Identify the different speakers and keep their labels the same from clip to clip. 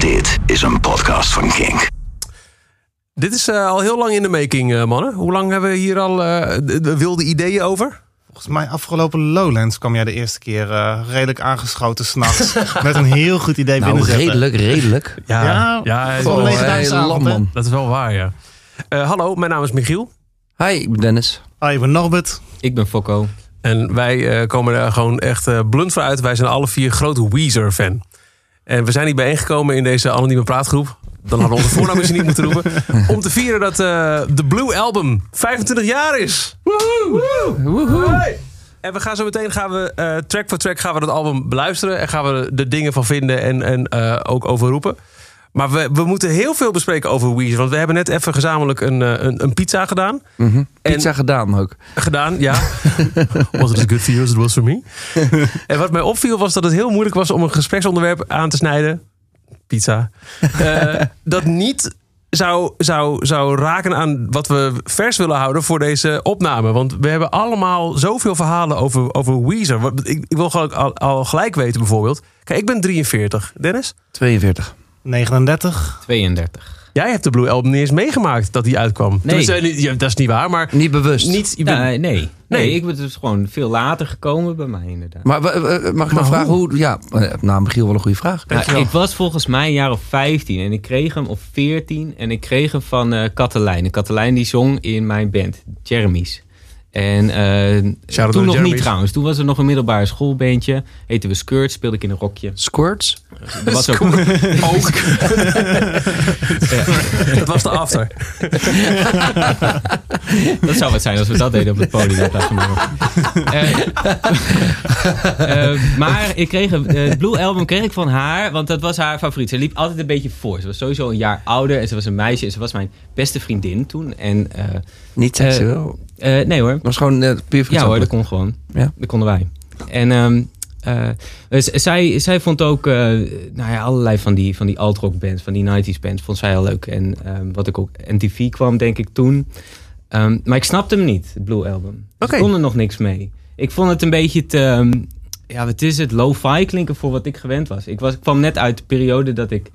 Speaker 1: Dit is een podcast van Kink.
Speaker 2: Dit is eh, al heel lang in de making, eh, mannen. Hoe lang hebben we hier al eh, de- de wilde ideeën over?
Speaker 3: Volgens mij afgelopen Lowlands kwam jij de eerste keer eh, redelijk aangeschoten s'nachts. met een heel goed idee
Speaker 4: Nou,
Speaker 3: binnenzetten.
Speaker 4: redelijk, redelijk.
Speaker 5: Ja,
Speaker 3: Ja,
Speaker 5: ja,
Speaker 3: Gewoon
Speaker 4: Oh,
Speaker 3: deze
Speaker 4: hey,
Speaker 3: dagen avond, hè?
Speaker 4: Landman.
Speaker 5: dat is wel waar, ja.
Speaker 2: Eh, hallo, mijn naam is Michiel.
Speaker 4: Hi, ik ben Dennis.
Speaker 3: Hoi, ik ben Norbert.
Speaker 6: Ik ben Fokko.
Speaker 2: En wij eh, komen er gewoon echt eh, blunt voor uit. Wij zijn alle vier grote Weezer-fan. En we zijn hier bijeengekomen in deze anonieme praatgroep. Dan hadden we onze voornaam misschien niet moeten roepen. Om te vieren dat eh, de Blue Album 25 jaar is. Woehoe! Hey! En we gaan zo meteen, gaan we, eh, track voor track, gaan we dat album beluisteren. En gaan we er dingen van vinden en, en eh, ook over roepen. Maar we, we moeten heel veel bespreken over Weezer. Want we hebben net even gezamenlijk een, eh, een, een pizza gedaan.
Speaker 4: Mhm.
Speaker 2: En-
Speaker 4: Pizza gedaan ook.
Speaker 2: Gedaan, ja. was it as good for you as it was for me? en wat mij opviel was dat het heel moeilijk was om een gespreksonderwerp aan te snijden. Pizza. Eh, dat niet zou, zou, zou raken aan wat we vers willen houden voor deze opname. Want we hebben allemaal zoveel verhalen over, over Weezer. Wat- Ik, ik wil gewoon al, al gelijk weten bijvoorbeeld. Kijk, ik ben 43. Dennis,
Speaker 4: 42.
Speaker 3: 39.
Speaker 6: 32.
Speaker 2: jij hebt de Blue Album niet eens meegemaakt dat die uitkwam. Tenminste, niet- ja, dat is niet waar, maar...
Speaker 4: Niet bewust.
Speaker 2: Niet, je bent-
Speaker 6: nee, nee.
Speaker 2: Nee.
Speaker 6: Nee, ik ben dus gewoon veel later gekomen bij mij inderdaad.
Speaker 4: Maar wa- eh, mag ik nog vragen hoe? Ja, eh, nou, Michiel, wel een goede vraag.
Speaker 6: Nou, ik was volgens mij een jaar of 15 en ik kreeg hem of 14 en ik kreeg hem van eh Katelijn. En Katelijn die zong in mijn band, Jeremy's. En
Speaker 2: out
Speaker 6: eh, toen
Speaker 2: to
Speaker 6: nog
Speaker 2: Jeremy's.
Speaker 6: niet trouwens. Toen was er nog een middelbare schoolbandje. Heette we Skirt, speelde ik in een rokje.
Speaker 4: Squirts?
Speaker 6: Er was ook,
Speaker 2: Ook. Dat was de after.
Speaker 6: dat zou het zijn als we dat deden op het podium. in plaats van een rokje. Eh, eh, maar ik kreeg een eh, Blue Album kreeg ik van haar, want dat was haar favoriet. Ze liep altijd een beetje voor. Ze was sowieso een jaar ouder en ze was een meisje en ze was mijn beste vriendin toen. En, eh,
Speaker 4: Niet
Speaker 6: Eh,
Speaker 4: seksueel. Het
Speaker 6: eh, nee hoor,
Speaker 4: was gewoon eh, puur
Speaker 6: Ja hoor, dat
Speaker 4: vriendschappelijk.
Speaker 6: kon gewoon.
Speaker 4: Ja.
Speaker 6: Dat konden wij. En ehm, eh, z- zij, zij vond ook eh, nou ja, allerlei van die, van die alt-rock bands, van die 90s bands, vond zij heel leuk. En ehm, wat ik ook, MTV kwam denk ik toen. Ehm, maar ik snapte hem niet, het Blue Album. Dus
Speaker 2: Oké.
Speaker 6: Ik kon er nog niks mee. Ik vond het een beetje te... ehm, ja, wat is het? Lo-fi klinken voor wat ik gewend was. Ik, was. ik kwam net uit de periode dat ik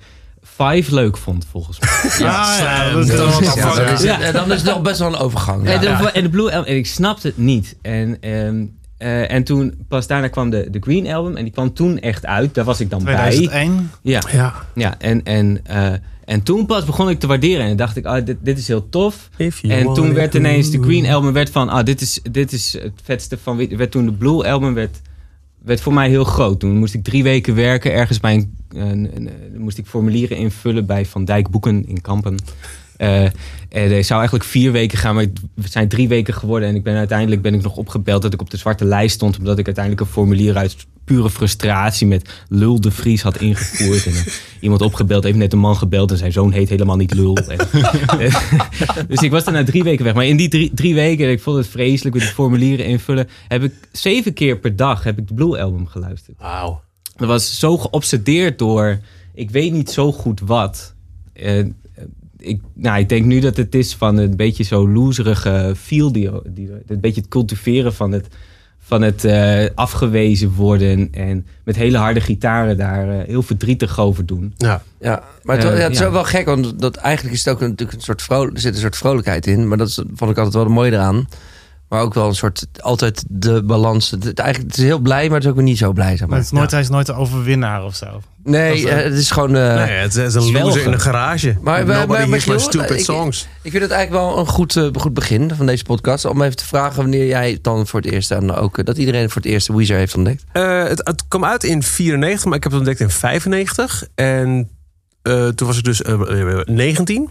Speaker 6: Five leuk vond, volgens mij.
Speaker 3: Ah, Ja, ja, dat is
Speaker 2: slim.
Speaker 3: wel wat
Speaker 2: Ja,
Speaker 3: apart,
Speaker 4: dat
Speaker 3: ja.
Speaker 4: is,
Speaker 6: Ja.
Speaker 4: eh, Dan is het nog best wel een overgang.
Speaker 6: En,
Speaker 4: Ja.
Speaker 6: de, en de Blue Album, en ik snapte het niet. En, ehm, eh, en toen, pas daarna kwam de, de Green Album. En die kwam toen echt uit. Daar was ik dan bij.
Speaker 3: 2001.
Speaker 6: Ja,
Speaker 2: Ja.
Speaker 6: ja en, en, eh, en toen pas begon ik te waarderen. En dacht ik, ah, dit, dit is heel tof.
Speaker 2: If you
Speaker 6: En
Speaker 2: want
Speaker 6: toen
Speaker 2: it
Speaker 6: werd
Speaker 2: to.
Speaker 6: ineens de Green Album werd van, ah, dit is, dit is het vetste van... wit- Werd toen de Blue Album werd, werd voor mij heel groot. Toen moest ik drie weken werken ergens bij een... een- een- een- moest ik formulieren invullen bij Van Dijk Boeken in Kampen. Eh, en ik zou eigenlijk vier weken gaan, maar het zijn drie weken geworden. En ik ben uiteindelijk ben ik nog opgebeld dat ik op de zwarte lijst stond. Omdat ik uiteindelijk een formulier uit pure frustratie met Lul de Vries had ingevoerd. en eh, iemand opgebeld, even net een man gebeld. En zijn zoon heet helemaal niet Lul. En, dus ik was er na drie weken weg. Maar in die drie, drie weken, en ik vond het vreselijk met die formulieren invullen. Heb ik zeven keer per dag heb ik de Blue Album geluisterd.
Speaker 2: Wauw.
Speaker 6: Dat was zo geobsedeerd door, ik weet niet zo goed wat. Eh, eh, ik, nou, ik denk nu dat het is van een beetje zo loserige feel. Die, die, een beetje het cultiveren van het, van het eh, afgewezen worden. En met hele harde gitaren daar eh, heel verdrietig over doen.
Speaker 2: Ja.
Speaker 4: Ja, maar het,
Speaker 6: Eh,
Speaker 4: ja, het is
Speaker 6: ja.
Speaker 4: wel wel gek, want dat, eigenlijk is het ook een- natuurlijk een soort, vrol, er zit een soort vrolijkheid in. Maar dat is- vond ik altijd wel mooi eraan. Maar ook wel een soort, altijd de balans. Het, het- eigenlijk, het is heel blij, maar het is ook weer niet zo blij. Zeg
Speaker 3: Maar
Speaker 4: maar.
Speaker 3: het is nooit, hij is nooit de overwinnaar of zo.
Speaker 4: nee,
Speaker 3: dat is,
Speaker 4: eh, het is gewoon... eh,
Speaker 2: Nee, het is een
Speaker 6: Zwelgen.
Speaker 2: loser in een garage.
Speaker 4: Maar- maar-
Speaker 2: Nobody
Speaker 4: maar-
Speaker 2: hears
Speaker 4: Michiel,
Speaker 2: my stupid
Speaker 4: ik-
Speaker 2: songs.
Speaker 4: Ik vind het eigenlijk wel een goed, eh, goed begin van deze podcast. Om even te vragen wanneer jij dan voor het eerst... en ook eh, dat iedereen voor het eerst Weezer heeft ontdekt.
Speaker 2: Eh, het, het kwam uit in 94, maar ik heb het ontdekt in 95. En eh, toen was ik dus eh, 19.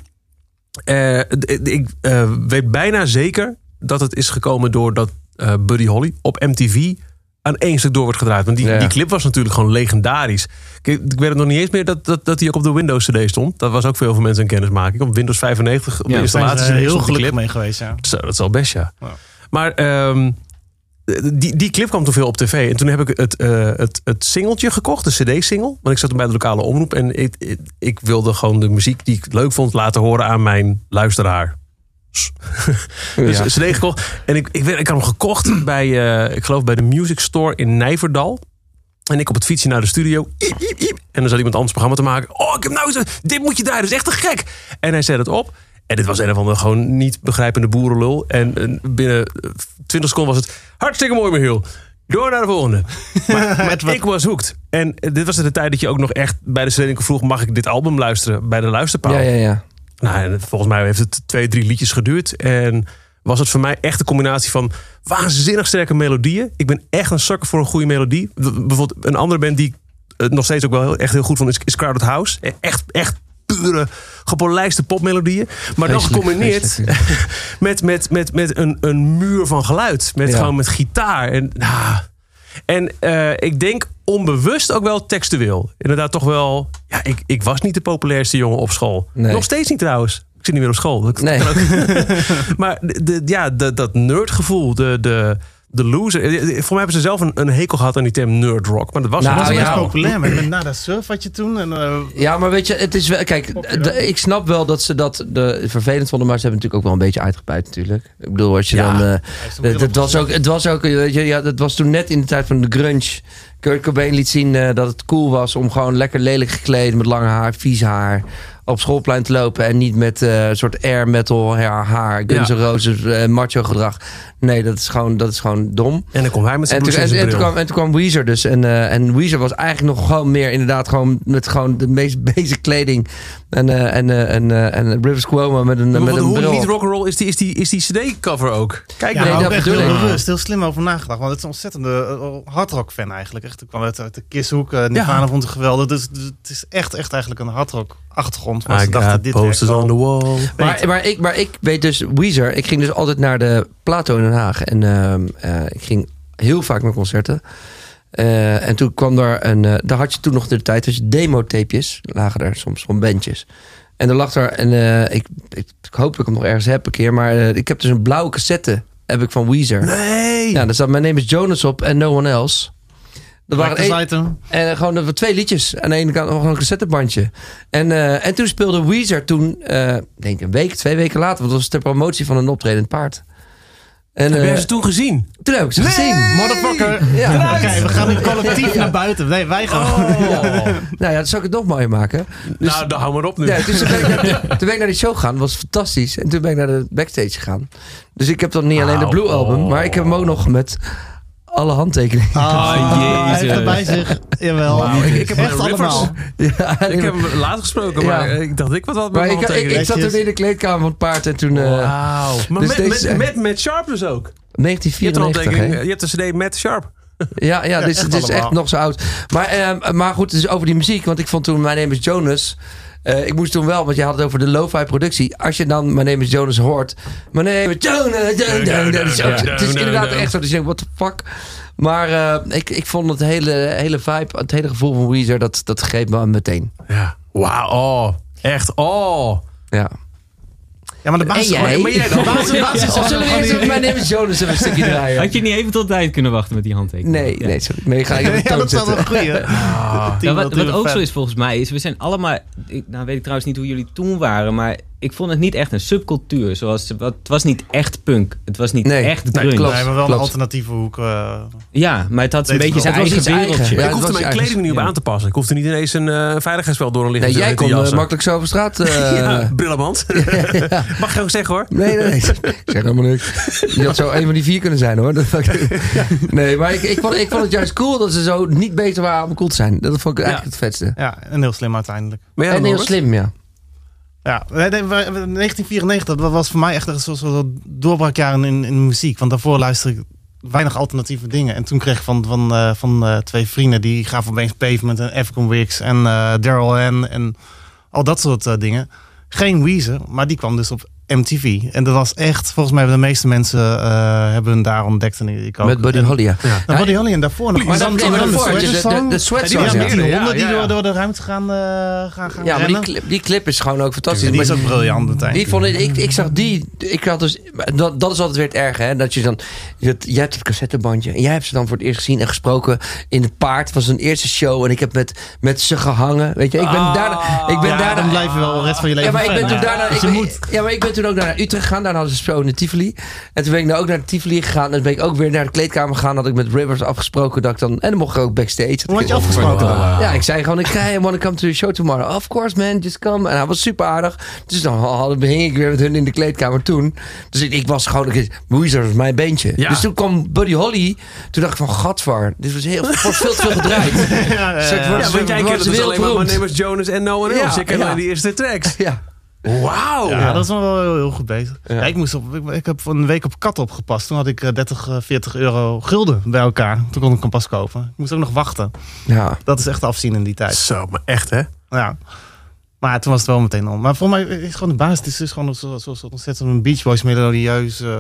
Speaker 2: Eh, d- d- ik eh, weet bijna zeker dat het is gekomen doordat eh Buddy Holly op MTV aan één stuk door wordt gedraaid. Want die,
Speaker 4: Ja.
Speaker 2: die clip was natuurlijk gewoon legendarisch. Ik, ik weet het nog niet eens meer dat, dat, dat die ook op de Windows CD stond. Dat was ook veel voor mensen een kennismaking. Op Windows 95, op de
Speaker 6: Ja,
Speaker 3: Daar zijn
Speaker 2: installatie
Speaker 3: ze heel
Speaker 2: stond die
Speaker 3: gelukkig
Speaker 2: clip.
Speaker 3: mee geweest, ja.
Speaker 2: Zo, dat is al best, ja.
Speaker 3: Ja.
Speaker 2: Maar ehm, die, die clip kwam toen veel op tv. En toen heb ik het, eh, het, het singeltje gekocht, de cd-single. Want ik zat bij de lokale omroep. En ik, ik, ik wilde gewoon de muziek die ik leuk vond laten horen aan mijn luisteraar. Dus
Speaker 4: Ja.
Speaker 2: een cd gekocht. En ik, ik, weet- ik had hem gekocht bij, eh, ik geloof bij de Music Store in Nijverdal. En ik op het fietsje naar de studio. Iep, iep, iep. En dan zat iemand anders programma te maken. Oh, ik heb nou zo. Dit moet je daar. Dat is echt te gek. En hij zet het op. En dit was een of andere gewoon niet begrijpende boerenlul. En eh, binnen eh, 20 seconden was het hartstikke mooi, Michiel. Door naar de volgende. Maar, maar ik was hooked. En eh, dit was de tijd dat je ook nog echt bij de Serenke vroeg... mag ik dit album luisteren bij de luisterpaal?
Speaker 4: Ja, ja, ja.
Speaker 2: Nou, en volgens mij heeft het twee, drie liedjes geduurd. En was het voor mij echt een combinatie van waanzinnig sterke melodieën. Ik ben echt een zakker voor een goede melodie. B- Bijvoorbeeld een andere band die ik eh, nog steeds ook wel heel- echt heel goed vond is, is Crowded House. E- Echt, echt pure, gepolijste popmelodieën. Maar dan
Speaker 4: Vreselijk,
Speaker 2: gecombineerd
Speaker 4: vreselijk, ja.
Speaker 2: met, met, met, met een, een muur van geluid. Met
Speaker 4: Ja.
Speaker 2: gewoon met gitaar. En, ah. en eh, ik denk onbewust ook wel textueel. Inderdaad, toch wel. Ja, ik, ik was niet de populairste jongen op school.
Speaker 4: Nee.
Speaker 2: Nog steeds niet trouwens. Ik zit niet meer op school. Dat-
Speaker 4: Nee.
Speaker 2: Maar de, de- ja, de- dat nerdgevoel, de, de, de loser. Eh, eh, Voor mij hebben ze zelf een, een hekel gehad aan die term nerdrock. Maar dat was
Speaker 4: Nou,
Speaker 2: het
Speaker 3: was
Speaker 2: niet.
Speaker 3: best
Speaker 4: ja.
Speaker 3: populair met Nada Surf had je toen. En, eh,
Speaker 4: Ja, maar weet je, het is wel. Kijk, d- d- ik snap wel dat ze dat de, vervelend vonden, maar ze hebben natuurlijk ook wel een beetje uitgepuit, natuurlijk. Ik bedoel, als je
Speaker 2: Ja.
Speaker 4: dan. eh,
Speaker 3: heeft hem
Speaker 4: het, het
Speaker 3: heel
Speaker 4: was ook, het was ook. weet je, Ja, dat was toen net in de tijd van de grunge. Kurt Cobain liet zien eh, dat het cool was om gewoon lekker lelijk gekleed met lang haar, vies haar. Op schoolplein te lopen en niet met eh, een soort air metal haar, haar Guns
Speaker 2: Ja.
Speaker 4: N' Roses, eh, macho gedrag. Nee, dat is gewoon, dat is gewoon dom.
Speaker 2: En dan kwam hij met zijn
Speaker 4: En toen,
Speaker 2: blouse in zijn
Speaker 4: en, en toen
Speaker 2: bril.
Speaker 4: kwam, en toen kwam Weezer dus. En, eh, en Weezer was eigenlijk nog gewoon meer inderdaad gewoon met gewoon de meest basic kleding. En, eh, en, eh, en, eh, en Rivers Cuomo met een,
Speaker 2: Maar
Speaker 4: met
Speaker 2: wat-
Speaker 4: een
Speaker 2: hoe niet
Speaker 4: bril.
Speaker 2: rock'n'roll is die, is die, is die CD-cover ook? Kijk,
Speaker 3: Ja,
Speaker 4: nee,
Speaker 3: maar
Speaker 4: dat
Speaker 3: ook echt
Speaker 4: bedoel
Speaker 3: heel
Speaker 4: ik.
Speaker 3: bewust, heel slim over nagedacht. Want het is een ontzettende eh, hardrock fan eigenlijk. Echt, ik kwam uit, uit de Kisshoek, eh Nirvana
Speaker 2: Ja.
Speaker 3: vond het geweldig. Dus, dus het is echt, echt eigenlijk een hardrock achtergrond. Maar
Speaker 2: I
Speaker 3: ze dachten,
Speaker 2: got
Speaker 3: dit werkt
Speaker 2: Ah, posters
Speaker 3: wel.
Speaker 2: on the wall.
Speaker 4: Maar, maar, ik, maar ik weet dus, Weezer, ik ging dus altijd naar de Plato in Den Haag. En ehm, eh, ik ging heel vaak naar concerten. Eh, en toen kwam daar een, eh, daar had je toen nog de tijd, dat je demotapejes lagen daar soms van bandjes. En er lag daar, en eh, ik, ik, ik hoop dat ik hem nog ergens heb een keer, maar eh, ik heb dus een blauwe cassette heb ik van Weezer.
Speaker 2: Nee!
Speaker 4: Ja, daar staat Mijn Name is Jonas op en No One Else. Dat waren
Speaker 3: Collector's
Speaker 4: één-
Speaker 3: item.
Speaker 4: en eh, gewoon eh, twee liedjes. Aan de ene kant nog een cassettebandje. En, eh, en toen speelde Weezer toen, eh, ik denk een week, twee weken later. Want dat was ter promotie van een optredend paard. En
Speaker 2: Heb
Speaker 4: eh,
Speaker 2: jij ze toen gezien?
Speaker 4: toen heb ik ze
Speaker 2: Nee!
Speaker 4: gezien.
Speaker 3: Motherfucker.
Speaker 4: Ja.
Speaker 3: Oké, we gaan nu collectief naar buiten. Nee, wij gaan.
Speaker 2: Oh.
Speaker 4: Nou ja, dat zou ik het nog mooier maken. Dus,
Speaker 2: nou, dan hou maar op nu.
Speaker 4: ja, dus toen, ben ik naar, toen ben ik naar die show gegaan. Dat was fantastisch. En toen ben ik naar de backstage gegaan. Dus ik heb dan niet alleen de
Speaker 2: Au.
Speaker 4: Blue Album. Maar ik heb hem ook nog met alle handtekeningen.
Speaker 6: Ah,
Speaker 3: hij heeft
Speaker 6: jezus.
Speaker 3: er bij zich. Jawel.
Speaker 2: Wauw, ik- ik heb
Speaker 3: echt
Speaker 2: mijn riffers.
Speaker 3: allemaal.
Speaker 4: Ja,
Speaker 2: Ik heb hem laat gesproken, maar
Speaker 4: Ja.
Speaker 2: eh, ik dacht ik wat wat
Speaker 4: maar
Speaker 2: met
Speaker 4: ik, ik, ik zat toen in de kleedkamer van het paard. En toen... eh,
Speaker 2: Wauw. Maar
Speaker 4: Dus
Speaker 2: met,
Speaker 4: deze-
Speaker 2: met, met, met Sharp dus ook. Je hebt, een
Speaker 4: 1994,
Speaker 2: handtekening,
Speaker 4: hè?
Speaker 2: je hebt een cd met Sharp.
Speaker 4: Ja, ja, dit, is-
Speaker 3: echt
Speaker 4: dit is echt
Speaker 3: allemaal.
Speaker 4: nog zo oud. Maar, eh, maar goed, dus over die muziek. Want ik vond toen Mijn Name is Jonas. eh, ik moest toen wel, want je had het over de lo-fi productie. Als je dan Mijn Name is Jonas hoort. Mijn Name is Jonas. Jonas, Jonas, Jonas.
Speaker 2: Ja, ja,
Speaker 4: Het is
Speaker 2: ja,
Speaker 4: inderdaad
Speaker 2: ja.
Speaker 4: echt zo. Dus je denkt, what the fuck. Maar eh, ik, ik vond het hele, hele vibe, het hele gevoel van Weezer, dat, dat greep me meteen.
Speaker 2: Ja. Wauw. Oh. Echt. Oh.
Speaker 4: Ja.
Speaker 3: Ja, maar de
Speaker 4: En
Speaker 3: baas
Speaker 4: jij?
Speaker 2: maar jij
Speaker 3: De
Speaker 2: dan?
Speaker 3: baas, de baas is
Speaker 4: Of zullen we eerst even Mijn Name is Jonas even een stukje draaien?
Speaker 6: Had je niet even tot tijd kunnen wachten met die handtekening?
Speaker 4: Nee,
Speaker 6: Ja.
Speaker 4: nee, sorry. Nee, ga ik even
Speaker 3: Ja,
Speaker 4: toon
Speaker 3: dat is wel
Speaker 4: zetten.
Speaker 3: een goeie.
Speaker 6: Ja, Nou, wat, wat ook zo is volgens mij, is we zijn allemaal... Ik, nou weet ik trouwens niet hoe jullie toen waren, maar ik vond het niet echt een subcultuur. Zoals, wat, het was niet echt punk. Het was niet
Speaker 4: Nee,
Speaker 6: echt
Speaker 2: nee,
Speaker 6: grunge.
Speaker 4: klopt.
Speaker 3: Nee, maar wel een
Speaker 4: Klopt.
Speaker 3: alternatieve hoek. eh,
Speaker 6: Ja, maar het had een
Speaker 3: Weet
Speaker 6: beetje
Speaker 3: je
Speaker 6: zijn
Speaker 4: wel. Het was
Speaker 6: eigen
Speaker 4: iets eigen.
Speaker 6: wereldje.
Speaker 4: Ja,
Speaker 2: ik
Speaker 4: het
Speaker 2: hoefde
Speaker 4: was
Speaker 2: mijn
Speaker 4: je
Speaker 2: kleding
Speaker 4: eigen-
Speaker 2: nu op
Speaker 6: ja.
Speaker 2: aan te passen. Ik hoefde niet ineens een eh, veiligheidsveld door een
Speaker 4: Nee,
Speaker 2: liggende
Speaker 4: jij kon eh,
Speaker 2: jassen.
Speaker 4: makkelijk zo over straat... eh,
Speaker 2: ja, brillenmand. Mag je ook zeggen hoor.
Speaker 4: Nee, nee, nee. Ik zeg helemaal niks. Je had zo een van die vier kunnen zijn hoor. Dat- Nee, maar ik, ik, vond, ik vond het juist cool dat ze zo niet beter waren om cool te zijn. Dat vond ik eigenlijk het vetste.
Speaker 3: ja, en heel slim uiteindelijk.
Speaker 2: Maar ja,
Speaker 4: en heel
Speaker 2: Robert?
Speaker 4: slim, ja.
Speaker 3: Ja, nee, nee, maar 1994 dat was voor mij echt een soort, soort doorbraakjaar in, in, in muziek. Want daarvoor luisterde ik weinig alternatieve dingen. En toen kreeg ik van, van, eh, van eh, twee vrienden, die gaven opeens Pavement en African Wigs en eh, Daryl Ann en al dat soort eh, dingen. Geen Weezer, maar die kwam dus op MTV. En dat was echt, volgens mij hebben de meeste mensen eh, hebben hun daar ontdekt. En ik ook.
Speaker 4: Met Buddy
Speaker 3: En-
Speaker 4: Holly, ja.
Speaker 3: Nou,
Speaker 4: Ja,
Speaker 3: Buddy Holly en daarvoor nog.
Speaker 4: Maar dan, nee, maar
Speaker 3: de
Speaker 4: daarvoor had je
Speaker 3: Sweater
Speaker 4: de, de,
Speaker 3: Song.
Speaker 4: de
Speaker 3: Ja,
Speaker 4: sweat
Speaker 3: die was
Speaker 2: ja.
Speaker 3: met die
Speaker 2: Ja,
Speaker 3: honden die
Speaker 2: ja, ja.
Speaker 3: door, door de ruimte gaan, eh, gaan, gaan
Speaker 4: Ja, maar die
Speaker 3: rennen. Dus
Speaker 4: clip, die clip is gewoon ook fantastisch.
Speaker 3: Die,
Speaker 4: Maar
Speaker 3: is ook briljant uiteindelijk.
Speaker 4: Die vond ik, ik, ik zag die, ik had dus, dat, dat is altijd weer het erge, hè? Dat je dan, dat, jij hebt het cassettebandje en jij hebt ze dan voor het eerst gezien en gesproken in het paard. Het was een eerste show en ik heb met, met ze gehangen, weet je. Ik ben
Speaker 2: Ah.
Speaker 4: daarna, ik ben
Speaker 3: ja,
Speaker 4: daarna,
Speaker 3: dan blijf je wel de rest van je
Speaker 4: ja,
Speaker 3: leven
Speaker 4: maar ik ben
Speaker 3: fan,
Speaker 4: toen
Speaker 3: ja.
Speaker 4: daarna,
Speaker 3: Dus
Speaker 4: ik
Speaker 3: je
Speaker 4: ben-
Speaker 3: moet.
Speaker 4: ja, maar ik ben ben toen ook naar Utrecht gegaan. Daar hadden ze show in Tivoli. En toen ben ik nou ook naar Tivoli gegaan. En toen ben ik ook weer naar de kleedkamer gegaan. Had ik met Rivers afgesproken dat ik dan... En dan mocht ik ook backstage.
Speaker 3: Hoe had je afgesproken dan?
Speaker 4: Ja, ik zei gewoon, ik I want to come to the show tomorrow. Of course, man, just come. En hij was super aardig. Dus dan hadden, hing ik weer met hun in de kleedkamer toen. Dus ik, ik was gewoon, ik- Weezer was mijn beentje.
Speaker 2: Ja.
Speaker 4: Dus toen kwam Buddy Holly. Toen dacht ik van, gadver, dit was heel, wordt veel te veel gedraaid.
Speaker 3: Ja, eh,
Speaker 4: Dus ik
Speaker 3: ja,
Speaker 4: word-
Speaker 2: Ja, want jij
Speaker 4: word
Speaker 2: kent het dus alleen maar
Speaker 4: wereldberoemd.
Speaker 2: Manemus Jonas en No One
Speaker 4: Ja,
Speaker 2: Else. Je kent
Speaker 4: ja.
Speaker 2: alleen die eerste tracks.
Speaker 4: Ja.
Speaker 2: Wauw.
Speaker 3: oh, Ja, dat is nog wel heel, heel goed bezig.
Speaker 4: Ja.
Speaker 3: Ja, ik, moest op, ik, ik heb voor een week op kat opgepast. Toen had ik eh, 30, eh, 40 euro gulden bij elkaar. Toen kon ik hem pas kopen. Ik moest ook nog wachten.
Speaker 4: Ja.
Speaker 3: Dat is echt afzien in die tijd.
Speaker 2: Zo, maar echt hè?
Speaker 3: Ja. Maar toen was het wel meteen om. Maar voor mij is het gewoon de basis. Het is dus gewoon een soort- soort soort ontzettend een Beach Boys melodieus eh,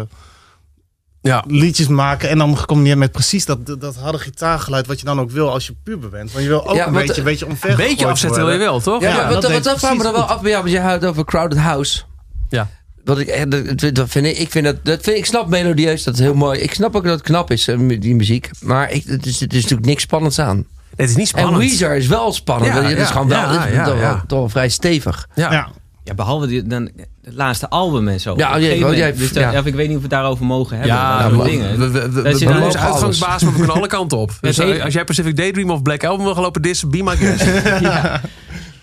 Speaker 2: Ja.
Speaker 3: liedjes maken. En dan gecombineerd met precies dat, dat, dat harde gitaargeluid wat je dan ook wil als je puber bent. Want je wil ook
Speaker 4: Ja,
Speaker 3: een
Speaker 4: want,
Speaker 3: beetje,
Speaker 4: eh,
Speaker 3: beetje omver
Speaker 2: Een beetje
Speaker 3: gegooid
Speaker 2: afzetten wil je
Speaker 3: worden.
Speaker 2: wel, toch?
Speaker 4: Ja,
Speaker 3: Ja,
Speaker 4: wat
Speaker 3: dat
Speaker 4: wat
Speaker 3: deed
Speaker 4: dat vraagt me
Speaker 3: precies
Speaker 4: dan wel
Speaker 3: goed.
Speaker 4: af bij jou, want je houdt over Crowded House.
Speaker 2: Ja.
Speaker 4: Wat ik, eh, dat- dat- dat vind ik, ik, vind dat, dat vind, ik snap melodieus, dat is heel mooi. Ik snap ook dat het knap is, eh, mu- die muziek. Maar ik, het, is, het is natuurlijk niks spannends aan.
Speaker 2: Het is niet spannend.
Speaker 4: En Weezer is wel spannend.
Speaker 2: Ja,
Speaker 4: want het is
Speaker 2: ja,
Speaker 4: gewoon wel,
Speaker 2: ja,
Speaker 4: het is
Speaker 2: ja,
Speaker 4: toch, wel-
Speaker 2: ja.
Speaker 4: toch wel vrij stevig.
Speaker 2: Ja.
Speaker 3: Ja.
Speaker 6: Ja, behalve die, dan, het laatste album en zo.
Speaker 4: Ja,
Speaker 6: Op een
Speaker 4: oh, jij-
Speaker 6: gegeven
Speaker 4: oh, jij-
Speaker 6: moment, dus dat-
Speaker 4: ja.
Speaker 6: of ik weet niet of we het daarover mogen hebben.
Speaker 2: Ja,
Speaker 6: dat
Speaker 4: we-
Speaker 6: soort
Speaker 4: we-
Speaker 6: dingen.
Speaker 2: we, we, we,
Speaker 6: Dat je
Speaker 2: we
Speaker 6: dan-
Speaker 2: mogen
Speaker 4: alles.
Speaker 2: uitgangsbaas, maar we kunnen alle kanten op. Dus
Speaker 6: hele-
Speaker 2: als jij Pacific Daydream of Black Album wil gaan lopen dissen, be my guest.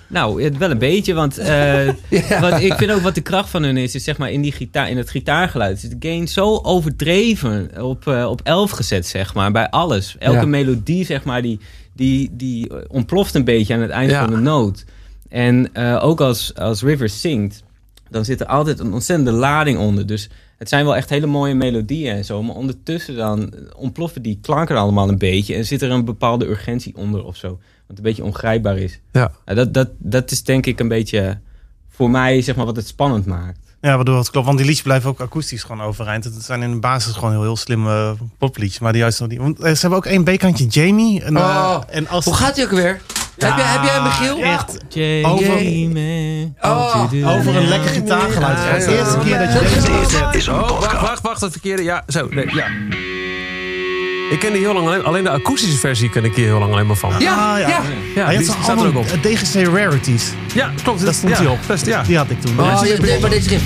Speaker 6: Nou, het- wel een beetje, want eh,
Speaker 4: Ja.
Speaker 6: wat, ik vind ook wat de kracht van hun is, is zeg maar in, die gitaar, in het gitaargeluid. Is de gain zo overdreven op, eh, op 11 gezet, zeg maar, bij alles. Elke
Speaker 4: Ja.
Speaker 6: melodie, zeg maar, die, die, die eh, ontploft een beetje aan het eind
Speaker 2: Ja.
Speaker 6: van de noot. En eh, ook als, als Rivers zingt, dan zit er altijd een ontzettende lading onder. Dus het zijn wel echt hele mooie melodieën en zo. Maar ondertussen dan ontploffen die klanken allemaal een beetje. En zit er een bepaalde urgentie onder of zo. Wat een beetje ongrijpbaar is.
Speaker 2: Ja.
Speaker 6: Ja, dat, dat, dat is denk ik een beetje voor mij zeg maar, wat het spannend maakt.
Speaker 3: Ja, waardoor het klopt. Want die liedjes blijven ook akoestisch gewoon overeind. Het zijn in de basis gewoon heel, heel slimme popliedjes. Maar die juist nog niet. Want eh, ze hebben ook één bekantje, Jamie. En, eh,
Speaker 4: Oh.
Speaker 3: en als
Speaker 4: Hoe gaat hij ook weer? heb, jij, heb jij hem, Michiel?
Speaker 3: Echt.
Speaker 6: Jamie,
Speaker 4: Oh,
Speaker 6: what you do
Speaker 3: Over een
Speaker 6: now?
Speaker 3: lekker gitaargeluid.
Speaker 4: Ja,
Speaker 3: Het is de
Speaker 4: ja,
Speaker 3: eerste
Speaker 4: ja.
Speaker 3: keer dat je deze
Speaker 1: Dit is een
Speaker 2: Oh, wacht,
Speaker 1: podcast.
Speaker 2: wacht, wacht, het verkeerde. Ja, zo. Nee, ja. Ik ken die heel lang alleen, alleen de akoestische versie ken ik hier heel lang alleen maar van.
Speaker 4: Ja,
Speaker 3: Ah,
Speaker 4: ja.
Speaker 3: ja.
Speaker 2: Ja,
Speaker 3: Hij
Speaker 2: die
Speaker 3: had
Speaker 2: staat
Speaker 3: allemaal
Speaker 2: er ook op.
Speaker 3: DGC Rarities.
Speaker 2: Ja, klopt.
Speaker 3: Daar stond
Speaker 2: ja,
Speaker 3: hij op.
Speaker 2: dat is- ja.
Speaker 3: Die had ik toen.
Speaker 4: Oh, dit- dit- maar deze riff.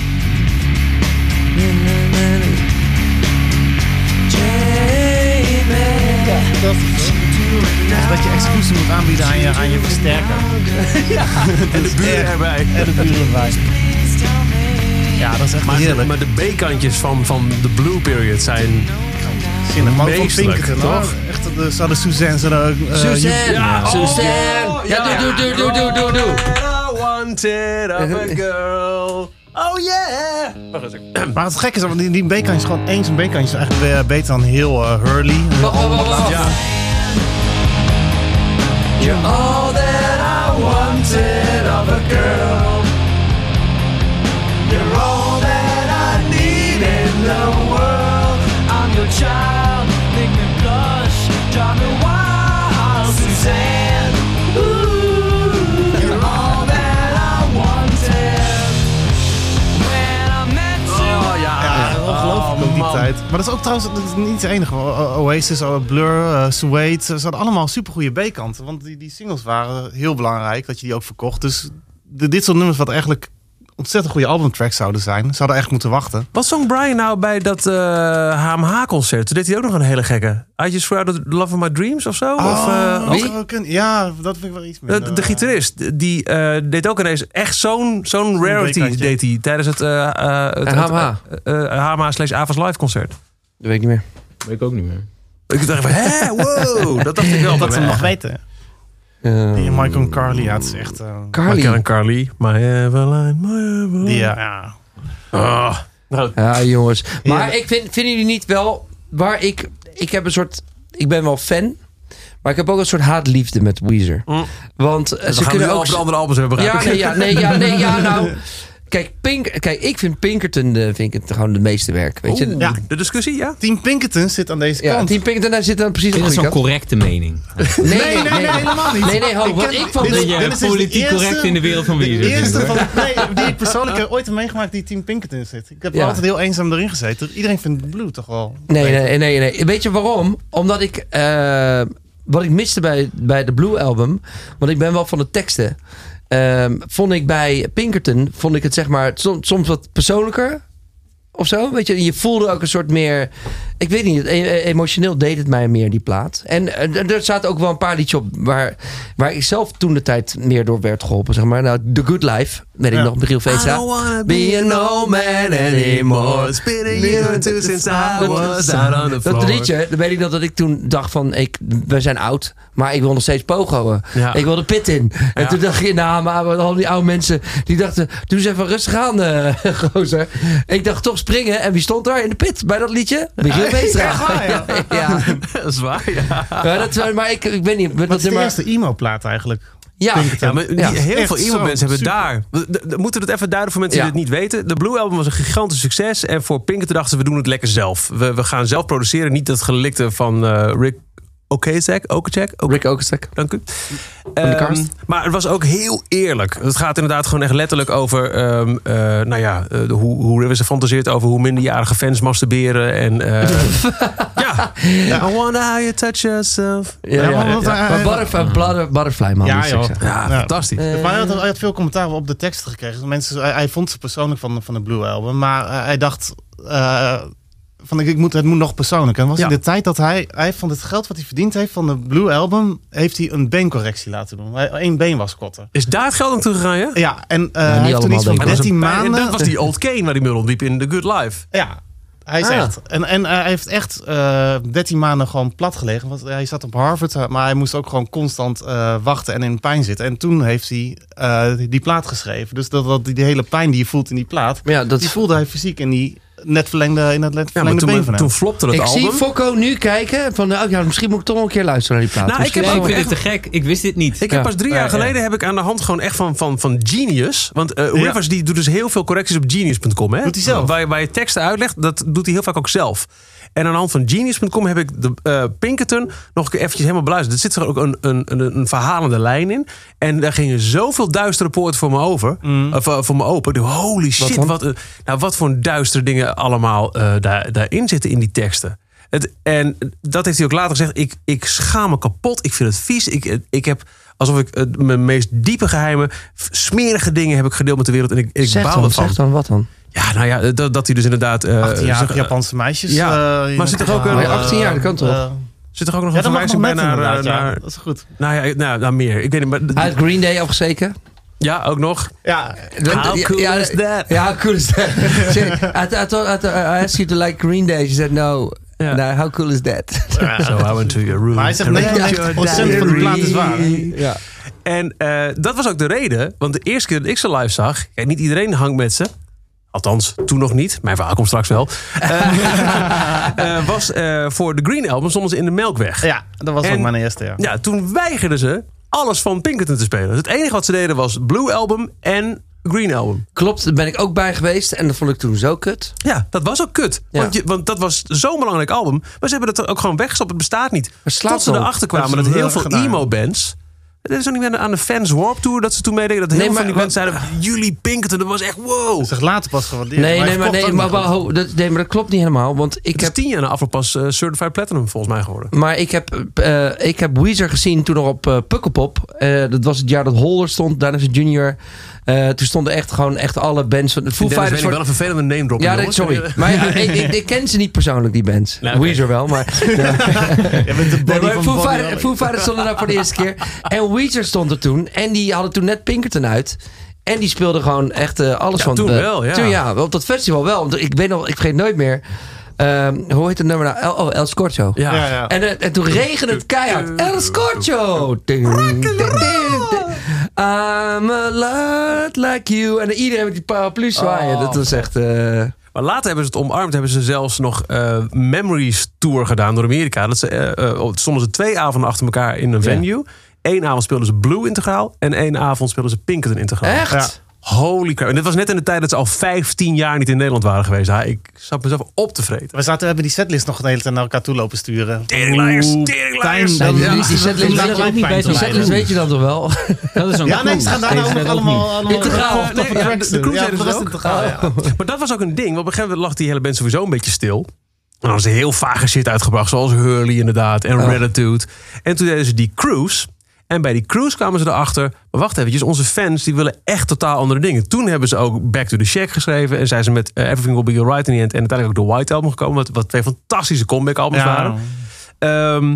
Speaker 3: dat je excuses moet aanbieden aan je, aan je versterker.
Speaker 2: En de buren erbij.
Speaker 3: En de buren bij. Ja, dat is echt
Speaker 2: Maar,
Speaker 3: heerlijk.
Speaker 2: maar de B-kantjes van, van de Blue Period zijn...
Speaker 3: Zinnig. Maar ook van
Speaker 2: meestelijk,
Speaker 3: Pinkerton,
Speaker 2: toch?
Speaker 3: toch? Echt, eh, ze hadden Suzanne, ze hadden... ook, eh,
Speaker 4: Suzanne.
Speaker 2: ja.
Speaker 4: Suzanne.
Speaker 2: Oh,
Speaker 4: Ah. Ja,
Speaker 2: ja.
Speaker 4: doe, doe, doe, doe, doe, doe.
Speaker 2: I wanted of a girl. Oh yeah! Wacht eens even.
Speaker 3: je- Maar het gekke is, want die, die B-kantjes,
Speaker 2: Oh.
Speaker 3: gewoon eens een B-kantje is eigenlijk weer beter dan heel eh, Hurley.
Speaker 4: Wacht, wacht, wacht, wacht.
Speaker 2: Ja.
Speaker 4: You're all that I wanted of a girl. You're all that I need in the world. I'm your child, make me blush, drive me wild, Suzanne. Ooh, you're all that I wanted. When I met you. Oh
Speaker 3: Ja,
Speaker 2: Oh,
Speaker 3: ongelooflijk op die
Speaker 2: man.
Speaker 3: tijd. Maar dat is ook trouwens dat is niet het enige. O- O- Oasis, O- Blur, eh, Suede, ze hadden allemaal supergoeie B-kanten. Want die, die singles waren heel belangrijk, dat je die ook verkocht. Dus de, dit soort nummers wat eigenlijk ontzettend goede albumtracks zouden zijn. Zouden echt moeten wachten.
Speaker 2: Wat zong Brian nou bij dat eh, HMH-concert? Toen deed hij ook nog een hele gekke. I Just Crowded Love of My Dreams of zo? of, eh,
Speaker 3: Oh,
Speaker 4: wie?
Speaker 3: ook een- Ja, dat vind ik wel iets
Speaker 2: De,
Speaker 3: meer.
Speaker 2: de gitarist, die eh, deed ook ineens echt zo'n zo'n rarity
Speaker 3: breekhandje.
Speaker 2: deed hij tijdens het, eh eh, het, het
Speaker 4: HMH.
Speaker 2: eh, eh, HMH slash Avas Live concert.
Speaker 4: Dat weet ik niet meer.
Speaker 6: Weet ik ook niet meer.
Speaker 2: Ik dacht van, hè, wow, dat dacht ik wel.
Speaker 3: Dat ze
Speaker 2: van
Speaker 3: hem
Speaker 2: hem.
Speaker 3: nog weten. Die Michael en Carly, ja, het is echt... eh,
Speaker 2: Eh, Maar Karen
Speaker 4: Carly.
Speaker 2: Carly, my Eveline, my Eveline.
Speaker 3: die, ja, ja.
Speaker 2: Ah, nou,
Speaker 4: Ja, jongens. Maar
Speaker 3: Ja.
Speaker 4: ik vind, vinden jullie niet wel waar ik. Ik heb een soort. Ik ben wel fan. Maar ik heb ook een soort haatliefde met Weezer.
Speaker 2: Mm.
Speaker 4: Want eh,
Speaker 2: ze
Speaker 4: ze
Speaker 2: gaan kunnen
Speaker 4: kunnen
Speaker 2: nu ook
Speaker 4: ook.
Speaker 2: de andere albums hebben
Speaker 4: Ja,
Speaker 2: begrijp ik.
Speaker 4: nee, ja, nee, ja, nee, ja, nou. Kijk, Pink, kijk ik vind Pinkerton eh, vind ik het gewoon het meeste werk. Weet je?
Speaker 2: Oeh,
Speaker 3: Ja.
Speaker 2: De discussie, ja?
Speaker 3: Team Pinkerton zit aan deze
Speaker 4: Ja,
Speaker 3: kant.
Speaker 4: Team Pinkerton, daar zit dan precies
Speaker 6: Dit
Speaker 4: op
Speaker 6: is zo'n
Speaker 4: de goede
Speaker 6: correcte mening.
Speaker 4: kant. Nee,
Speaker 3: Nee, nee, nee, helemaal niet.
Speaker 4: Nee, nee, ho,
Speaker 3: Ik
Speaker 4: wat
Speaker 3: ken-
Speaker 4: ik vond-
Speaker 3: dit is-
Speaker 6: Dat je
Speaker 3: dit is de
Speaker 6: politiek
Speaker 3: eerste-
Speaker 6: correct in de wereld van
Speaker 3: De
Speaker 6: Weezer bent,
Speaker 3: eerste
Speaker 6: hoor.
Speaker 3: van nee, die ik persoonlijk heb ooit heb meegemaakt die Team Pinkerton zit. Ik heb
Speaker 4: Ja.
Speaker 3: altijd heel eenzaam erin gezeten. Iedereen vindt Blue toch wel.
Speaker 4: Nee, nee, nee, nee. Weet je waarom? Omdat ik. eh, wat ik miste bij, bij de Blue Album. Want ik ben wel van de teksten. Eh, ehm, vond ik bij Pinkerton, vond ik het zeg maar som- soms wat persoonlijker of zo. Weet je, je voelde ook een soort meer, ik weet niet, e- emotioneel deed het mij meer die plaat. En eh, er- er zaten ook wel een paar liedjes op waar, waar ik zelf toen de tijd meer door werd geholpen, zeg maar. Nou, The Good Life, weet ik
Speaker 3: Ja.
Speaker 4: nog, Michiel Veenstra.
Speaker 2: wanna
Speaker 4: be an old man anymore. It's been a year or two since I was out
Speaker 2: on the
Speaker 4: Dat liedje, dan weet ik nog dat ik toen dacht van, ik, we zijn oud, maar ik wil nog steeds pogoen.
Speaker 2: Ja.
Speaker 4: Ik wil de pit in. En
Speaker 2: Ja.
Speaker 4: toen dacht je, nou, maar al die oude mensen, die dachten, doe eens even rustig aan, eh, gozer. Ik dacht toch springen. En wie stond daar in de pit bij dat liedje? Michiel Beestra.
Speaker 3: echt waar, ja.
Speaker 4: ja.
Speaker 2: Dat is waar, ja.
Speaker 4: Ja, dat, eh, maar ik, ik weet niet. dat
Speaker 3: Dat is de
Speaker 4: nummer-
Speaker 3: eerste emo-plaat eigenlijk.
Speaker 4: ja.
Speaker 2: Ja, maar die-
Speaker 4: Ja.
Speaker 2: heel
Speaker 3: Echt
Speaker 2: veel
Speaker 3: zo,
Speaker 2: emo-mensen hebben
Speaker 3: super.
Speaker 2: daar... we- d- d- Moeten we het even duiden voor mensen die
Speaker 4: Ja.
Speaker 2: dit niet weten? De Blue Album was een gigantisch succes. En voor Pinkerton dachten ze, we doen het lekker zelf. We, we gaan zelf produceren. Niet dat gelikte van eh, Rick Okazek. Okazek? Okazek?
Speaker 4: Rick Okenstek.
Speaker 2: Dank u.
Speaker 4: de
Speaker 2: Ehm,
Speaker 4: Karst.
Speaker 2: maar het was ook heel eerlijk. Het gaat inderdaad gewoon echt letterlijk over... ehm, eh, nou ja, eh, de- hoe, hoe er is gefantaseerd over hoe minderjarige fans masturberen. En, eh, ja. I wonder how you touch yourself.
Speaker 4: Ja, ja,
Speaker 3: maar
Speaker 4: ja.
Speaker 3: wat, eh,
Speaker 4: Maar Butterfly, Butterfly, Butterfly Man.
Speaker 2: Oh,
Speaker 3: Ja,
Speaker 4: moest ik
Speaker 3: joh.
Speaker 4: zeggen.
Speaker 2: Ja,
Speaker 3: Ja.
Speaker 2: fantastisch.
Speaker 4: Eh,
Speaker 3: Maar hij had, hij had veel commentaar op de teksten gekregen. Mensen, hij, hij vond ze persoonlijk van, van de Blue Album. Maar eh, hij dacht... eh, van, ik, ik moet, het moet nog persoonlijk. En was
Speaker 2: Ja.
Speaker 3: in de tijd dat hij, hij van het geld wat hij verdiend heeft van de Blue Album... heeft hij een beencorrectie laten doen. Hij- Eén been was korter.
Speaker 2: Is daar het geld aan toe gegaan, ja?
Speaker 3: Ja, en eh, hij
Speaker 4: allemaal,
Speaker 3: heeft toen iets van
Speaker 4: denk ik.
Speaker 2: Dat was
Speaker 3: 13
Speaker 2: een pijn. En
Speaker 3: maanden...
Speaker 2: dat was die old Kane waar die muur ontliep in The Good Life.
Speaker 3: Ja, hij is
Speaker 4: Ah.
Speaker 3: echt. En, en eh, hij heeft echt eh 13 maanden gewoon plat gelegen. Want hij zat op Harvard, eh, maar hij moest ook gewoon constant eh, wachten en in pijn zitten. En toen heeft hij eh, die plaat geschreven. Dus dat, dat, die hele pijn die je voelt in die plaat,
Speaker 4: maar ja, dat
Speaker 3: die voelde hij fysiek in die net verlengde, in dat net
Speaker 2: Ja, maar
Speaker 3: verlengde been
Speaker 2: toen,
Speaker 3: van hem.
Speaker 2: toen flopte het
Speaker 4: ik
Speaker 2: album.
Speaker 4: zie Fokko nu kijken van, nou, ja, misschien moet ik toch wel een keer luisteren naar die plaat. Dus
Speaker 2: Nou, ik
Speaker 4: Misschien
Speaker 2: heb
Speaker 6: Nee,
Speaker 4: wel-
Speaker 6: ik
Speaker 2: ook
Speaker 6: vind
Speaker 2: echt-
Speaker 6: dit te gek. Ik wist dit niet.
Speaker 2: Ik heb
Speaker 4: Ja.
Speaker 2: pas drie jaar geleden heb ik aan de hand gewoon echt van, van, van Genius. Want eh,
Speaker 3: Ja.
Speaker 2: Rivers die doet dus heel veel correcties op genius.com. Hè?
Speaker 3: Doet hij zelf?
Speaker 2: Waar, je- waar je teksten uitlegt, dat doet hij heel vaak ook zelf. En aan de hand van genius.com heb ik de eh, Pinkerton nog eventjes helemaal beluisterd. Er zit er ook een, een, een, een verhalende lijn in. En daar gingen zoveel duistere poorten voor me over. eh, voor, voor me open. Ik dacht, holy shit.
Speaker 4: Mm. dan?
Speaker 2: Wat, eh, nou, wat voor duistere dingen allemaal eh, daar, daarin zitten in die teksten. Het, en dat heeft hij ook later gezegd. Ik, ik schaam me kapot. Ik vind het vies. Ik, eh, ik heb alsof ik eh, mijn meest diepe geheimen, f- smerige dingen heb ik gedeeld met de wereld. En ik, ik
Speaker 4: Zeg
Speaker 2: baal
Speaker 4: dan,
Speaker 2: ervan.
Speaker 4: zeg dan, wat dan?
Speaker 2: Ja, nou ja, dat, dat hij dus inderdaad. eh,
Speaker 3: 18 jaar,
Speaker 2: zeg- eh,
Speaker 3: Japanse meisjes.
Speaker 2: ja,
Speaker 3: eh,
Speaker 2: maar
Speaker 3: in het
Speaker 2: zit er ook
Speaker 3: verhaal,
Speaker 2: een-
Speaker 3: eh,
Speaker 4: 18 jaar, dat kan toch?
Speaker 3: eh,
Speaker 2: zit toch ook nog
Speaker 3: ja,
Speaker 2: een
Speaker 3: dat mag nog
Speaker 2: verwijzing bij
Speaker 3: net
Speaker 2: naar,
Speaker 3: inderdaad,
Speaker 2: eh,
Speaker 3: ja.
Speaker 2: naar.
Speaker 3: Dat is goed.
Speaker 2: Nou ja, nou, nou meer. Ik weet niet, maar.
Speaker 4: Uit Green Day afgezeken?
Speaker 2: ja, ook nog.
Speaker 3: Ja,
Speaker 2: How cool
Speaker 4: ja,
Speaker 2: is that?
Speaker 4: Ja, how cool is that? Zeg, I, I, thought, I, I asked you to like Green Day. She said no.
Speaker 2: Ja.
Speaker 4: No, how cool is that?
Speaker 2: Nou, So I went to your room.
Speaker 3: maar hij zegt
Speaker 2: and
Speaker 3: 99 van de plaat is waar.
Speaker 4: Ja.
Speaker 2: En eh, dat was ook de reden, want de eerste keer dat ik ze live zag, kijk, niet iedereen hangt met ze. Althans, toen nog niet. Mijn verhaal komt straks wel. Eh, eh, was eh, voor de Green Album stonden ze in de Melkweg. Ja.
Speaker 3: Ja, dat was
Speaker 2: En-
Speaker 3: ook mijn eerste, ja.
Speaker 2: toen weigerden ze alles van Pinkerton te spelen. Dus het enige wat ze deden was Blue Album en Green Album.
Speaker 4: Klopt, daar ben ik ook bij geweest. En dat vond ik toen zo kut.
Speaker 2: Ja, dat was ook kut.
Speaker 4: Ja.
Speaker 2: Want, je- want dat was zo'n belangrijk album. Maar ze hebben dat ook gewoon weggestopt. Het bestaat niet.
Speaker 4: slaat
Speaker 2: Tot ze
Speaker 4: wel op.
Speaker 2: erachter kwamen
Speaker 3: Dat
Speaker 2: dat
Speaker 3: is
Speaker 2: heel
Speaker 3: wel
Speaker 2: veel
Speaker 3: gedaan.
Speaker 2: emo-bands... Dat is ook niet meer aan de Fans Warp Tour dat ze toen meededen. Dat heel
Speaker 4: Nee,
Speaker 2: veel van
Speaker 4: maar
Speaker 2: die bands zeiden... Jullie Pinkerton, dat was echt wow.
Speaker 3: Zich later pas gewaardeerd.
Speaker 4: Nee,
Speaker 3: hij
Speaker 4: nee, maar,
Speaker 3: verkocht
Speaker 4: nee,
Speaker 3: ook
Speaker 4: maar,
Speaker 3: nog goed.
Speaker 4: wauw, dat, nee, maar dat klopt niet helemaal. Want ik
Speaker 2: Ik heb
Speaker 4: heb,
Speaker 2: tien jaar na afloop pas eh, Certified Platinum volgens mij geworden.
Speaker 4: maar ik heb, eh, ik heb Weezer gezien toen nog op eh, Pukkelpop. Eh, dat was het jaar dat Holder stond. Daarna is het Junior. Eh, toen stonden echt gewoon echt alle bands van... Foo
Speaker 2: Dennis, ben
Speaker 4: Fighters
Speaker 2: ik wel
Speaker 4: voor,
Speaker 2: een vervelende name drop.
Speaker 4: ja, nee, sorry. Maar ja, ik, ik, ik ken ze niet persoonlijk, die bands.
Speaker 2: Nou, oké.
Speaker 4: Weezer wel, maar...
Speaker 3: Jij bent de
Speaker 4: Nee,
Speaker 3: body
Speaker 4: maar
Speaker 3: van
Speaker 4: Foo,
Speaker 3: Bonnie
Speaker 4: Fighters,
Speaker 3: Raitt.
Speaker 4: Foo Fighters stonden daar nou voor de eerste keer. En Weezer stond er toen. En die hadden toen net Pinkerton uit. En die speelden gewoon echt eh, alles
Speaker 2: Ja,
Speaker 4: van...
Speaker 2: toen
Speaker 4: de-
Speaker 2: wel, ja.
Speaker 4: Toen ja, op dat festival wel. Want ik weet nog, ik vergeet nooit meer. Ehm, hoe heet het nummer nou? El, oh, El Scorcho.
Speaker 2: Ja.
Speaker 3: Ja, ja.
Speaker 4: En, eh, en toen regende het keihard. El Scorcho! Ding, ding, ding, ding. I'm a lot like you. En iedereen met die paraplu zwaaien.
Speaker 2: Oh.
Speaker 4: Dat was echt... eh,
Speaker 2: Maar later hebben ze het omarmd. Hebben ze zelfs nog eh, Memories Tour gedaan door Amerika. Dat ze, eh, eh, stonden ze twee avonden achter elkaar in een
Speaker 6: Ja.
Speaker 2: venue. Eén avond speelden ze Blue Integraal. En één avond speelden ze Pinkerton Integraal.
Speaker 4: echt?
Speaker 2: Holy crap. En dit was net in de tijd dat ze al 15 jaar niet in Nederland waren geweest. Ja, ik zat mezelf op te vreten.
Speaker 3: We zaten, hebben die setlist nog de hele tijd naar elkaar toe lopen sturen.
Speaker 2: Teringleiers,
Speaker 3: Oeh,
Speaker 2: teringleiers.
Speaker 3: Tijn,
Speaker 4: Nee,
Speaker 3: dat-
Speaker 4: die-
Speaker 3: dat-
Speaker 4: die setlist
Speaker 3: dat-
Speaker 4: weet
Speaker 3: dat
Speaker 6: je ook niet
Speaker 3: pijn
Speaker 6: bij
Speaker 3: te
Speaker 6: zo'n
Speaker 4: Dat
Speaker 3: lijden.
Speaker 4: Dus,
Speaker 6: setlist
Speaker 4: eh, weet je dan toch wel?
Speaker 6: Dat is zo'n
Speaker 3: Ja, nee,
Speaker 6: kroeg.
Speaker 3: ze gaan
Speaker 6: Deze
Speaker 3: daarna ook nog
Speaker 6: net
Speaker 3: allemaal...
Speaker 6: niet.
Speaker 3: allemaal-
Speaker 4: Integraal.
Speaker 3: allemaal toffe
Speaker 2: Nee, ja, de-
Speaker 3: tracks
Speaker 2: de crew
Speaker 3: in.
Speaker 2: zeiden
Speaker 3: voor
Speaker 2: ze
Speaker 3: de
Speaker 2: ook.
Speaker 3: rest integraal, ja.
Speaker 2: Maar dat was ook een ding. Want op een gegeven moment lag die hele band sowieso een beetje stil. En dan hadden ze heel vage shit uitgebracht. Zoals Hurley inderdaad. En
Speaker 4: Oh.
Speaker 2: Ratitude. En toen deden ze die cruise. En bij die cruise kwamen ze erachter. Maar wacht eventjes, onze fans die willen echt totaal andere dingen. Toen hebben ze ook Back to the Shack geschreven. En zijn ze met eh, Everything Will Be Alright in the End. En uiteindelijk ook The White Album gekomen. Wat, wat twee fantastische comeback albums waren. Ehm,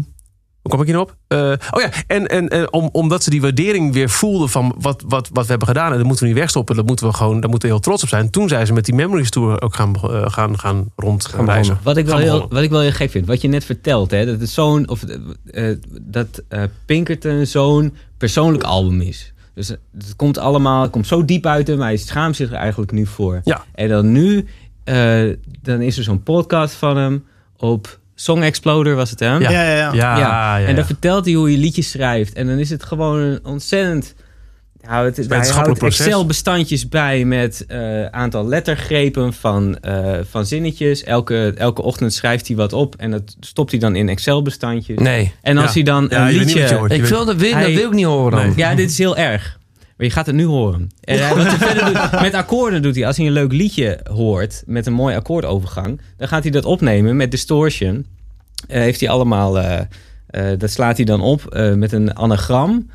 Speaker 2: hoe kwam ik hierop? Eh oh ja, en, en, en om, omdat ze die waardering weer voelden van wat, wat, wat we hebben gedaan. En dat moeten we niet wegstoppen. Dat moeten we gewoon, daar moeten we heel trots op zijn. Toen zijn ze met die Memories Tour ook gaan, eh, gaan, gaan rond gaan reizen.
Speaker 6: Wat ik, wel
Speaker 2: Gaan
Speaker 6: heel,
Speaker 2: begonnen.
Speaker 6: wat ik wel heel gek vind, wat je net vertelt, hè, dat, het zo'n, of, eh, eh, dat eh, Pinkerton zo'n persoonlijk album is. Dus eh, het komt allemaal, het komt zo diep uit hem, hij schaamt zich er eigenlijk nu voor.
Speaker 2: Ja.
Speaker 6: En dan nu, eh, dan is er zo'n podcast van hem op Song Exploder, was het hem?
Speaker 3: Ja, ja, ja.
Speaker 2: Ja, ja, Ah, ja.
Speaker 6: en daar vertelt hij hoe je liedjes schrijft. En dan is het gewoon een ontzettend... Nou, het, hij
Speaker 2: Wetenschappelijk
Speaker 6: houdt
Speaker 2: proces.
Speaker 6: Excel-bestandjes bij met eh, aantal lettergrepen van, eh, van zinnetjes. Elke, elke ochtend schrijft hij wat op en dat stopt hij dan in Excel-bestandjes.
Speaker 4: Nee.
Speaker 6: En als
Speaker 2: Ja.
Speaker 6: hij dan
Speaker 2: Ja,
Speaker 6: een
Speaker 2: je weet niet wat je
Speaker 6: liedje...
Speaker 2: hoort.
Speaker 4: Ik wil, dat, wil, dat
Speaker 6: Hij-
Speaker 4: wil ik niet horen dan.
Speaker 2: Nee.
Speaker 6: Ja, dit is heel erg. Maar je gaat het nu horen. En hij- wat hij verder doet, met akkoorden doet hij. Als hij een leuk liedje hoort met een mooi akkoordovergang, dan gaat hij dat opnemen met distortion. Eh, heeft hij allemaal, eh, eh, dat slaat hij dan op eh, met een anagram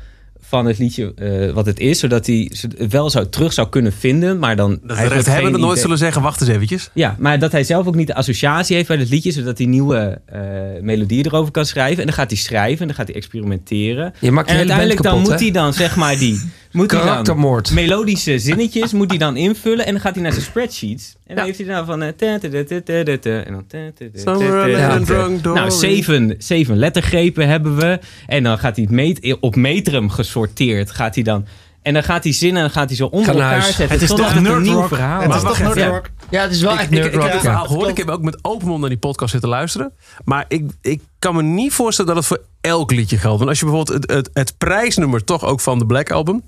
Speaker 6: van het liedje eh, wat het is, zodat hij ze wel zou, terug zou kunnen vinden, maar dan
Speaker 2: Dat de
Speaker 6: eigenlijk
Speaker 2: rechthebbenden
Speaker 6: geen
Speaker 2: nooit
Speaker 6: idee-
Speaker 2: zullen zeggen, wacht eens eventjes.
Speaker 6: Ja, maar dat hij zelf ook niet de associatie heeft bij het liedje, zodat hij nieuwe eh melodieën erover kan schrijven. En dan gaat hij schrijven en dan gaat hij experimenteren.
Speaker 4: Je maakt
Speaker 6: En
Speaker 4: de hele band
Speaker 6: uiteindelijk dan
Speaker 4: kapot,
Speaker 6: moet
Speaker 4: hè?
Speaker 6: hij dan, zeg maar, die moet hij dan
Speaker 4: Karaktermoord.
Speaker 6: melodische zinnetjes moet hij dan invullen. En dan gaat hij naar zijn spreadsheets. En dan heeft hij dan van... eh, ta, ta, ta, ta, ta, ta, ta, En dan... ta, ta, ta, ta,
Speaker 2: Somewhere
Speaker 6: ta,
Speaker 2: along the
Speaker 6: ta.
Speaker 2: wrong door.
Speaker 6: Nou, zeven, zeven lettergrepen hebben we. En dan gaat hij het meet, op metrum gesorteerd. Gaat hij dan... En dan gaat hij zinnen en dan gaat hij zo onder
Speaker 4: Ga naar
Speaker 6: elkaar
Speaker 4: huis.
Speaker 6: zetten.
Speaker 3: Het is
Speaker 6: totdat
Speaker 3: toch
Speaker 6: een
Speaker 3: nerd
Speaker 6: nieuw
Speaker 3: rock.
Speaker 6: verhaal
Speaker 3: Het
Speaker 6: wordt.
Speaker 3: is toch
Speaker 6: Ja.
Speaker 3: nerd rock.
Speaker 4: Ja, het is wel echt
Speaker 2: Ik, ik, ik heb het
Speaker 4: nerdrock. ja.
Speaker 2: verhaal gehoord. Ik heb ook met open mond naar die podcast zitten luisteren. Maar ik, ik kan me niet voorstellen dat het voor elk liedje geldt. Want als je bijvoorbeeld het, het, het prijsnummer toch ook van de Black Album...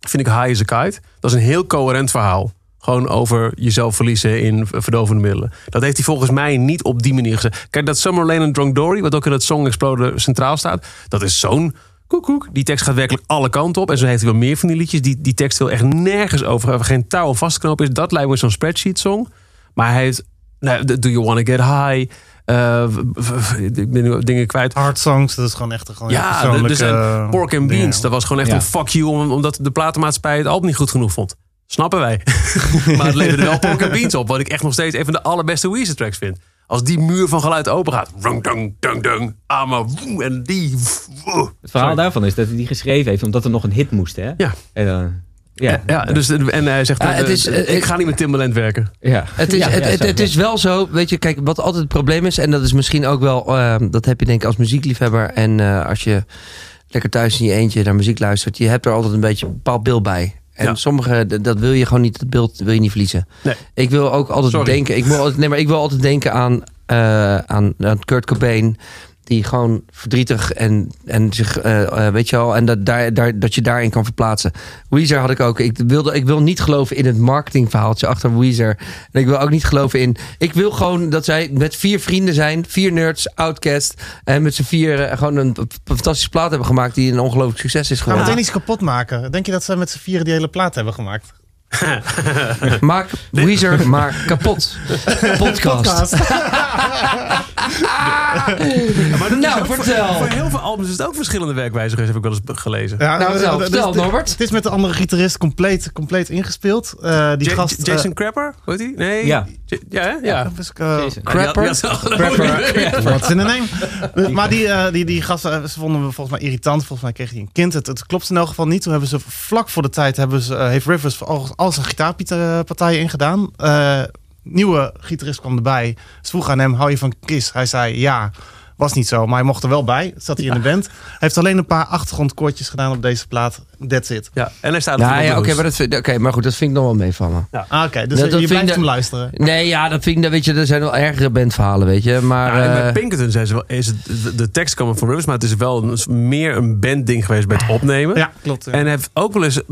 Speaker 2: vind ik High as a Kite. Dat is een heel coherent verhaal. Gewoon over jezelf verliezen in v- verdovende middelen. Dat heeft hij volgens mij niet op die manier gezegd. Kijk, dat Summer Lane en Drunk Dory... wat ook in dat Song Exploder centraal staat... dat is zo'n koekoek. Die tekst gaat werkelijk alle kanten op. En zo heeft hij wel meer van die liedjes. Die, die tekst wil echt nergens over. Waar geen touw aan vast te knopen is. Dat lijkt me zo'n spreadsheet song. Maar hij heeft... Nou, de- Do You Wanna Get High... eh, w- w- w- ik ben nu wat dingen kwijt.
Speaker 3: Hard songs, dat is gewoon echt een gewoon echt
Speaker 2: Ja,
Speaker 3: persoonlijke...
Speaker 2: dus en
Speaker 3: eh,
Speaker 2: Pork and
Speaker 3: dingen.
Speaker 2: Beans. Dat was gewoon echt
Speaker 6: Ja.
Speaker 2: een fuck you, om- omdat de platenmaatschappij het album niet goed genoeg vond. Snappen wij. maar het leverde wel Pork and Beans op, wat ik echt nog steeds een van de allerbeste Weezer tracks vind. Als die muur van geluid open gaat. Rung, dung, dung, dung. Ama, woe, en die. woe.
Speaker 6: Het verhaal
Speaker 2: Sorry.
Speaker 6: daarvan is dat hij die geschreven heeft, omdat er nog een hit moest, hè?
Speaker 2: Ja.
Speaker 6: En dan- ja.
Speaker 2: Ja, dus, en hij zegt,
Speaker 4: Ja,
Speaker 2: eh,
Speaker 4: het is,
Speaker 2: eh,
Speaker 4: eh,
Speaker 2: ik ga niet met Timbaland werken.
Speaker 6: ja.
Speaker 4: Het is,
Speaker 6: Ja,
Speaker 4: het,
Speaker 6: ja,
Speaker 4: het,
Speaker 6: zo,
Speaker 4: het
Speaker 6: ja.
Speaker 4: is wel zo, weet je, kijk, wat altijd het probleem is, en dat is misschien ook wel, ehm, dat heb je denk ik als muziekliefhebber en eh, als je lekker thuis in je eentje naar muziek luistert, je hebt er altijd een beetje een bepaald beeld bij. En
Speaker 2: Ja.
Speaker 4: sommige, d- dat wil je gewoon niet, dat beeld wil je niet verliezen.
Speaker 2: Nee.
Speaker 4: Ik wil ook altijd
Speaker 2: Sorry.
Speaker 4: denken, ik wil altijd, nee, maar ik wil altijd denken aan, eh, aan, aan Kurt Cobain, die gewoon verdrietig en, en zich, eh, eh, weet je wel, en dat, daar, daar, dat je daarin kan verplaatsen. Weezer had ik ook. Ik, wilde, ik wil niet geloven in het marketingverhaaltje achter Weezer. En ik wil ook niet geloven in. Ik wil gewoon dat zij met vier vrienden zijn, vier nerds, outcast. En met z'n vier eh, gewoon een p- fantastische plaat hebben gemaakt die een ongelooflijk succes is
Speaker 3: Ga meteen
Speaker 4: geworden.
Speaker 3: iets kapot maken. Denk je dat ze met z'n vieren die hele plaat hebben gemaakt?
Speaker 4: Maak Weezer maar kapot. Podcast. Ah! Nou, vertel.
Speaker 2: Voor heel veel albums is het ook verschillende werkwijzen geweest, heb ik wel eens gelezen.
Speaker 3: Ja,
Speaker 4: Nou, vertel,
Speaker 3: dus-
Speaker 4: vertel,
Speaker 3: dus- dus-
Speaker 4: Norbert.
Speaker 3: Het is met de andere gitarist compleet, compleet ingespeeld. Eh, die
Speaker 2: Ja-
Speaker 3: gast... eh,
Speaker 2: Jason Crapper, hoe heet hij? Nee.
Speaker 6: Ja.
Speaker 2: Ja, hè? ja.
Speaker 3: dus, eh,
Speaker 6: Jason.
Speaker 4: Crapper?
Speaker 2: Ja, ja, ja.
Speaker 3: Crapper. What's in the name? Dus- maar die, eh, die, die gast, eh, ze vonden we volgens mij irritant. Volgens mij kreeg hij een kind. Het, het klopt in elk geval niet. Toen hebben ze vlak voor de tijd hebben ze, eh, heeft Rivers voor al, al zijn gitaarpartijen ingedaan. Eh nieuwe gitarist kwam erbij. Ze vroeg aan hem, hou je van Kiss? Hij zei ja. Was niet zo, maar hij mocht er wel bij. Zat hij in de band. Hij heeft alleen een paar achtergrondkoortjes gedaan op deze plaat. That's it.
Speaker 2: Ja, en hij staat op
Speaker 4: Nou
Speaker 2: de
Speaker 4: ja, oké,
Speaker 2: hoes.
Speaker 4: maar, dat vind- oké, maar goed, dat vind ik nog wel meevallen.
Speaker 3: Ah, Oké, dus je-
Speaker 4: Dat- dat
Speaker 3: je
Speaker 4: vind
Speaker 3: blijft
Speaker 4: ik-
Speaker 3: hem luisteren.
Speaker 4: Nee, ja, dat vind ik, dat weet je, er zijn wel ergere bandverhalen, weet je. Maar,
Speaker 2: Ja, en bij
Speaker 4: eh,
Speaker 2: Pinkerton zijn ze wel, is het, de, de tekst kwam van Rivers, maar het is wel een, meer een bandding geweest bij het opnemen.
Speaker 3: Ja, klopt. ja.
Speaker 2: En hij heeft ook wel eens, ik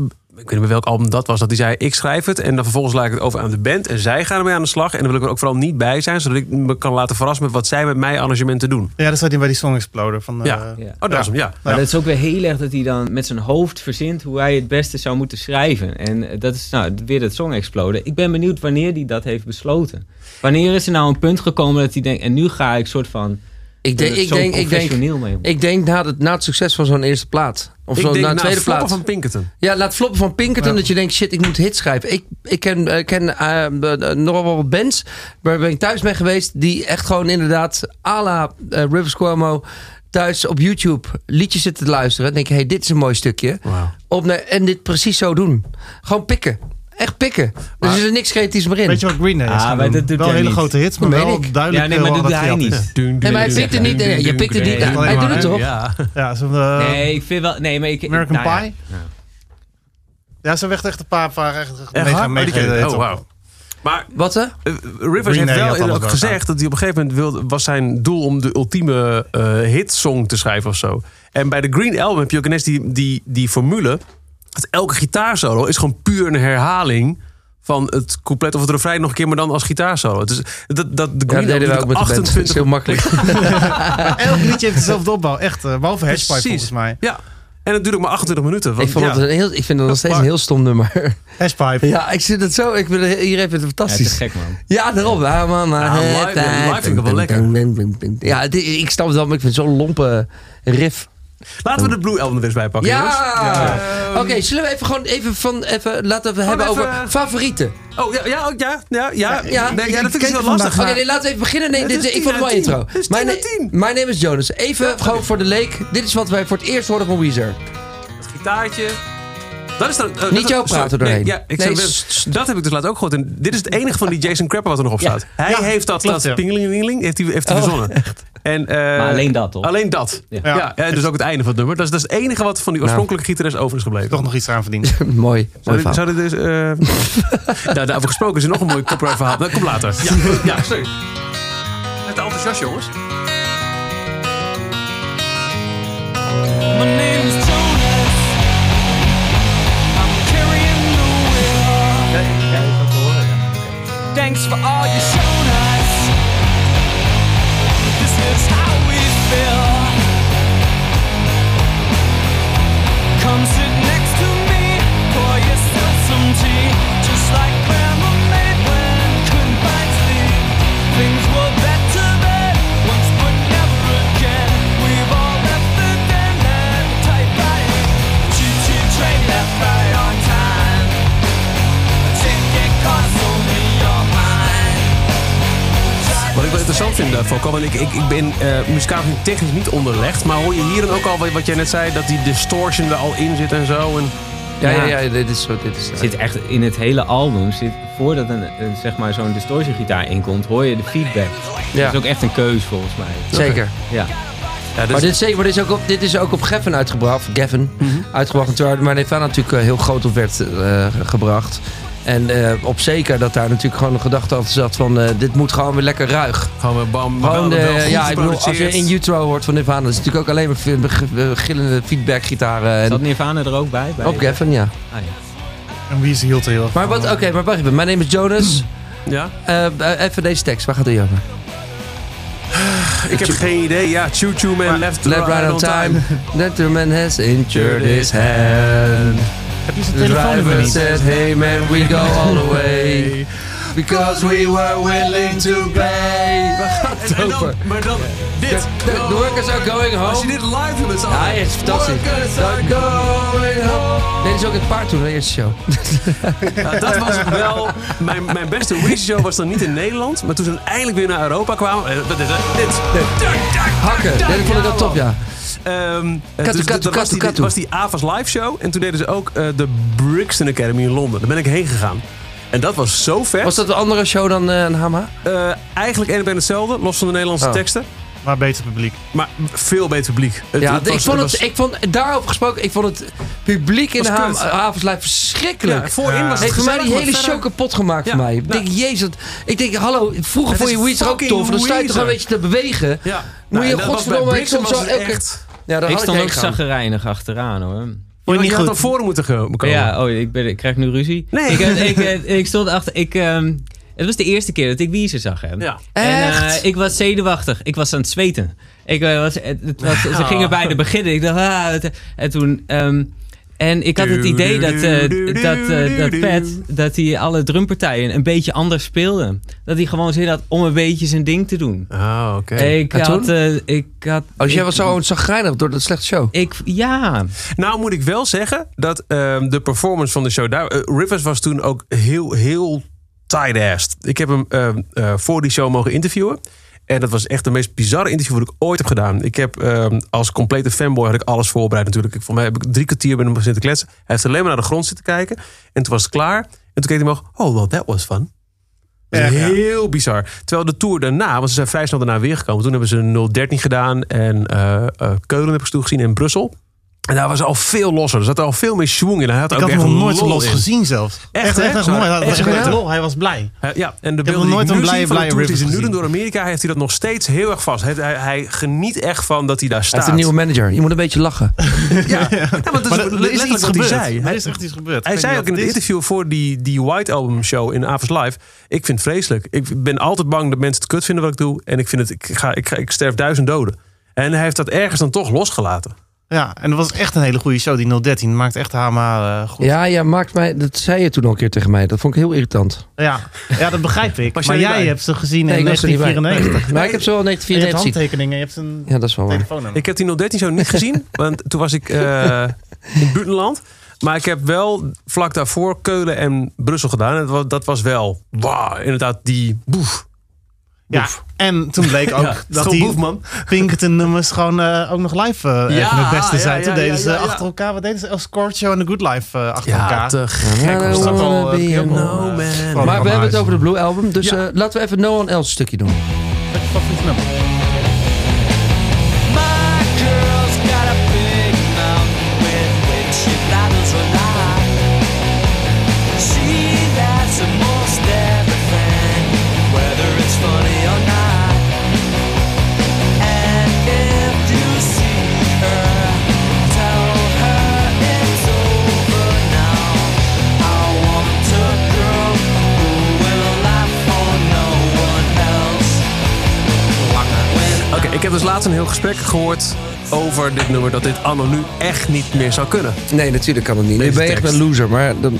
Speaker 2: weet niet meer welk album dat was, dat hij zei: Ik schrijf het en dan vervolgens laat ik het over aan de band en zij gaan ermee aan de slag. En dan wil ik er ook vooral niet bij zijn, zodat ik me kan laten verrassen met wat zij met mijn arrangementen doen.
Speaker 3: Ja, dat zat hij bij die Song Exploder. Van,
Speaker 2: Ja.
Speaker 3: eh,
Speaker 6: Ja.
Speaker 2: Oh, dat is hem, ja.
Speaker 6: Maar dat is ook weer heel erg dat hij dan met zijn hoofd verzint hoe hij het beste zou moeten schrijven. En eh, dat is nou weer dat song exploden. Ik ben benieuwd wanneer hij dat heeft besloten. Wanneer is er nou een punt gekomen dat hij denkt, en nu ga ik soort van
Speaker 4: ik, denk,
Speaker 6: eh,
Speaker 4: ik,
Speaker 6: zo
Speaker 4: denk, ik denk
Speaker 6: professioneel mee om.
Speaker 4: Ik denk na het, na het succes van zo'n eerste plaat. Of
Speaker 2: ik
Speaker 4: zo
Speaker 2: denk
Speaker 4: naar
Speaker 2: na
Speaker 4: de tweede
Speaker 2: Floppen
Speaker 4: plaats.
Speaker 2: van Pinkerton.
Speaker 4: Ja, laat floppen van Pinkerton. Dat je denkt, shit, ik moet hits schrijven. Ik, ik ken, eh, ken eh, eh, nogal wel wat bands waar ben ik thuis mee geweest. Die echt gewoon inderdaad à la eh, Rivers Cuomo thuis op YouTube liedjes zitten te luisteren. En denk, hey, dit is een mooi stukje.
Speaker 2: Wauw.
Speaker 4: Op naar, en dit precies zo doen. Gewoon pikken. Echt pikken. dus er is niks creatiefs meer in.
Speaker 3: Weet je wat Green Day is
Speaker 6: Ah,
Speaker 3: gaan
Speaker 6: maar
Speaker 3: doen?
Speaker 6: dat doet
Speaker 3: wel
Speaker 6: hij
Speaker 3: hele
Speaker 6: niet.
Speaker 3: grote hits, maar
Speaker 4: Dat
Speaker 3: wel
Speaker 4: weet ik.
Speaker 3: duidelijk
Speaker 6: Ja, nee, maar
Speaker 3: heel
Speaker 6: dat doet
Speaker 3: hard
Speaker 6: hij
Speaker 3: eh, wat hij had.
Speaker 6: niet.
Speaker 4: Nee, maar hij pikt er niet. eh, Je pikt er niet.
Speaker 3: Alleen
Speaker 4: Hij doet
Speaker 3: maar,
Speaker 4: het
Speaker 3: hè?
Speaker 4: toch?
Speaker 2: Ja.
Speaker 3: Ja, zo'n, eh,
Speaker 6: Nee, ik vind wel... Nee, maar ik...
Speaker 3: American
Speaker 6: nou ja.
Speaker 3: Pie. Ja, ze werd echt een paar, paar echt echt
Speaker 2: Echt
Speaker 3: mega,
Speaker 2: waar?
Speaker 3: mega
Speaker 2: Oh, die-
Speaker 3: hits
Speaker 2: Oh,
Speaker 3: op.
Speaker 2: wauw. Maar
Speaker 4: Wat hè?
Speaker 2: eh, Rivers
Speaker 3: Day
Speaker 2: heeft
Speaker 3: had
Speaker 2: wel
Speaker 3: alles wel
Speaker 2: inderdaad gezegd dat hij op een gegeven moment wilde, was zijn doel om de ultieme eh, hitsong te schrijven of zo. En bij de Green Album heb je ook ineens die, die, die formule. Dat elke gitaarsolo is gewoon puur een herhaling van het couplet of het refrein nog een keer, maar dan als gitaarsolo. Dus dat, dat de
Speaker 4: Ja,
Speaker 2: Green
Speaker 4: dat deden we ook
Speaker 2: Album
Speaker 4: met de band. Dat is
Speaker 2: 28
Speaker 4: heel makkelijk.
Speaker 3: Elk liedje heeft dezelfde opbouw, echt. eh, behalve Hashpipe
Speaker 2: Precies.
Speaker 3: volgens mij.
Speaker 2: Ja, en het duurt ook maar 28 minuten.
Speaker 4: ik,
Speaker 2: Want,
Speaker 4: vond
Speaker 2: ja,
Speaker 4: dat een heel, ik vind dat nog steeds
Speaker 2: Maar-
Speaker 4: een heel stom nummer.
Speaker 3: Hashpipe.
Speaker 4: ja, ik zit het zo. Ik wil, hier even het
Speaker 6: Ja, te
Speaker 4: fantastisch.
Speaker 6: gek, man.
Speaker 4: Ja, daarop. Ja, eh, mama.
Speaker 2: Ja, live- live vind ik het wel
Speaker 4: lekker. Ja, het- ik snap het wel, maar ik vind het zo'n lompe riff.
Speaker 2: Laten we de Blue Album er eens bij pakken.
Speaker 4: Ja!
Speaker 2: jongens.
Speaker 4: Oké, zullen we even gewoon even van... Even, laten we het hebben
Speaker 2: even-
Speaker 4: over favorieten.
Speaker 2: Oh, ja, ja, oh, ja, ja, ja.
Speaker 4: Ja,
Speaker 2: Nee, ja, dat vind ik
Speaker 3: kijk
Speaker 2: heel
Speaker 3: vandaag
Speaker 2: lastig.
Speaker 4: Oké, nee, laten we even beginnen. Nee,
Speaker 2: Het
Speaker 4: dit,
Speaker 2: is
Speaker 4: ik vond het wel
Speaker 2: tien
Speaker 4: intro.
Speaker 2: uit tien. Het is
Speaker 4: Mijn,
Speaker 2: tien
Speaker 4: na-
Speaker 2: uit tien.
Speaker 4: mijn name is Jonas. Even gewoon voor de leek. Dit is wat wij voor het eerst horen van Weezer.
Speaker 2: Het gitaartje. Dat is dan, eh,
Speaker 4: Niet
Speaker 2: dat-
Speaker 4: jou
Speaker 2: sorry,
Speaker 4: praten
Speaker 2: nee,
Speaker 4: doorheen.
Speaker 2: ja, ik
Speaker 4: Nee,
Speaker 2: zou-
Speaker 4: s- s-
Speaker 2: dat heb ik dus laat ook gehoord. En dit is het enige van die Jason Crapper wat er nog op
Speaker 4: Ja.
Speaker 2: staat. Hij
Speaker 3: Ja,
Speaker 2: heeft dat,
Speaker 3: klopt,
Speaker 2: dat
Speaker 3: ja.
Speaker 2: pingelingeling, heeft hij, heeft hij
Speaker 4: Oh,
Speaker 2: verzonnen. En, eh,
Speaker 6: Maar alleen dat, toch?
Speaker 2: alleen dat. Ja.
Speaker 6: Ja.
Speaker 2: Ja, en dus ook het einde van het nummer. Dat is, dat is het enige wat van die oorspronkelijke gitarist over is gebleven.
Speaker 3: Toch nog iets aan verdiend.
Speaker 4: mooi, Nou. mooi
Speaker 2: Zou dit,
Speaker 4: verhaal.
Speaker 2: zou dit dus... eh, nou, daarover gesproken is er nog een mooi copyright verhaal. Dat komt later. Ja, ja sorry. Met de enthousiast, jongens.
Speaker 5: My name's Jonas. I'm carrying the wheel. Thanks for all you shown us. This is how we feel. Come sit next to me. Pour yourself some tea. Just like grandma made when confines leave. Things were better then. Once but never again. We've all left the den and tight riding. Choo-choo train left right on time. A ticket costs only your mind.
Speaker 2: Wat ik wel interessant vind, eh, Falco, want ik, ik, ik ben eh muzikaal technisch niet onderlegd. Maar hoor je hier dan ook al wat, wat jij net zei, dat die distortion er al in zit en zo. En,
Speaker 4: Ja, ja, ja, dit is zo. Dit is,
Speaker 6: zit echt in het hele album, zit, voordat een, een, zeg maar zo'n distortiegitaar inkomt, hoor je de feedback.
Speaker 4: ja,
Speaker 6: Dat is ook echt een keuze volgens mij.
Speaker 4: zeker.
Speaker 6: Ja.
Speaker 2: ja, dus-
Speaker 4: Maar dit, is zeker- maar dit is ook op, dit is ook op Geffen uitgebracht. Gavin uitgebracht. En Terwijl maar Nirvana natuurlijk eh, heel groot op werd eh, gebracht. En eh, op zeker dat daar natuurlijk gewoon een gedachte achter zat van... eh, dit moet gewoon weer lekker ruig.
Speaker 2: gewoon weer bam, bam,
Speaker 4: Gewoon,
Speaker 2: bam,
Speaker 4: eh, ja, ik bedoel, als je
Speaker 2: geproduceerd.
Speaker 4: in Utro hoort van Nirvana... dat is natuurlijk ook alleen maar v- g- gillende feedbackgitaren.
Speaker 6: Zat
Speaker 4: En
Speaker 6: Nirvana er ook bij? bij
Speaker 4: op Gavin, ja.
Speaker 6: Ah, ja.
Speaker 3: En wie is hield er heel erg
Speaker 4: Maar wat, oké, maar wacht even. Mijn naam is Jonas.
Speaker 2: Ja?
Speaker 4: Eh, eh, even deze tekst, waar gaat hij over?
Speaker 2: Ik heb geen idee. Ja, Choo Choo Man, Left,
Speaker 4: Left right on time. That the man has injured his hand.
Speaker 3: Heb je zijn
Speaker 4: The
Speaker 3: telefoonnummer
Speaker 4: driver
Speaker 3: niet?
Speaker 4: said, hey man, we go all the way. Because we were willing to pay. We gaan het
Speaker 2: En dan,
Speaker 4: over.
Speaker 2: maar dan dit.
Speaker 4: The workers are going
Speaker 2: Als je
Speaker 4: home.
Speaker 2: dit live doet met z'n
Speaker 4: Ja, hij is fantastisch.
Speaker 2: Workers are
Speaker 4: They're going home. Nee, dit is ook in het paard toen, de eerste show.
Speaker 2: Nou, dat was wel... Mijn, mijn beste Weezer-show was dan niet in Nederland. Maar toen ze eindelijk weer naar Europa kwamen... eh, dat is, eh, Dit.
Speaker 4: Hakken, nee, dat vond ik wel top, ja.
Speaker 2: Ehm, eh,
Speaker 4: Katu,
Speaker 2: dus
Speaker 4: katu,
Speaker 2: dat was,
Speaker 4: katu,
Speaker 2: die,
Speaker 4: katu.
Speaker 2: was die Avas Live Show. En toen deden ze ook eh, de Brixton Academy in Londen. Daar ben ik heen gegaan. En dat was zo vet.
Speaker 4: Was dat een andere show dan eh, een Hama?
Speaker 2: Eh, eigenlijk één op één hetzelfde, los van de Nederlandse
Speaker 4: Oh.
Speaker 2: teksten.
Speaker 3: Maar beter publiek.
Speaker 2: Maar veel beter publiek. Het-
Speaker 4: Ja,
Speaker 2: het was-
Speaker 4: ik, vond
Speaker 2: was-
Speaker 4: het, ik vond, daarop gesproken, ik vond het publiek in de
Speaker 2: Was
Speaker 4: Ham-
Speaker 2: kut.
Speaker 4: Havenslijf verschrikkelijk.
Speaker 2: Ja, voorin was het
Speaker 4: Heeft voor mij
Speaker 2: gezellig,
Speaker 4: die
Speaker 2: maar
Speaker 4: hele
Speaker 2: verder-
Speaker 4: show kapot gemaakt
Speaker 2: Ja,
Speaker 4: voor mij. Ik
Speaker 2: nou.
Speaker 4: denk, jezus. dat- Ik denk, hallo, vroeger
Speaker 2: Het
Speaker 4: vond je
Speaker 2: is
Speaker 4: Weezer ook
Speaker 2: fucking
Speaker 4: tof. Dan sta je toch
Speaker 2: Weezer.
Speaker 4: een beetje te bewegen.
Speaker 2: Ja. Nou,
Speaker 4: Moet je
Speaker 2: en dat was bij
Speaker 4: godverdomme, ik
Speaker 2: Brixton
Speaker 4: stond
Speaker 2: was
Speaker 4: zo
Speaker 2: het
Speaker 4: elke-
Speaker 2: echt-
Speaker 4: Ja, daar
Speaker 6: Ik
Speaker 4: had ik
Speaker 6: stond ook
Speaker 4: heen gaan.
Speaker 6: zaggerijnig achteraan hoor.
Speaker 2: Maar je
Speaker 3: niet
Speaker 2: had
Speaker 3: goed.
Speaker 2: naar voren moeten ge- komen.
Speaker 6: Ja, oh, ik, ben, ik krijg nu ruzie.
Speaker 2: Nee.
Speaker 6: Ik, eh, ik, eh, ik stond achter. Ik, ehm, het was de eerste keer dat ik Weezer zag. Hè?
Speaker 2: Ja.
Speaker 6: En, eh,
Speaker 4: Echt?
Speaker 6: ik was zenuwachtig. Ik was aan het zweten. Ik, eh, was, het, het was, Ze gingen bij de beginnen. Ik dacht, ah, het- en toen. ehm, En ik had het idee dat, eh, dat, eh, dat Pat, dat hij alle drumpartijen een beetje anders speelde. Dat hij gewoon zin had om een beetje zijn ding te doen.
Speaker 2: Ah, oké.
Speaker 6: Ik,
Speaker 4: En
Speaker 6: had,
Speaker 4: toen?
Speaker 6: eh, ik had...
Speaker 4: Oh, dus jij
Speaker 6: ik-
Speaker 4: was zo zagrijnig door dat slechte show.
Speaker 6: Ik, ja,
Speaker 2: Nou moet ik wel zeggen dat ehm, de performance van de show daar... eh, Rivers was toen ook heel, heel tight-assed. Ik heb hem ehm, eh, voor die show mogen interviewen. En dat was echt de meest bizarre interview wat ik ooit heb gedaan. Ik heb ehm, als complete fanboy had ik alles voorbereid natuurlijk. Ik, voor mij heb ik drie kwartier met hem zitten kletsen. Hij heeft alleen maar naar de grond zitten kijken. En toen was het klaar. En toen keek hij omhoog. Oh, well, that was fun. Dat is
Speaker 3: Ja, ja.
Speaker 2: heel bizar. Terwijl de tour daarna, want ze zijn vrij snel daarna weer gekomen. Toen hebben ze een 013 gedaan. En eh, eh, Keulen heb ik ze toen gezien en Brussel. En daar was al veel losser. Er zat al veel meer schwung in. Hij had
Speaker 3: Ik
Speaker 2: ook
Speaker 3: had
Speaker 2: echt
Speaker 3: hem nog nooit zo
Speaker 2: lol
Speaker 3: los
Speaker 2: in.
Speaker 3: gezien zelfs.
Speaker 2: Echt,
Speaker 3: echt,
Speaker 2: hè?
Speaker 3: echt, echt
Speaker 2: Zo,
Speaker 3: mooi. Hij
Speaker 2: echt
Speaker 3: was echt
Speaker 2: gedaan.
Speaker 3: lol. Hij was blij.
Speaker 2: Eh, ja, en de
Speaker 3: nog
Speaker 2: beelden die
Speaker 3: nooit
Speaker 2: ik
Speaker 3: een
Speaker 2: nu
Speaker 3: blije,
Speaker 2: zie van de
Speaker 3: blije
Speaker 2: tour die
Speaker 3: Rivers
Speaker 2: ze nu doen
Speaker 3: gezien.
Speaker 2: door Amerika... heeft hij dat nog steeds heel erg vast. Hij, hij, hij geniet echt van dat hij daar
Speaker 4: Hij
Speaker 2: staat.
Speaker 4: heeft een nieuwe manager. Je moet een beetje lachen.
Speaker 2: Ja, ja want dat
Speaker 3: Maar
Speaker 2: is
Speaker 3: er- er is
Speaker 2: letterlijk
Speaker 3: iets
Speaker 2: wat hij
Speaker 3: gebeurd.
Speaker 2: zei.
Speaker 3: Er
Speaker 2: Hij,
Speaker 3: is echt iets gebeurd.
Speaker 2: hij
Speaker 3: Ik weet
Speaker 2: zei ook in
Speaker 3: niet
Speaker 2: het
Speaker 3: wat
Speaker 2: interview voor die, die White Album show in Avers Live... ik vind het vreselijk. Ik ben altijd bang dat mensen het kut vinden wat ik doe. En ik, vind het, ik, ga, ik, ga, ik sterf duizend doden. En hij heeft dat ergens dan toch losgelaten.
Speaker 3: is. Ja, en dat was echt een hele goede show. Die 013 maakt echt Hama eh goed. Ja.
Speaker 4: Ja, ja, maakt mij, dat zei je toen al een keer tegen mij. Dat vond ik heel irritant.
Speaker 3: Ja. dat begrijp ik.
Speaker 2: Was
Speaker 3: maar
Speaker 2: jij er
Speaker 3: jij
Speaker 2: niet bij?
Speaker 3: hebt ze gezien
Speaker 4: Nee,
Speaker 3: in
Speaker 4: ik was er niet bij.
Speaker 3: 1994.
Speaker 4: Maar ik heb zo wel
Speaker 3: Je hebt
Speaker 4: 1994 zien.
Speaker 3: handtekeningen, je hebt een
Speaker 4: Ja, dat is wel waar.
Speaker 3: telefoonnummer.
Speaker 2: Ik heb die 013 show niet gezien, want toen was ik eh, in het buitenland. Maar ik heb wel vlak daarvoor Keulen en Brussel gedaan. En dat was, dat was wel, wauw, inderdaad die boef.
Speaker 3: Ja, en toen bleek ook dat die
Speaker 2: man.
Speaker 3: Pinkerton nummers gewoon eh, ook nog live eh
Speaker 2: Ja,
Speaker 3: even het beste
Speaker 2: ja,
Speaker 3: zijn. Toen
Speaker 2: ja, ja,
Speaker 3: deden ze
Speaker 2: ja, ja.
Speaker 3: achter elkaar, wat deden ze? El Scorcho en The Good Life eh, achter
Speaker 2: Ja,
Speaker 3: elkaar.
Speaker 2: te gek.
Speaker 4: Ja,
Speaker 3: was dat
Speaker 4: wanna
Speaker 3: al, eh,
Speaker 4: be a
Speaker 3: heel
Speaker 4: no
Speaker 2: Oh, man.
Speaker 3: Van-
Speaker 4: Maar we hebben het
Speaker 3: Huis.
Speaker 4: over de Blue Album, dus eh, laten we even No One Else stukje doen.
Speaker 3: Favoriete nummer.
Speaker 5: My girl's got a big mouth with which she blathers a lot. She laughs at most everything, whether it's funny or not. And if you see her, tell her it's over now. I want a girl who will laugh for no one else. When
Speaker 2: Oké, ik heb dus laatst een heel gesprek gehoord over dit nummer. Dat dit anno nu echt niet meer zou kunnen.
Speaker 4: Nee, natuurlijk kan het niet.
Speaker 2: Deze
Speaker 4: Nu ben je echt
Speaker 2: tekst.
Speaker 4: een loser, maar dan,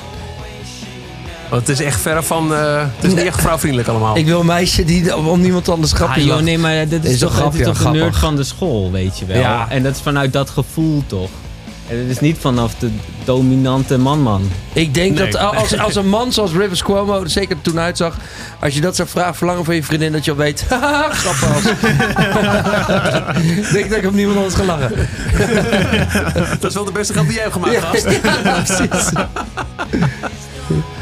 Speaker 2: Want het is echt verre van, eh, het is niet echt vrouwvriendelijk allemaal.
Speaker 4: ik wil een meisje die om niemand anders grapje
Speaker 6: Ah, joh,
Speaker 4: lacht.
Speaker 6: nee, maar dat is,
Speaker 4: Is
Speaker 6: toch,
Speaker 4: toch
Speaker 6: dat is
Speaker 4: grappig,
Speaker 6: toch de
Speaker 4: ja,
Speaker 6: nerd
Speaker 4: grappig.
Speaker 6: van de school, weet je wel.
Speaker 4: Ja.
Speaker 6: En dat is vanuit dat gevoel toch. En het is niet vanaf de dominante man-man.
Speaker 4: Ik denk
Speaker 3: Nee.
Speaker 4: dat als, als een man zoals Rivers Cuomo, zeker er toen uitzag, als je dat zou vragen, verlangen van je vriendin, dat je al weet, haha, grappig. Ik denk dat ik op niemand anders ga lachen.
Speaker 2: Dat is wel de beste grap die jij hebt gemaakt,
Speaker 4: Ja,
Speaker 2: Ah, gast.
Speaker 4: ja, precies.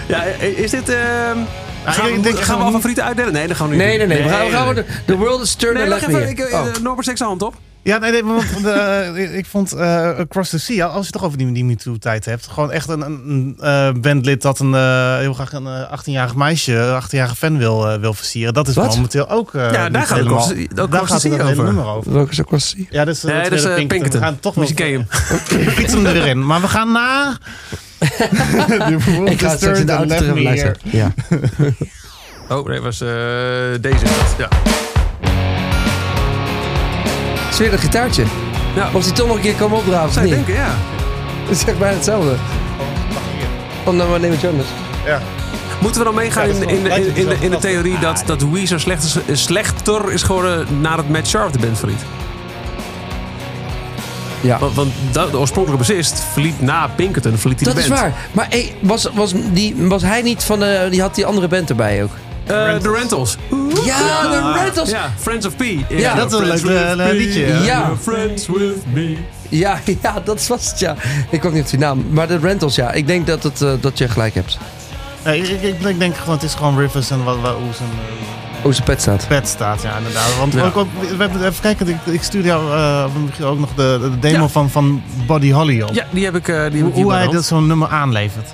Speaker 2: Ja, is dit... ehm, gaan,
Speaker 3: ik
Speaker 2: we,
Speaker 3: denk-
Speaker 2: gaan we al favorieten uitdelen? Nee, dat gaan we nu
Speaker 4: Nee, nee,
Speaker 2: doen.
Speaker 4: nee. We gaan, we gaan we de, the world is turning
Speaker 2: Nee, leg
Speaker 4: left me.
Speaker 2: even ik,
Speaker 4: here. Oh.
Speaker 2: eh, Norbert steekt zijn hand op.
Speaker 3: Ja, nee, nee want eh, ik vond eh, Across the Sea, als je het toch over die, die MeToo-tijd hebt, gewoon echt een, een, een, eh, bandlid dat een, eh, heel graag een eh, 18-jarig meisje, een 18-jarige fan wil, eh, wil versieren. Dat is
Speaker 4: Wat?
Speaker 3: momenteel ook. eh,
Speaker 2: Ja,
Speaker 3: niet
Speaker 2: daar gaat
Speaker 3: helemaal,
Speaker 2: Across the- Across
Speaker 3: daar
Speaker 2: the
Speaker 3: gaat
Speaker 2: Sea
Speaker 3: het hele
Speaker 2: over.
Speaker 3: nummer over.
Speaker 4: Welke is Aquastie?
Speaker 3: Ja, dus, eh,
Speaker 2: Nee,
Speaker 3: het
Speaker 2: dat is
Speaker 3: tweede
Speaker 2: eh, Pinkerton.
Speaker 3: We gaan toch wel
Speaker 2: Misschien ken je hem.
Speaker 3: fietsen we erin. Maar we gaan naar.
Speaker 4: Ik ga het straks in de auto terug luisteren. Ja.
Speaker 2: Oh, nee, was eh, deze. Ja.
Speaker 4: Het is weer een gitaartje.
Speaker 2: Ja.
Speaker 4: Of die toch nog een keer kan opdraven of
Speaker 2: Zij
Speaker 4: niet?
Speaker 2: Nou. denken, ja.
Speaker 4: Het is echt bijna hetzelfde. Oh, nou maar neem het anders.
Speaker 3: Ja.
Speaker 2: Moeten we dan meegaan
Speaker 3: Ja, dat
Speaker 2: in,
Speaker 3: is wel-
Speaker 2: in, in,
Speaker 3: lijkt
Speaker 2: in,
Speaker 3: het
Speaker 2: de, in de
Speaker 3: wel
Speaker 2: theorie dat, dat Weezer slecht is- is, slechter is geworden nadat Matt Sharp de band verliet?
Speaker 4: Ja.
Speaker 2: Want, want dat, de oorspronkelijke bassist verliet na Pinkerton verliet hij
Speaker 4: Dat
Speaker 2: de
Speaker 4: is
Speaker 2: band.
Speaker 4: waar. Maar hey, was, was, die, was hij niet van de... Die had die andere band erbij ook.
Speaker 2: waar. Eh, de Rentals. Ah,
Speaker 4: Ja, de Rentals. Ja,
Speaker 2: Ja, Friends of P.
Speaker 4: Ja,
Speaker 3: dat is een leuk eh, liedje.
Speaker 4: ja.
Speaker 2: Friends with me.
Speaker 4: ja, dat was het, ja. Ik kwam niet op die naam. Maar de Rentals, ja. Ik denk dat, het, eh, dat je gelijk hebt.
Speaker 3: Nee, ik, ik, ik denk gewoon, het is gewoon Rivers en wat, wat, hoe zijn eh,
Speaker 4: Hoe zijn pet staat.
Speaker 3: pet staat. Ja, inderdaad. Want ook, op- we hebben, even kijken, ik, ik stuurde jou eh, misschien ook nog de, de demo
Speaker 2: Ja.
Speaker 3: van, van Body Holly op.
Speaker 2: Ja, die heb ik, eh, die heb
Speaker 3: Hoe,
Speaker 2: ik hier bij
Speaker 3: hoe
Speaker 2: de
Speaker 3: hij
Speaker 2: hand.
Speaker 3: dat zo'n nummer aanlevert.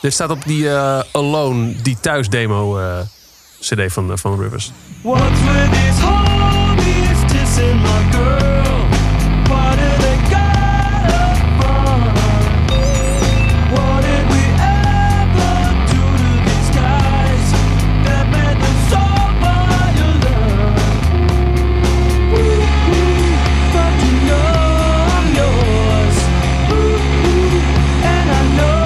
Speaker 2: Dit staat op die eh, Alone, die thuisdemo eh, CD van, eh, van Rivers.
Speaker 5: What's with these homies dissing my girl? Why do they got up front? What did we ever do to these guys that made them so violent? Ooh, ooh, fucking I'm yours. Ooh, ooh,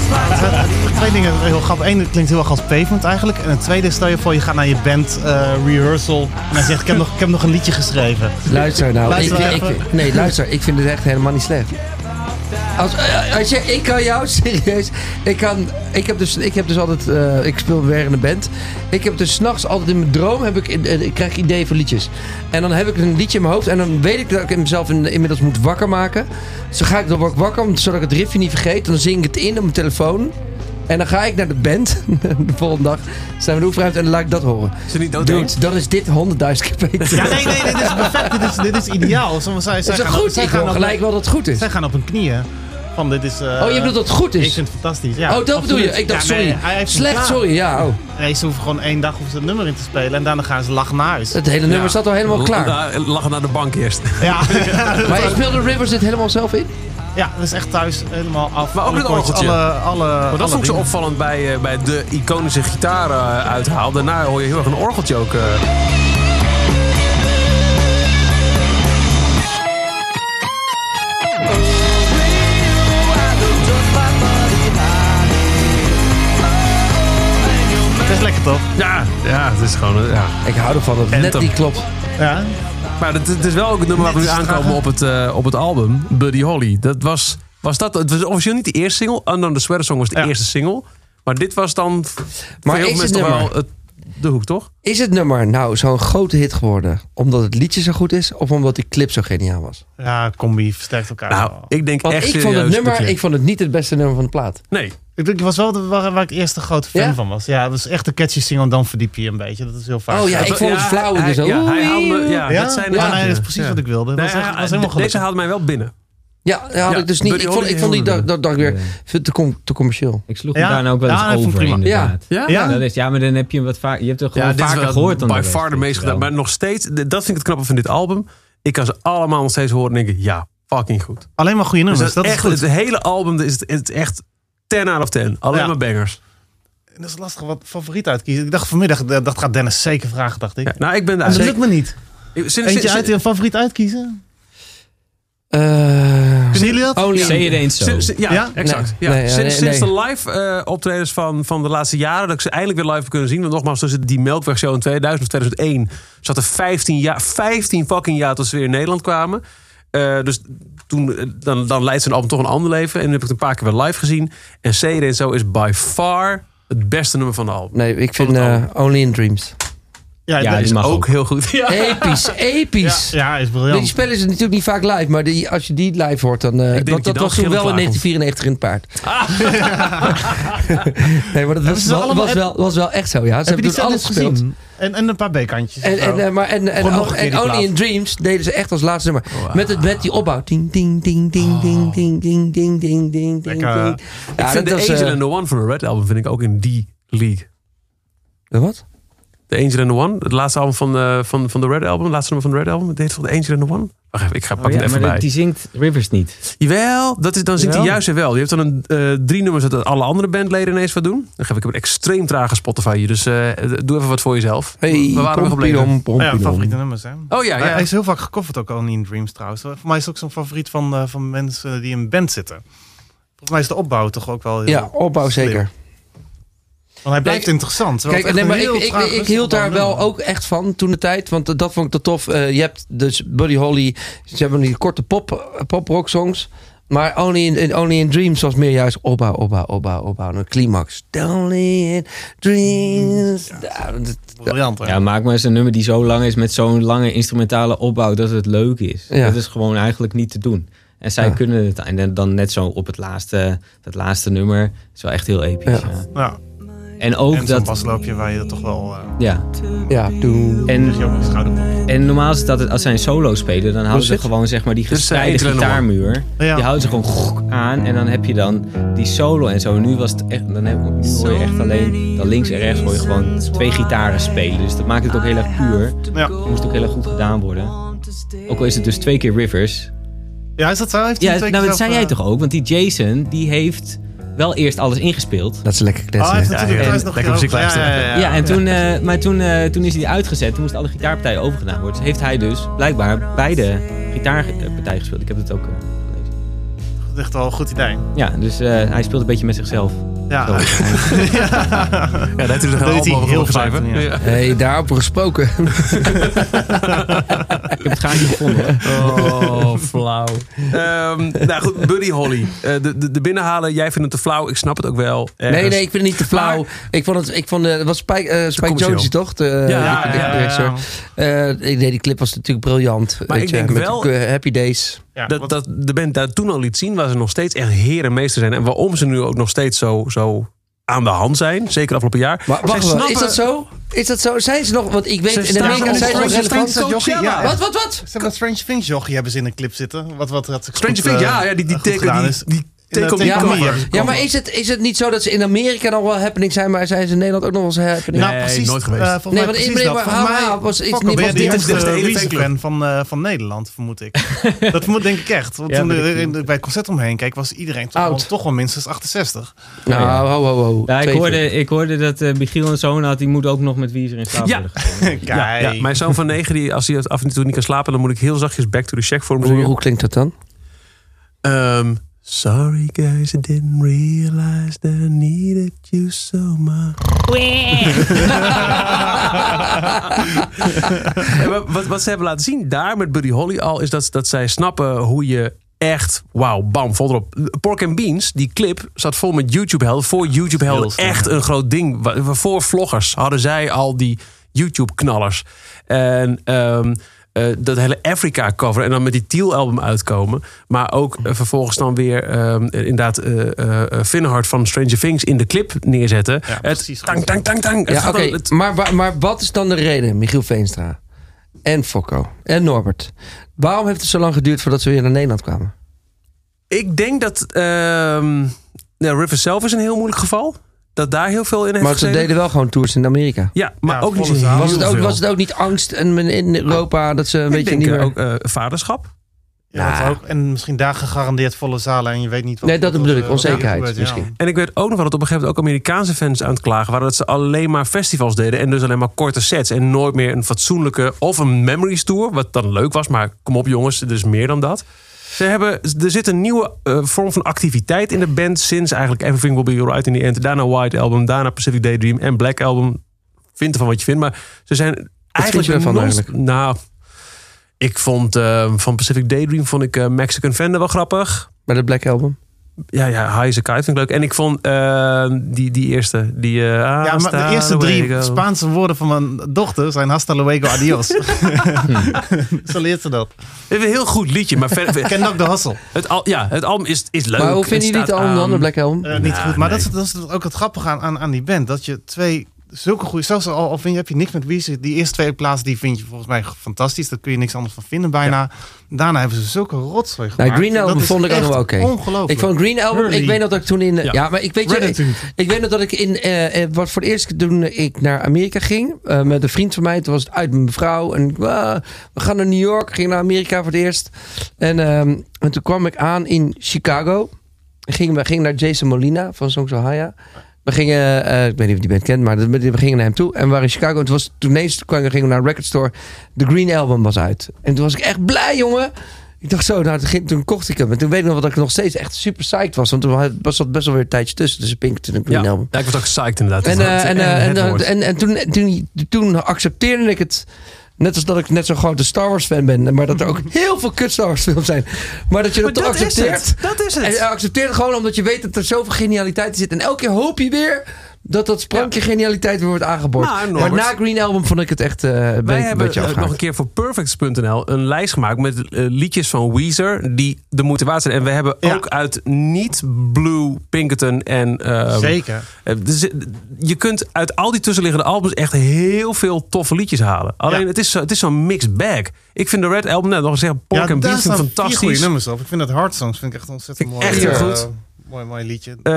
Speaker 3: vind het heel grappig. Eén, het klinkt heel erg als pavement eigenlijk. En het tweede, stel je voor, je gaat naar je band eh, rehearsal. En hij zegt, ik heb, nog, ik heb nog een liedje geschreven.
Speaker 4: Luister nou.
Speaker 3: Luister
Speaker 4: ik,
Speaker 3: even.
Speaker 4: ik- nee, luister. Ik vind het echt helemaal niet slecht. Als, eh, als je, ik kan jou, serieus. Ik, kan, ik, heb, dus, ik heb dus altijd. eh, ik speel weer in een band. Ik heb dus s'nachts altijd in mijn droom. Heb ik, eh, ik krijg ideeën voor liedjes. En dan heb ik een liedje in mijn hoofd. En dan weet ik dat ik mezelf in, inmiddels moet wakker maken. Dus dan ga ik dan word ik wakker. om- Zodat ik het riffje niet vergeet. Dan zing ik het in op mijn telefoon. En dan ga ik naar de band. de volgende dag zijn we de oefenruimte. En dan laat ik dat horen.
Speaker 2: Is het niet dood?
Speaker 4: Dude, dan is dit 100.000 keer beter.
Speaker 3: Ja, nee, nee, dit is perfect. Dit is, dit is ideaal. Zij, zij,
Speaker 4: Is
Speaker 3: zij,
Speaker 4: dat
Speaker 3: gaan,
Speaker 4: goed?
Speaker 3: zij,
Speaker 4: Ik
Speaker 3: gaan
Speaker 4: wil
Speaker 3: op,
Speaker 4: gelijk wel dat het goed is.
Speaker 3: zij gaan op hun knieën. Van, dit is... eh,
Speaker 4: Oh, je bedoelt dat het goed
Speaker 3: Ik
Speaker 4: is?
Speaker 3: vind het fantastisch. Ja,
Speaker 4: oh, dat bedoel je?
Speaker 3: absoluut.
Speaker 4: Ik dacht,
Speaker 3: Ja, nee,
Speaker 4: sorry.
Speaker 3: hij heeft het
Speaker 4: Slecht,
Speaker 3: klaar.
Speaker 4: sorry. Ja, oh.
Speaker 3: Nee, ze hoeven gewoon één dag hoeven ze het nummer in te spelen. En daarna gaan ze lachen naar huis.
Speaker 4: Het hele nummer zat al helemaal klaar.
Speaker 2: Lachen naar de bank eerst.
Speaker 3: Ja,
Speaker 4: Maar je speelde Rivers dit helemaal zelf in?
Speaker 3: ja dat is echt thuis helemaal af.
Speaker 2: Maar ook
Speaker 3: Alle
Speaker 2: met een
Speaker 3: koorts,
Speaker 2: orgeltje.
Speaker 3: Alle, alle,
Speaker 2: Maar
Speaker 3: alle
Speaker 2: dat vond ik zo
Speaker 3: dingen.
Speaker 2: opvallend bij, eh, bij de iconische gitaar eh, uithaal. Daarna hoor je heel erg een orgeltje ook. eh.
Speaker 3: Dat is lekker toch?
Speaker 2: Ja, ja, het is gewoon... eh, ja.
Speaker 4: Ik hou ervan dat het net
Speaker 2: Anthem.
Speaker 4: niet klopt.
Speaker 3: Ja.
Speaker 2: Maar het, het is wel ook het nummer waar we nu
Speaker 3: Net is het
Speaker 2: aankomen
Speaker 3: graag,
Speaker 2: op het, eh, op het album. Buddy Holly. Dat was, was dat... Het was officieel niet de eerste single. Unknown the Sweater Song was de
Speaker 3: Ja.
Speaker 2: eerste single. Maar dit was dan... voor
Speaker 4: Maar
Speaker 2: heel
Speaker 4: is
Speaker 2: veel
Speaker 4: het
Speaker 2: mensen toch wel
Speaker 4: nummer-
Speaker 2: het, de hoek, toch?
Speaker 4: Is het nummer nou zo'n grote hit geworden? Omdat het liedje zo goed is? Of omdat die clip zo geniaal was?
Speaker 3: ja, combi versterkt elkaar.
Speaker 2: Nou,
Speaker 3: wel.
Speaker 2: ik denk
Speaker 4: Want
Speaker 2: echt
Speaker 4: ik vond
Speaker 2: serieus
Speaker 4: het nummer
Speaker 2: dat je-
Speaker 4: ik vond het niet het beste nummer van de plaat.
Speaker 2: Nee.
Speaker 3: Ik denk, het was wel de, waar, waar ik eerst een grote fan
Speaker 4: Ja?
Speaker 3: van was. Ja, het was echt een catchy single en dan verdiep je je een beetje. Dat is heel vaak.
Speaker 4: Oh ja,
Speaker 3: Ja,
Speaker 4: ik vond het flauw.
Speaker 2: hij-
Speaker 4: Dus zo.
Speaker 2: ja, hij haalde, ja,
Speaker 3: ja?
Speaker 2: dat zijn
Speaker 3: Ja,
Speaker 2: de-
Speaker 3: nee, dat is precies
Speaker 2: Ja.
Speaker 3: wat ik wilde. Dat was,
Speaker 2: Nee,
Speaker 3: echt,
Speaker 2: hij-
Speaker 3: was helemaal
Speaker 2: de- deze
Speaker 3: gelukkig.
Speaker 2: haalde mij wel binnen.
Speaker 4: Ja, ja, had
Speaker 2: Ja,
Speaker 4: ik dus
Speaker 2: Buddy
Speaker 4: niet. Ik vond,
Speaker 2: Holly
Speaker 4: ik vond die
Speaker 2: helemaal
Speaker 4: dag, dag, dag weer veel te, com- te commercieel.
Speaker 6: Ik sloeg
Speaker 3: Ja?
Speaker 6: hem daarna ook wel eens
Speaker 3: Ja, dat vond ik
Speaker 6: over,
Speaker 3: prima.
Speaker 6: inderdaad.
Speaker 2: Ja.
Speaker 3: Ja?
Speaker 6: Dat is, ja, maar dan heb je hem wat vaak. Je hebt het gewoon
Speaker 2: dit is
Speaker 6: vaker
Speaker 2: wel
Speaker 6: gehoord dan
Speaker 2: By
Speaker 6: de rest,
Speaker 2: far de
Speaker 6: weet
Speaker 2: meest
Speaker 6: je wel.
Speaker 2: gedaan. Maar nog steeds, d- dat vind ik het knappe van dit album. Ik kan ze allemaal nog steeds horen en denken, ja, fucking goed.
Speaker 3: Alleen maar goede
Speaker 2: Dus
Speaker 3: nummers.
Speaker 2: dat
Speaker 3: dat
Speaker 2: echt,
Speaker 3: is goed.
Speaker 2: het hele album is het, het echt 10 out of 10. Alleen
Speaker 3: Ja.
Speaker 2: maar bangers.
Speaker 3: Dat is lastig wat favoriet uitkiezen. Ik dacht vanmiddag, eh, dat gaat Dennis zeker vragen, dacht ik.
Speaker 2: Ja, nou, ik ben daar.
Speaker 3: En dat
Speaker 2: Zeker. Dus
Speaker 3: lukt me niet.
Speaker 2: Sinds,
Speaker 3: Eentje
Speaker 2: sinds-
Speaker 3: uit een favoriet uitkiezen?
Speaker 4: Eh,
Speaker 3: Zien jullie dat?
Speaker 2: Oh.
Speaker 4: only,
Speaker 6: Say it ain't so.
Speaker 2: sinds- sinds- ja,
Speaker 3: Ja?
Speaker 2: exact. ja.
Speaker 4: Nee, nee, ja,
Speaker 2: sinds,
Speaker 4: nee,
Speaker 2: sinds
Speaker 4: nee.
Speaker 2: de live eh, optredens van, van de laatste jaren, dat ik ze eindelijk weer live heb kunnen zien. Want nogmaals, tussen die Melkweg-show in 2000 of 2001 zat er 15, jaar, 15 fucking jaar tot ze weer in Nederland kwamen. Eh, dus toen, eh, dan, dan leidt zijn album toch een ander leven. En dan heb ik het een paar keer weer live gezien. En Say It Zo is by far het beste nummer van de album.
Speaker 4: nee, ik vind
Speaker 2: Van het
Speaker 4: eh,
Speaker 2: album.
Speaker 4: Only in Dreams.
Speaker 6: Ja,
Speaker 3: dat-
Speaker 6: die mag
Speaker 2: ook,
Speaker 6: ook.
Speaker 2: heel goed. Ja.
Speaker 4: Episch,
Speaker 3: ja,
Speaker 4: episch.
Speaker 3: ja, is
Speaker 4: Die
Speaker 3: briljant.
Speaker 4: spelen ze natuurlijk niet vaak live, maar die, als je die live hoort, dan. eh,
Speaker 2: denk dat
Speaker 4: dat
Speaker 2: je
Speaker 4: dat
Speaker 2: dan
Speaker 4: was toen wel in
Speaker 2: gillend
Speaker 4: 1994 in het paard. nee, maar dat was,
Speaker 3: Ah. ze
Speaker 4: wel,
Speaker 3: allemaal-
Speaker 4: was, wel, was wel echt zo, ja. Ze
Speaker 3: Heb je
Speaker 4: hebben
Speaker 3: die
Speaker 4: toen alles
Speaker 3: zelf
Speaker 4: gespeeld.
Speaker 3: gezien? En, en een paar B-kantjes.
Speaker 4: En, en,
Speaker 3: Oh.
Speaker 4: eh, maar, en, en,
Speaker 3: Gewoon nog
Speaker 4: ook-
Speaker 3: een keer
Speaker 4: en
Speaker 3: die
Speaker 4: Only
Speaker 3: plaat.
Speaker 4: in Dreams deden ze echt als laatste nummer. Met, het, met die opbouw. Ding, ding, ding, ding, ding, ding, ding, ding, ding, ding, ding.
Speaker 3: Lekker.
Speaker 4: ding.
Speaker 2: ik
Speaker 4: Ja,
Speaker 2: vind
Speaker 4: dat
Speaker 2: de
Speaker 4: was...
Speaker 2: Angel
Speaker 4: eh,
Speaker 2: and the One van de Red Album vind ik ook in die league.
Speaker 4: de eh, wat?
Speaker 2: The Angel and the One, het laatste album van, eh, van, van de Red Album. Het laatste nummer van de Red Album. Het heet van The Angel and the One. Wacht even, ik ga pak
Speaker 6: Oh ja,
Speaker 2: het even
Speaker 6: maar
Speaker 2: bij.
Speaker 6: die zingt Rivers niet.
Speaker 2: Jawel, dat is, dan zingt hij
Speaker 6: Jawel.
Speaker 2: juist weer wel. Je hebt dan een, eh, drie nummers dat alle andere bandleden ineens wat doen. Dan geef ik heb een extreem trage Spotify hier. Dus eh, doe even wat voor jezelf.
Speaker 4: Hey,
Speaker 2: Waar waren we gebleven?
Speaker 4: pompidom,
Speaker 3: Oh Ja, favoriete
Speaker 4: pompidom.
Speaker 3: nummers, hè?
Speaker 2: Oh ja,
Speaker 3: Hij-
Speaker 2: ja.
Speaker 3: Hij is heel vaak gecoverd ook al in Dreams trouwens. Voor mij is het ook zo'n favoriet van, eh, van mensen die in een band zitten. Volgens mij is de opbouw toch ook wel heel...
Speaker 4: Ja, opbouw
Speaker 3: slim.
Speaker 4: zeker.
Speaker 3: Want hij blijft
Speaker 4: Nee,
Speaker 3: interessant. Wel
Speaker 4: Kijk,
Speaker 3: echt
Speaker 4: nee,
Speaker 3: een
Speaker 4: maar ik,
Speaker 3: heel
Speaker 4: ik,
Speaker 3: traag,
Speaker 4: ik,
Speaker 3: rustig
Speaker 4: hield daar
Speaker 3: opbouwende
Speaker 4: wel
Speaker 3: nummer.
Speaker 4: ook echt van toen de tijd. Want dat- dat vond ik te tof. Eh, je hebt dus Buddy Holly. Ze hebben die korte pop, eh, pop-rock songs. Maar Only in, in- Only in Dreams was meer juist opbouw, opbouw, opbouw, opbouw. Een climax. Only in Dreams. Ja, dat-
Speaker 3: Briljant, hè?
Speaker 6: Ja, maak maar eens een nummer die zo lang is met zo'n lange instrumentale opbouw dat het leuk is.
Speaker 4: Ja.
Speaker 6: Dat is gewoon eigenlijk niet te doen. En zij
Speaker 4: Ja.
Speaker 6: kunnen het en dan net zo op het laatste, dat laatste nummer. Dat is wel echt heel episch.
Speaker 4: Ja.
Speaker 6: ja.
Speaker 3: Ja,
Speaker 6: En ook
Speaker 3: en zo'n
Speaker 6: dat.
Speaker 3: basloopje waar je dat toch wel... eh
Speaker 6: Ja.
Speaker 4: ja, doen.
Speaker 6: En
Speaker 3: zeg je ook een schouderklopje.
Speaker 6: En normaal is dat het, als zij een solo spelen, dan houden ze
Speaker 4: het?
Speaker 6: gewoon zeg maar die
Speaker 2: Dus, eh,
Speaker 6: gespreide
Speaker 2: eentje en een
Speaker 6: gitaarmuur.
Speaker 3: Ja.
Speaker 6: Die houden ze gewoon gok aan en dan heb je dan die solo en zo. En nu was het echt, dan heb, nu hoor je echt alleen, dan links en rechts hoor je gewoon twee gitaren spelen. Dus dat maakt het ook heel erg puur.
Speaker 3: Ja.
Speaker 6: Dat moest ook heel erg goed gedaan worden. Ook al is het dus twee keer Rivers.
Speaker 3: ja, is dat zo? Heeft hij
Speaker 6: Ja,
Speaker 3: twee
Speaker 6: nou
Speaker 3: keer
Speaker 6: dat zei
Speaker 3: zelf,
Speaker 6: jij
Speaker 3: eh,
Speaker 6: toch ook? Want die Jason, die heeft wel eerst alles ingespeeld.
Speaker 4: Dat is lekker
Speaker 3: Oh, hij
Speaker 4: kletsen.
Speaker 3: heeft
Speaker 4: hè?
Speaker 3: natuurlijk
Speaker 6: ja.
Speaker 3: thuis nog
Speaker 2: Lekker
Speaker 3: een keer
Speaker 2: muziek
Speaker 3: over- Ja, ja, ja,
Speaker 6: Ja, en toen, eh, maar toen, eh, toen is hij uitgezet. Toen moest alle gitaarpartijen overgedaan worden. Dus heeft hij dus blijkbaar beide gitaarpartijen gespeeld. Ik heb het ook eh, gelezen.
Speaker 3: Dat is echt wel een goed idee.
Speaker 6: Ja, dus eh, hij speelt een beetje met zichzelf.
Speaker 3: Ja.
Speaker 6: Zo.
Speaker 2: Ja, daar heeft hij er
Speaker 3: Dat
Speaker 2: geen
Speaker 3: deed hij
Speaker 2: album
Speaker 3: heel
Speaker 2: over geschreven.
Speaker 3: vaak, ja.
Speaker 2: Ja.
Speaker 4: hey, daarover gesproken.
Speaker 6: Ik heb het gaatje gevonden. hoor.
Speaker 2: Oh, flauw. Ehm, nou goed, Buddy Holly. Eh, de, de, de binnenhalen, jij vindt het te flauw. Ik snap het ook wel.
Speaker 4: Nee,
Speaker 2: Ergens.
Speaker 4: nee, ik vind het niet te flauw. Ik vond het, ik vond, eh, het was Spike, eh, Spike
Speaker 2: commercieel.
Speaker 4: Jonze, toch? De, eh,
Speaker 2: Ja,
Speaker 4: de- de
Speaker 2: ja,
Speaker 4: directeur. Eh, ik nee, die clip was natuurlijk briljant.
Speaker 2: Maar
Speaker 4: weet
Speaker 2: ik
Speaker 4: je,
Speaker 2: denk
Speaker 4: met
Speaker 2: wel-
Speaker 4: die, eh, Happy Days.
Speaker 3: Ja,
Speaker 2: Dat,
Speaker 3: wat-
Speaker 2: dat de band daar toen al liet zien waar ze nog steeds echt heer en meester zijn. En waarom ze nu ook nog steeds zo, zo aan de hand zijn. Zeker afgelopen jaar.
Speaker 4: Maar wacht
Speaker 2: Zij
Speaker 4: wel, is
Speaker 2: snappen-
Speaker 4: dat zo? Is dat zo? Zijn ze nog? Want ik weet,
Speaker 2: Ze
Speaker 4: in
Speaker 2: staan
Speaker 4: Amerika
Speaker 2: op
Speaker 4: zijn ze nog
Speaker 2: Stranger
Speaker 4: relevant.
Speaker 2: Things. Coachella.
Speaker 4: Wat, wat, wat?
Speaker 3: Ze hebben dat Strange Things jochie hebben ze in een clip zitten. Wat, wat had ik
Speaker 2: Strange
Speaker 3: goed,
Speaker 2: Things,
Speaker 3: eh,
Speaker 2: ja, ja, die, die
Speaker 3: goed
Speaker 2: teken,
Speaker 3: gedaan
Speaker 2: die,
Speaker 3: is.
Speaker 2: die
Speaker 3: In de
Speaker 2: teken op die
Speaker 3: take on me
Speaker 2: cover.
Speaker 3: hebben ze
Speaker 4: Ja, maar
Speaker 3: cover.
Speaker 4: is het, is het niet zo dat ze in Amerika nog wel happening zijn, maar zijn ze in Nederland ook nog wel eens happening?
Speaker 2: Nee, nooit geweest.
Speaker 3: eh, volgens
Speaker 4: Nee,
Speaker 3: mij
Speaker 4: want
Speaker 3: precies
Speaker 4: ik ben-
Speaker 3: dat.
Speaker 4: maar-
Speaker 3: Volgens
Speaker 4: maar-
Speaker 3: mij-
Speaker 4: was iets-
Speaker 3: Fuck, ben
Speaker 4: niet was
Speaker 3: je de
Speaker 4: dit-
Speaker 2: dit is de
Speaker 3: eerste
Speaker 2: elite fanclub.
Speaker 3: Weezer-fan van, eh, van Nederland, vermoed ik. dat moet, denk ik echt. Want
Speaker 6: Ja,
Speaker 3: toen
Speaker 6: weet
Speaker 3: er
Speaker 6: ik
Speaker 3: in-
Speaker 6: niet.
Speaker 3: bij het concert omheen keek, was iedereen toch,
Speaker 4: Oud.
Speaker 3: wel, toch wel minstens 68.
Speaker 4: Nou, ho, ho, ho.
Speaker 6: Ja, ik,
Speaker 4: Twee
Speaker 6: hoorde, ik hoorde dat eh Michiel een zoon had. Die moet ook nog met Wiezer in slaap
Speaker 2: Ja.
Speaker 6: worden gekomen.
Speaker 3: Kijk.
Speaker 2: Ja, ja, mijn zoon van 9, die, als hij af en toe niet kan slapen, dan moet ik heel zachtjes back to the check voor hem
Speaker 4: voor. Hoe,
Speaker 2: zingen.
Speaker 4: hoe klinkt dat dan?
Speaker 2: Ehm, sorry guys, I didn't realize that I needed you so much. Ja, maar wat, wat ze hebben laten zien daar met Buddy Holly al, is dat, dat zij snappen hoe je echt, wauw, bam, vol erop. Pork and Beans, die clip, zat vol met YouTube-helden. Voor YouTube-helden
Speaker 3: Heel
Speaker 2: echt een groot ding. Wa- wa- Voor vloggers hadden zij al die YouTube-knallers. En ehm, eh, dat hele Africa-cover en dan met die Tiel-album uitkomen. Maar ook eh, vervolgens dan weer ehm, eh, inderdaad eh eh, eh, Finhard van Stranger Things in de clip neerzetten.
Speaker 3: Ja,
Speaker 2: het,
Speaker 3: precies, goed.
Speaker 2: tang, tang, tang, tang. Het
Speaker 4: Ja,
Speaker 2: gaat
Speaker 4: oké.
Speaker 2: dan- het-
Speaker 4: Maar, wa- maar wat is dan de reden, Michiel Veenstra? En Fokko. En Norbert. Waarom heeft het zo lang geduurd voordat ze weer naar Nederland kwamen?
Speaker 2: Ik denk dat ehm nou, Rivers zelf is een heel moeilijk geval. Dat daar heel veel in heeft
Speaker 4: Maar ze
Speaker 2: gezeten.
Speaker 4: deden wel gewoon tours in Amerika.
Speaker 2: Ja, maar
Speaker 3: Ja,
Speaker 2: ook niet
Speaker 3: volle
Speaker 2: zo
Speaker 3: zaal.
Speaker 2: heel
Speaker 4: Was het, ook,
Speaker 2: veel.
Speaker 4: was het ook niet angst en men- in Europa dat ze een
Speaker 2: Ik
Speaker 4: beetje
Speaker 2: denk,
Speaker 4: niet
Speaker 2: eh,
Speaker 4: meer...
Speaker 2: ook eh, vaderschap.
Speaker 3: Ja, dat
Speaker 4: Ja.
Speaker 3: ook. En misschien daar gegarandeerd volle zalen en je weet niet wat
Speaker 4: Nee, dat
Speaker 3: wat-
Speaker 4: bedoel ik,
Speaker 3: wat er
Speaker 4: onzekerheid
Speaker 3: gebeurt, ja.
Speaker 4: misschien.
Speaker 2: En ik weet ook nog wel dat op een gegeven moment ook Amerikaanse fans aan het klagen waren. Dat ze alleen maar festivals deden. En dus alleen maar korte sets. En nooit meer een fatsoenlijke of een memories tour. Wat dan leuk was. Maar kom op jongens, er is meer dan dat. Ze hebben, er zit een nieuwe eh, vorm van activiteit in de band. Sinds eigenlijk Everything Will Be Alright in the End. Daarna White Album. Daarna Pacific Daydream. En Black Album. Vind ervan wat je vindt. Maar ze zijn eigenlijk...
Speaker 4: je ervan
Speaker 2: non-
Speaker 4: eigenlijk?
Speaker 2: Nou... Ik vond eh, van Pacific Daydream vond ik eh, Mexican Fender wel grappig.
Speaker 4: Bij de Black Album?
Speaker 2: Ja, ja, High is a Kite vind ik leuk. En ik vond eh, die, die eerste. Die, eh
Speaker 3: Ja, maar de eerste drie Spaanse woorden van mijn dochter zijn hasta luego, adios.
Speaker 2: Hmm.
Speaker 3: Zo leert ze dat.
Speaker 2: Even een heel goed liedje, maar verder...
Speaker 3: Ik ken ook de hassel.
Speaker 2: het, al, ja, het album is, is leuk.
Speaker 4: maar hoe vinden
Speaker 2: Het
Speaker 4: jullie het
Speaker 2: staat
Speaker 4: album dan, de
Speaker 2: aan.
Speaker 4: Black Album?
Speaker 3: Eh, niet
Speaker 2: Nou,
Speaker 3: goed. Maar
Speaker 2: nee.
Speaker 3: dat, is, dat is ook het grappige aan, aan, aan die band. Dat je twee zulke goede... Zelfs al, al vind je, heb je niks met Weezer. Die eerste twee plaatsen die vind je volgens mij fantastisch. Daar kun je niks anders van vinden bijna. Daarna hebben ze zulke rotzooi gemaakt.
Speaker 4: Green Album
Speaker 3: Dat is
Speaker 4: vond ik ook nog
Speaker 3: echt
Speaker 4: wel oké.
Speaker 3: Ongelooflijk.
Speaker 4: Ik vond Green Album, ik
Speaker 3: Really?
Speaker 4: weet nog dat ik toen in... Ja,
Speaker 2: Ja.
Speaker 4: maar ik weet je, ik,
Speaker 3: Gratitude.
Speaker 4: ik weet nog dat ik in... eh, eh, wat voor het eerst toen ik naar Amerika ging, eh, met een vriend van mij, toen was het uit met mijn vrouw. En ik, "Ah, we gaan naar New York, ik ging naar Amerika voor het eerst. En, ehm, en toen kwam ik aan in Chicago. Ik Ging, we gingen naar Jason Molina van Songs of Haya. We gingen, eh, ik weet niet of je die band kent, maar dat- we gingen naar hem toe. En we waren in Chicago. En toen, was, toen ineens kwam, gingen we naar een record store. De Green Album was uit. En toen was ik echt blij, jongen. Ik dacht zo, nou, toen, ging- toen kocht ik hem. En toen weet ik nog wel dat ik nog steeds echt super psyched was. Want toen had- was dat best wel weer een tijdje tussen. Dus Pink en de Green
Speaker 2: Ja,
Speaker 4: Album.
Speaker 2: ja, ik was ook psyched inderdaad.
Speaker 4: En,
Speaker 2: Dat
Speaker 4: eh,
Speaker 2: is
Speaker 4: en,
Speaker 2: echt
Speaker 4: eh, en,
Speaker 2: het woord.
Speaker 4: eh, en, en toen, toen, toen accepteerde ik het. Net als dat ik net zo'n grote Star Wars fan ben. Maar dat er ook heel veel kut Star Wars films zijn. Maar dat je dat,
Speaker 2: Maar
Speaker 4: toch
Speaker 2: dat is
Speaker 4: accepteert.
Speaker 2: het. Dat is
Speaker 4: En eh, je
Speaker 2: het.
Speaker 4: accepteert het gewoon omdat je weet dat er zoveel genialiteit in zit. En elke keer hoop je weer dat dat sprankje genialiteit weer wordt aangeboord.
Speaker 2: Maar,
Speaker 4: Maar,
Speaker 2: Norbert-
Speaker 4: na Green Album vond ik het echt eh, een
Speaker 2: Wij
Speaker 4: beetje- een
Speaker 2: hebben
Speaker 4: beetje
Speaker 2: eh, nog
Speaker 4: afgehaakt.
Speaker 2: een keer voor Perfects.nl een lijst gemaakt met eh, liedjes van Weezer die de moeite waard zijn. En we hebben
Speaker 3: Ja.
Speaker 2: ook uit niet Blue, Pinkerton en... eh,
Speaker 3: Zeker.
Speaker 2: eh, dus, eh, Je kunt uit al die tussenliggende albums echt heel veel toffe liedjes halen. Alleen
Speaker 3: Ja.
Speaker 2: het is zo- het is zo'n mixed bag. Ik vind de Red Album, nou, nog zeggen, Pork and
Speaker 3: daar
Speaker 2: Beans
Speaker 3: staan
Speaker 2: vind ik
Speaker 3: vier goede
Speaker 2: fantastisch.
Speaker 3: nummers op. Ik vind dat Hard Songs vind ik echt ontzettend
Speaker 2: Vind
Speaker 3: mooi.
Speaker 2: ik echt heel
Speaker 3: eh,
Speaker 2: goed.
Speaker 3: Mooi, mooi liedje.
Speaker 2: Eh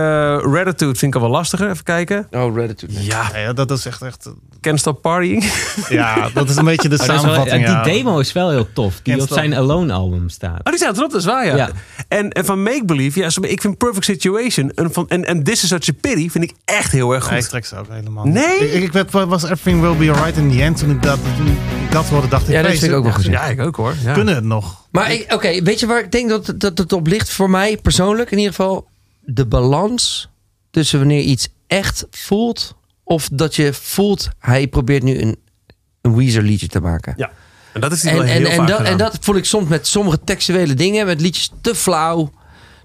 Speaker 2: Ratitude vind ik al wel lastiger, even kijken.
Speaker 4: Oh, Reddit.
Speaker 2: Ja,
Speaker 3: Ja, ja, dat is echt, echt...
Speaker 2: Can't Stop Partying. Oh,
Speaker 3: Ja, dat is een beetje de
Speaker 6: Oh, dat is wel-
Speaker 3: samenvatting.
Speaker 6: die
Speaker 3: ja.
Speaker 6: demo is wel heel tof. Die
Speaker 3: Kent
Speaker 6: op
Speaker 3: wel.
Speaker 6: zijn Alone album staat.
Speaker 2: Oh, die staat erop, dat is waar, ja.
Speaker 6: Ja.
Speaker 2: En, en van Make Believe, ja, zo- ik vind Perfect Situation en, van, en, en This Is Such a Pity vind ik echt heel erg
Speaker 3: Nee, ik
Speaker 2: goed.
Speaker 3: trek ze ook helemaal
Speaker 2: Nee?
Speaker 3: niet. Ik, ik werd- was Everything Will Be Alright in the End. Toen ik dat, toen ik dat hoorde, dacht ik...
Speaker 4: Ja,
Speaker 3: nee,
Speaker 4: dat vind ik
Speaker 3: ze
Speaker 4: ook wel gezien.
Speaker 2: Ja, ik ook hoor. Ja.
Speaker 3: Kunnen het nog?
Speaker 4: Maar ik- oké, weet je waar ik denk dat, dat het op ligt? Voor mij persoonlijk in ieder geval. De balans tussen wanneer je iets echt voelt... of dat je voelt, hij probeert nu een, een Weezer liedje te maken.
Speaker 2: Ja. En dat is die
Speaker 4: En,
Speaker 2: wel
Speaker 4: en,
Speaker 2: heel
Speaker 4: en,
Speaker 2: vaak
Speaker 4: dat,
Speaker 2: gedaan.
Speaker 4: en dat voel ik soms met sommige textuele dingen, met liedjes te flauw,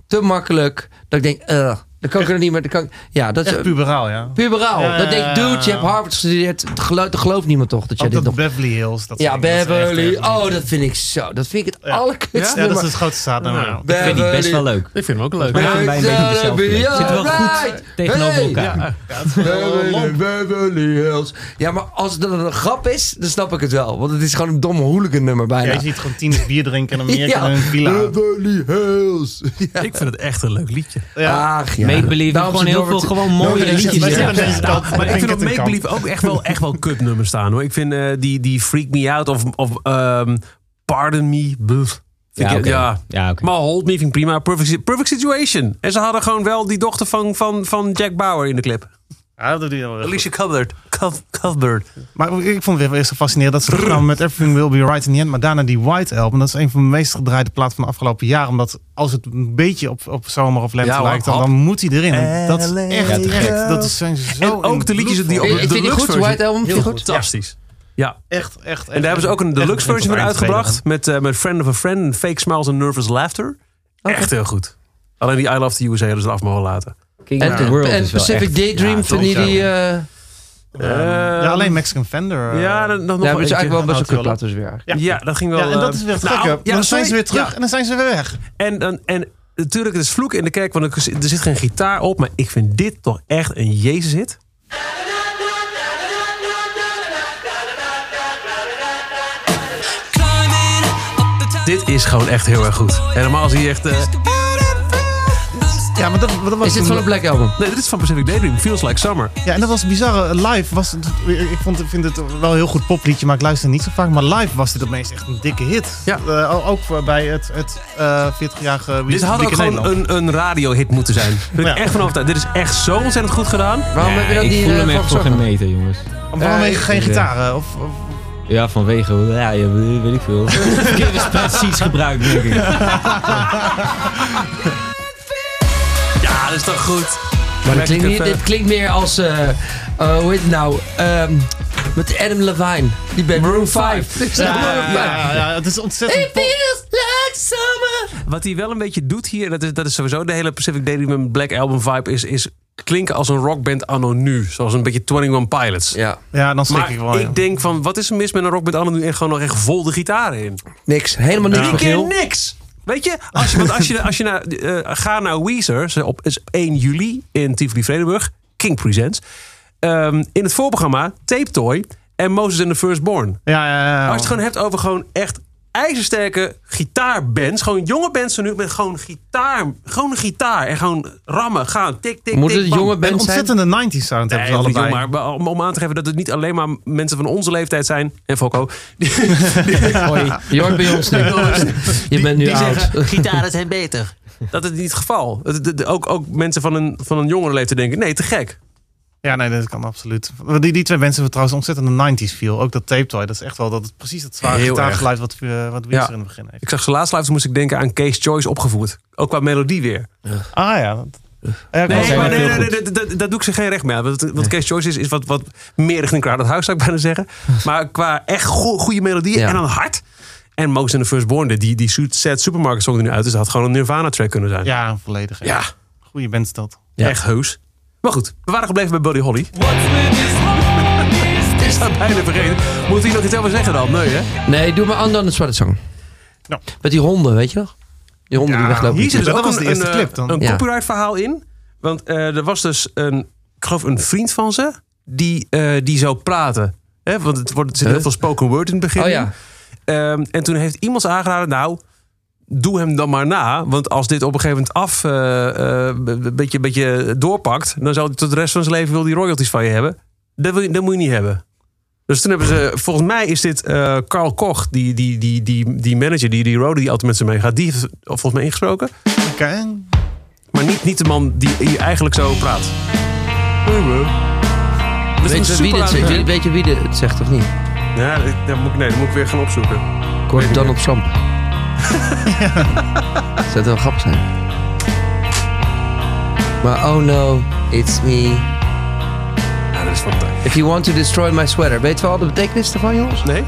Speaker 4: te makkelijk. Dat ik denk, eh, dan kan ik er niet meer. dan Kan ik- ja, dat is
Speaker 3: Echt
Speaker 4: eh,
Speaker 3: puberaal, ja.
Speaker 4: puberaal.
Speaker 3: Ja,
Speaker 4: dat
Speaker 3: ja,
Speaker 4: denk
Speaker 3: ja,
Speaker 4: ik, dude, je
Speaker 3: ja.
Speaker 4: hebt Harvard gestudeerd. Het geloof, dat gelooft niemand toch dat jij
Speaker 3: Ook
Speaker 4: dit
Speaker 3: dat
Speaker 4: nog.
Speaker 3: Beverly Hills. Dat
Speaker 4: Ja,
Speaker 3: soort dingen, dat is echt
Speaker 4: Beverly.
Speaker 3: echt
Speaker 4: Oh,
Speaker 3: een-
Speaker 4: dat vind ik zo. Dat vind ik het allerkutste.
Speaker 3: Ja, dat is
Speaker 4: nummer.
Speaker 3: het grootste nou, staatnummer.
Speaker 2: Ja.
Speaker 6: Ik vind die best wel leuk.
Speaker 2: Ik vind hem ook leuk.
Speaker 6: Maar- gaan bij een beetje dezelfde
Speaker 4: Beverly,
Speaker 6: level. Zitten wel goed
Speaker 4: alright.
Speaker 6: tegenover
Speaker 4: Hey.
Speaker 6: elkaar.
Speaker 4: Ja. Beverly, Beverly Hills. Ja, maar als dat een grap is, dan snap ik het wel. Want het is gewoon een domme hooligan nummer
Speaker 3: Ja,
Speaker 4: bijna.
Speaker 3: je ziet gewoon tieners bier drinken in Amerika
Speaker 4: Ja.
Speaker 3: in een villa.
Speaker 4: Beverly Hills.
Speaker 2: Ik vind het echt een leuk liedje.
Speaker 3: Ja.
Speaker 4: Ach ja.
Speaker 6: Make Believe.
Speaker 4: Daarom
Speaker 6: Gewoon
Speaker 4: zit
Speaker 6: heel veel
Speaker 4: Norbert-
Speaker 6: gewoon mooie
Speaker 4: Norbert-
Speaker 6: liedjes.
Speaker 3: Wij
Speaker 6: hè?
Speaker 3: zitten aan deze kant, maar
Speaker 2: Maar ik vind op
Speaker 3: het een
Speaker 2: Make
Speaker 3: kant.
Speaker 2: Believe ook echt wel, echt wel nummers staan hoor. Ik vind eh, die, die Freak Me Out of, of ehm, Pardon Me. buf. Vind
Speaker 6: Ja,
Speaker 2: ik-
Speaker 6: oké.
Speaker 2: ja.
Speaker 6: Ja, oké.
Speaker 2: Maar Hold Me vind ik prima. Perfect, perfect Situation. En ze hadden gewoon wel die dochter van, van, van Jack Bauer in de clip.
Speaker 3: Ja, dat doet hij wel weer goed.
Speaker 2: Alicia Cuthbert. Cuth- Cuthbert.
Speaker 3: Maar ik vond het weer eerst zo fascinerend dat ze terugkwamen met Everything Will Be Right in the End. Maar daarna die White Album. Dat is een van de meest gedraaide platen van de afgelopen jaar. Omdat als het een beetje op, op zomer of lente
Speaker 2: Ja,
Speaker 3: lijkt, dan,
Speaker 2: hap.
Speaker 3: dan moet hij erin. En dat is
Speaker 2: LA
Speaker 3: echt,
Speaker 6: Ja, te
Speaker 3: echt.
Speaker 6: gek.
Speaker 3: Dat zijn zo
Speaker 2: En ook de liedjes die op
Speaker 4: Ik- ik
Speaker 2: de
Speaker 4: vind die
Speaker 2: deluxe
Speaker 4: goed,
Speaker 2: versie-
Speaker 4: White Album, vind
Speaker 2: Heel
Speaker 4: je goed?
Speaker 2: Fantastisch. Ja.
Speaker 3: Echt, echt, echt.
Speaker 2: En daar hebben ze ook een deluxe versie van uitgebracht. Met, eh, met Friend of a Friend, Fake Smiles and Nervous Laughter. Echt heel goed. Alleen die I Love the USA hadden ze eraf mogen laten.
Speaker 6: King
Speaker 4: En,
Speaker 6: of the World
Speaker 4: en
Speaker 6: is wel
Speaker 4: Pacific
Speaker 6: echt-
Speaker 4: Daydream
Speaker 6: Ja,
Speaker 4: van die...
Speaker 6: top,
Speaker 4: die
Speaker 6: ja.
Speaker 4: eh,
Speaker 3: ja, alleen Mexican Fender. eh,
Speaker 2: Ehm, Ja, dan, dan nog
Speaker 4: ja,
Speaker 2: wel
Speaker 4: maar het is
Speaker 2: eentje.
Speaker 4: eigenlijk wel best wel
Speaker 3: dat
Speaker 4: kut
Speaker 3: wel.
Speaker 4: laten dus weer.
Speaker 2: Ja. dat ging wel.
Speaker 3: Ja, en dat is weer het
Speaker 2: eh, nou,
Speaker 3: gekke.
Speaker 2: ja,
Speaker 3: dan zijn
Speaker 2: sorry.
Speaker 3: ze weer terug
Speaker 2: Ja,
Speaker 3: en dan zijn ze weer weg.
Speaker 2: en, en, en natuurlijk, het is vloek in de kerk, want er zit- er zit geen gitaar op. Maar ik vind dit toch echt een Jezus-hit.
Speaker 5: Climbing up the tower.
Speaker 2: Dit is gewoon echt heel erg goed. En normaal zie je echt... eh,
Speaker 3: Ja, maar dat, dat was
Speaker 4: Is dit van
Speaker 3: toen-
Speaker 4: een Black Album?
Speaker 2: nee, dit is van Pacific Daydream, Feels Like Summer.
Speaker 3: Ja, en dat was bizar. Live was het, ik vond, vind het wel een heel goed popliedje, maar ik luister niet zo vaak. Maar live was dit opeens echt een dikke hit.
Speaker 2: Ja.
Speaker 3: Eh, ook voor, bij het, het eh 40-jarige Week-
Speaker 2: Dit had
Speaker 3: Week
Speaker 2: ook
Speaker 3: in
Speaker 2: gewoon
Speaker 3: Nederland.
Speaker 2: een, een radiohit moeten zijn. Daar ben ik
Speaker 3: Ja.
Speaker 2: echt van overtuigd. Dit is echt zo ontzettend goed gedaan.
Speaker 4: Waarom heb je dan
Speaker 6: Ik
Speaker 4: die
Speaker 6: voel hem
Speaker 4: eh,
Speaker 6: echt
Speaker 4: van
Speaker 6: voor
Speaker 4: Zorg?
Speaker 6: geen meter, jongens.
Speaker 3: Waarom
Speaker 4: eh,
Speaker 3: heeft geen
Speaker 6: ik-
Speaker 3: gitaren? Of, of-
Speaker 6: Ja, vanwege, ja, ja, weet ik veel. Verkeerde expressies gebruikt, denk ik.
Speaker 2: Ja, dat is toch goed. Lekker
Speaker 4: Maar dat klinkt, niet-
Speaker 2: even-
Speaker 4: dit klinkt meer als... eh, eh, hoe heet het nou? Ehm, met Adam Levine. Die band Maroon 5. Ik snap Maroon
Speaker 3: ja,
Speaker 4: 5.
Speaker 3: ja, ja, het is ontzettend
Speaker 4: It
Speaker 3: pop.
Speaker 4: feels like summer.
Speaker 2: Wat hij wel een beetje doet hier, en dat is, dat is sowieso de hele Pacific Daydream Black Album vibe, is, is klinken als een rockband anno nu. Zoals een beetje 21 Pilots.
Speaker 4: Ja,
Speaker 3: Ja, dan schrik
Speaker 2: Maar
Speaker 3: ik wel. ja.
Speaker 2: ik denk van, wat is er mis met een rockband anno nu? En gewoon nog echt vol de gitaren in.
Speaker 4: niks. Helemaal niks
Speaker 2: Drie
Speaker 4: van
Speaker 2: keer
Speaker 4: Geel.
Speaker 2: niks! Weet je, als je, want als je, als je naar, eh, gaat naar Weezer, ze op, is 1 juli in Tivoli-Vredenburg, King Presents. Ehm, in het voorprogramma Tape Toy en Moses and the Firstborn.
Speaker 3: Ja, ja, ja, ja.
Speaker 4: Oh.
Speaker 2: Als je het gewoon hebt over gewoon echt ijzersterke gitaarbands. Gewoon jonge bands van nu met gewoon gitaar. Gewoon een gitaar. En gewoon rammen, gaan, tik, tik,
Speaker 4: Moet
Speaker 2: tik.
Speaker 4: het
Speaker 2: bam.
Speaker 4: jonge
Speaker 3: een
Speaker 4: band zijn?
Speaker 3: ontzettende 90s sound
Speaker 2: Nee,
Speaker 3: hebben ze allebei.
Speaker 2: jongen, maar om, om aan te geven dat het niet alleen maar mensen van onze leeftijd zijn. En Fokko. Die,
Speaker 4: Hoi. Je hoort bij ons nu. Je bent nu
Speaker 2: die
Speaker 4: oud.
Speaker 2: zeggen, gitaren zijn beter. Dat is niet het geval. Het- het- ook, ook mensen van een, van een jongere leeftijd denken, nee, te gek.
Speaker 3: Ja, nee, dat kan absoluut. Die, die twee mensen hebben trouwens ontzettend de 90s feel. Ook dat tape toy, dat is echt wel dat het precies het zware
Speaker 2: Heel
Speaker 3: gitaargeluid wat, eh, wat
Speaker 2: Ja.
Speaker 3: Weezer in het begin heeft.
Speaker 2: Ik zag ze laatst live, toen moest ik denken aan Case Choice opgevoerd. Ook qua melodie weer.
Speaker 3: Ah ja. dat- ja, ik
Speaker 2: Nee,
Speaker 3: was-
Speaker 2: maar
Speaker 6: maar
Speaker 2: nee,
Speaker 6: heel
Speaker 2: nee,
Speaker 6: goed.
Speaker 2: nee, dat- dat- dat doe ik ze geen recht mee aan. Want, want Case Choice is, is wat, wat meer richting Crowded House, zou ik bijna zeggen. Maar qua echt go- goede melodieën
Speaker 4: Ja.
Speaker 2: en dan hard. En Most and the Firstborn, die, die su- sad supermarket song er nu uit is, dat had gewoon een Nirvana-track kunnen zijn.
Speaker 3: Ja, volledig. Ja.
Speaker 2: Ja,
Speaker 3: Goeie band is dat.
Speaker 2: echt heus. Maar goed, we waren gebleven bij Buddy Holly. Is dat bijna vergeten? Moet hij nog iets over zeggen dan? Nee, hè?
Speaker 4: Nee, doe maar aan dan een zwarte song.
Speaker 3: Ja.
Speaker 4: Met die honden, weet je nog? Die honden die
Speaker 3: Ja,
Speaker 4: weglopen.
Speaker 2: Hier zit dus
Speaker 3: Dat
Speaker 2: ook
Speaker 3: was
Speaker 2: een,
Speaker 3: de eerste
Speaker 2: een,
Speaker 3: clip dan.
Speaker 2: een
Speaker 4: Ja.
Speaker 2: copyright verhaal in. Want eh, er was dus een, ik geloof een vriend van ze, die, eh, die zou praten. Hè, want het wordt, er zit heel
Speaker 4: Huh?
Speaker 2: veel spoken word in het begin.
Speaker 4: Oh
Speaker 2: in.
Speaker 4: ja.
Speaker 2: Ehm, en toen heeft iemand ze aangeraden, nou, doe hem dan maar na. Want als dit op een gegeven moment af, eh, eh, be- be- beetje, beetje doorpakt, dan zal hij tot de rest van zijn leven wil die royalties van je hebben. Dat, wil je, dat moet je niet hebben. Dus toen hebben ze, volgens mij is dit eh, Carl Koch, die, die, die, die, die manager, die, die roadie die altijd met ze meegaat, die heeft volgens mij ingesproken.
Speaker 3: Oké.
Speaker 2: Maar niet, niet de man die hier eigenlijk zo praat. Dat
Speaker 4: Weet
Speaker 2: is
Speaker 4: je,
Speaker 2: een
Speaker 4: wie dit,
Speaker 2: superleuke-
Speaker 4: zegt? weet je wie dit zegt of niet?
Speaker 2: Ja, dat- dat moet ik, nee, dat moet ik weer gaan opzoeken.
Speaker 4: Ik hoorde Donald Trump. Zou het wel grappig zijn? Maar oh no, It's me.
Speaker 2: Ja, dat is fantastisch.
Speaker 4: If you want to destroy my sweater. Weet je wel de betekenis ervan, jongens?
Speaker 2: Nee?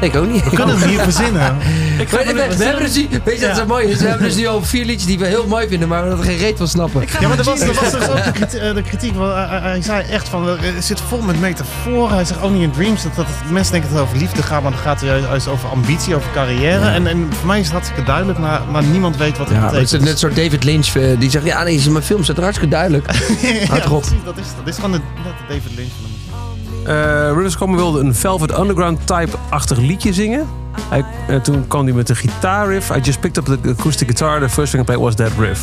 Speaker 4: Ik ook niet.
Speaker 3: We kunnen het hier verzinnen.
Speaker 4: We, we- we hebben dus, nu- weet je, dat is
Speaker 3: Ja.
Speaker 4: zo mooi. is? We hebben dus nu al vier liedjes die we heel mooi vinden, maar we er geen reet van snappen.
Speaker 3: Ja, maar er was, er was dus ook de kritiek. eh, de kritiek want, eh, eh, hij zei echt van, eh, het zit vol met metaforen. Hij zegt ook niet in Dreams. Dat, dat, mensen denken dat het over liefde gaat, maar dan gaat het juist- juist over ambitie, over carrière. En, en voor mij is het hartstikke duidelijk, maar, maar niemand weet wat het
Speaker 4: Ja, maar het is
Speaker 3: betekent.
Speaker 4: net zo'n David Lynch eh, die zegt, ja nee, is in mijn film, staat er hartstikke duidelijk.
Speaker 3: ja,
Speaker 4: Houd erop.
Speaker 3: precies, dat is het. Dat is gewoon de, net de David Lynch van de muziek.
Speaker 2: Eh, Rivers Cuomo wilde een Velvet Underground-type-achtig liedje zingen. Hij, eh, toen kwam hij met een gitaarriff. I just picked up the acoustic guitar. The first thing I played was that riff.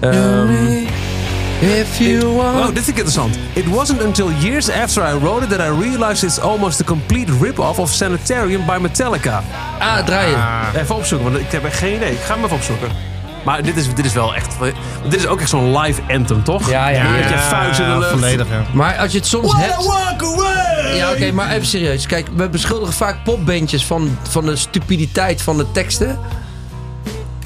Speaker 2: Ehm,
Speaker 4: If you
Speaker 2: Oh,
Speaker 4: want...
Speaker 2: dit vind ik interessant. It wasn't until years after I wrote it that I realized it's almost a complete rip-off of Sanitarium by Metallica.
Speaker 4: Ah, draaien.
Speaker 2: Even opzoeken, want ik heb echt geen idee. Ik ga hem even opzoeken. Maar dit is, dit is wel echt... Dit is ook echt zo'n live anthem, toch?
Speaker 4: Ja, ja,
Speaker 2: Met
Speaker 4: ja.
Speaker 2: je vuist in de lucht.
Speaker 3: volledig, ja.
Speaker 4: Maar als je het soms hebt... Ja, oké, maar even serieus. Kijk, we beschuldigen vaak popbandjes van, van de stupiditeit van de teksten.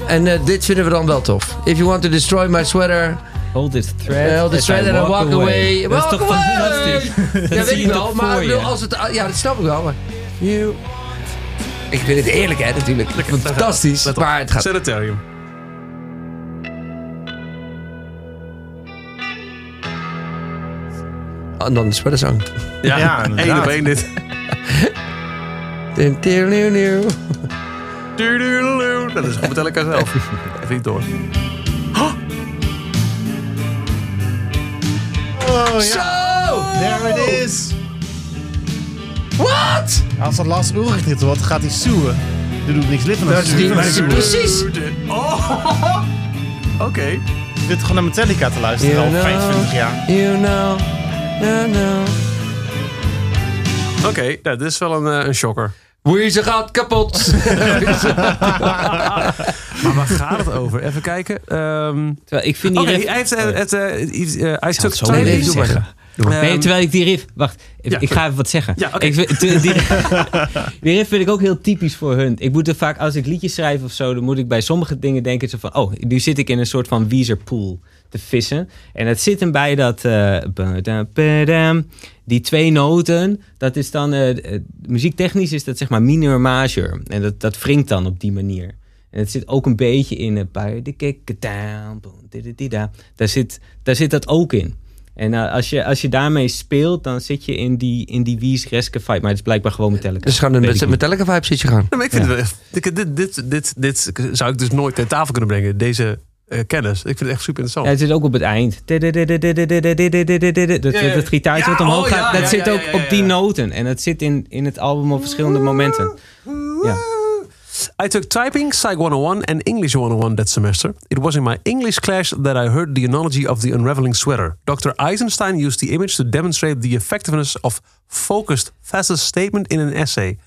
Speaker 4: En eh, dit vinden we dan wel tof. If you want to destroy my sweater,
Speaker 6: Hold this thread.
Speaker 4: eh, hold the
Speaker 6: as I
Speaker 4: thread and I walk away.
Speaker 6: Dat is
Speaker 4: Walk
Speaker 6: toch
Speaker 4: away!
Speaker 6: fantastisch?
Speaker 4: Ja,
Speaker 6: zie
Speaker 4: weet
Speaker 6: je
Speaker 4: ik wel,
Speaker 6: toch
Speaker 4: maar
Speaker 6: voor
Speaker 4: ik bedoel,
Speaker 6: je.
Speaker 4: als het, ja, dat snap ik wel. Maar you... Ik vind het eerlijk, hè, natuurlijk. Fantastisch,
Speaker 2: Let op.
Speaker 4: maar het gaat...
Speaker 2: Sanitarium.
Speaker 4: En Oh, dan de sweater song.
Speaker 2: Ja,
Speaker 3: Ja,
Speaker 2: één
Speaker 3: inderdaad.
Speaker 2: op één dit.
Speaker 4: Dun, dun, dun, dun.
Speaker 2: Tuurduurluur. Dat is gewoon Metallica zelf. Even niet door.
Speaker 3: Oh
Speaker 4: Zo!
Speaker 3: ja, there it is.
Speaker 4: Wat?
Speaker 3: Als dat Lars Ulrich dit wordt, gaat hij suwen. Dit doet niks lippen.
Speaker 4: Dat is die- dat is precies.
Speaker 2: Oh. Oké.
Speaker 3: Je zit gewoon naar Metallica te luisteren al
Speaker 4: You know.
Speaker 3: 25 jaar.
Speaker 4: You know, no, no.
Speaker 2: Oké, nou, dit is wel een, eh, een shocker.
Speaker 4: Weezer gaat kapot.
Speaker 2: Maar waar gaat het over? Even kijken. Ehm,
Speaker 6: Terwijl ik vind
Speaker 2: Oké,
Speaker 6: die riff...
Speaker 2: hij heeft eh, het... eh, iets, eh, Hij took
Speaker 6: het zo
Speaker 2: time.
Speaker 6: even
Speaker 4: doe maar.
Speaker 6: zeggen.
Speaker 2: Ehm,
Speaker 6: nee, terwijl ik die riff... Wacht, ik,
Speaker 2: Ja,
Speaker 6: ik ga even wat zeggen.
Speaker 2: Ja, oké.
Speaker 6: Ik vind- te- die, die riff vind ik ook heel typisch voor hun. Ik moet er vaak, als ik liedjes schrijf of zo... dan moet ik bij sommige dingen denken zo van... oh, nu zit ik in een soort van Weezer-pool te vissen. En het zit hem bij dat... eh, badam, badam, die twee noten, dat is dan... eh, eh, muziektechnisch is dat zeg maar minor major. En dat, dat wringt dan op die manier. En het zit ook een beetje in... eh, bij de kikketaam, boom, dididida. Daar zit, daar zit dat ook in. En eh, als, je, als je daarmee speelt, dan zit je in die, in die Wies-reske vibe. Maar het is blijkbaar gewoon Metallica.
Speaker 4: Dus gaan de
Speaker 6: Weet ik
Speaker 4: met,
Speaker 6: niet.
Speaker 4: Metallica vibe zit je gaan.
Speaker 2: Nou, maar ik vind het wel echt- ik- dit, dit, dit, dit zou ik dus nooit ter tafel kunnen brengen, deze eh, kennis. Ik vind het echt super
Speaker 6: Ja,
Speaker 2: interessant.
Speaker 6: het zit ook op het eind. Dat, dat, dat gitaartje wat
Speaker 2: Ja,
Speaker 6: omhoog
Speaker 2: oh, ja,
Speaker 6: gaat,
Speaker 2: ja,
Speaker 6: dat zit
Speaker 2: ja,
Speaker 6: ook
Speaker 2: ja, ja,
Speaker 6: op die
Speaker 2: ja.
Speaker 6: noten. En dat zit in, in het album op verschillende momenten. Ja.
Speaker 2: I took typing, Psych 101 and English 101 that semester. It was in my English class that I heard the analogy of the unraveling sweater. Dr. Eisenstein used the image to demonstrate the effectiveness of focused facet statement in an essay.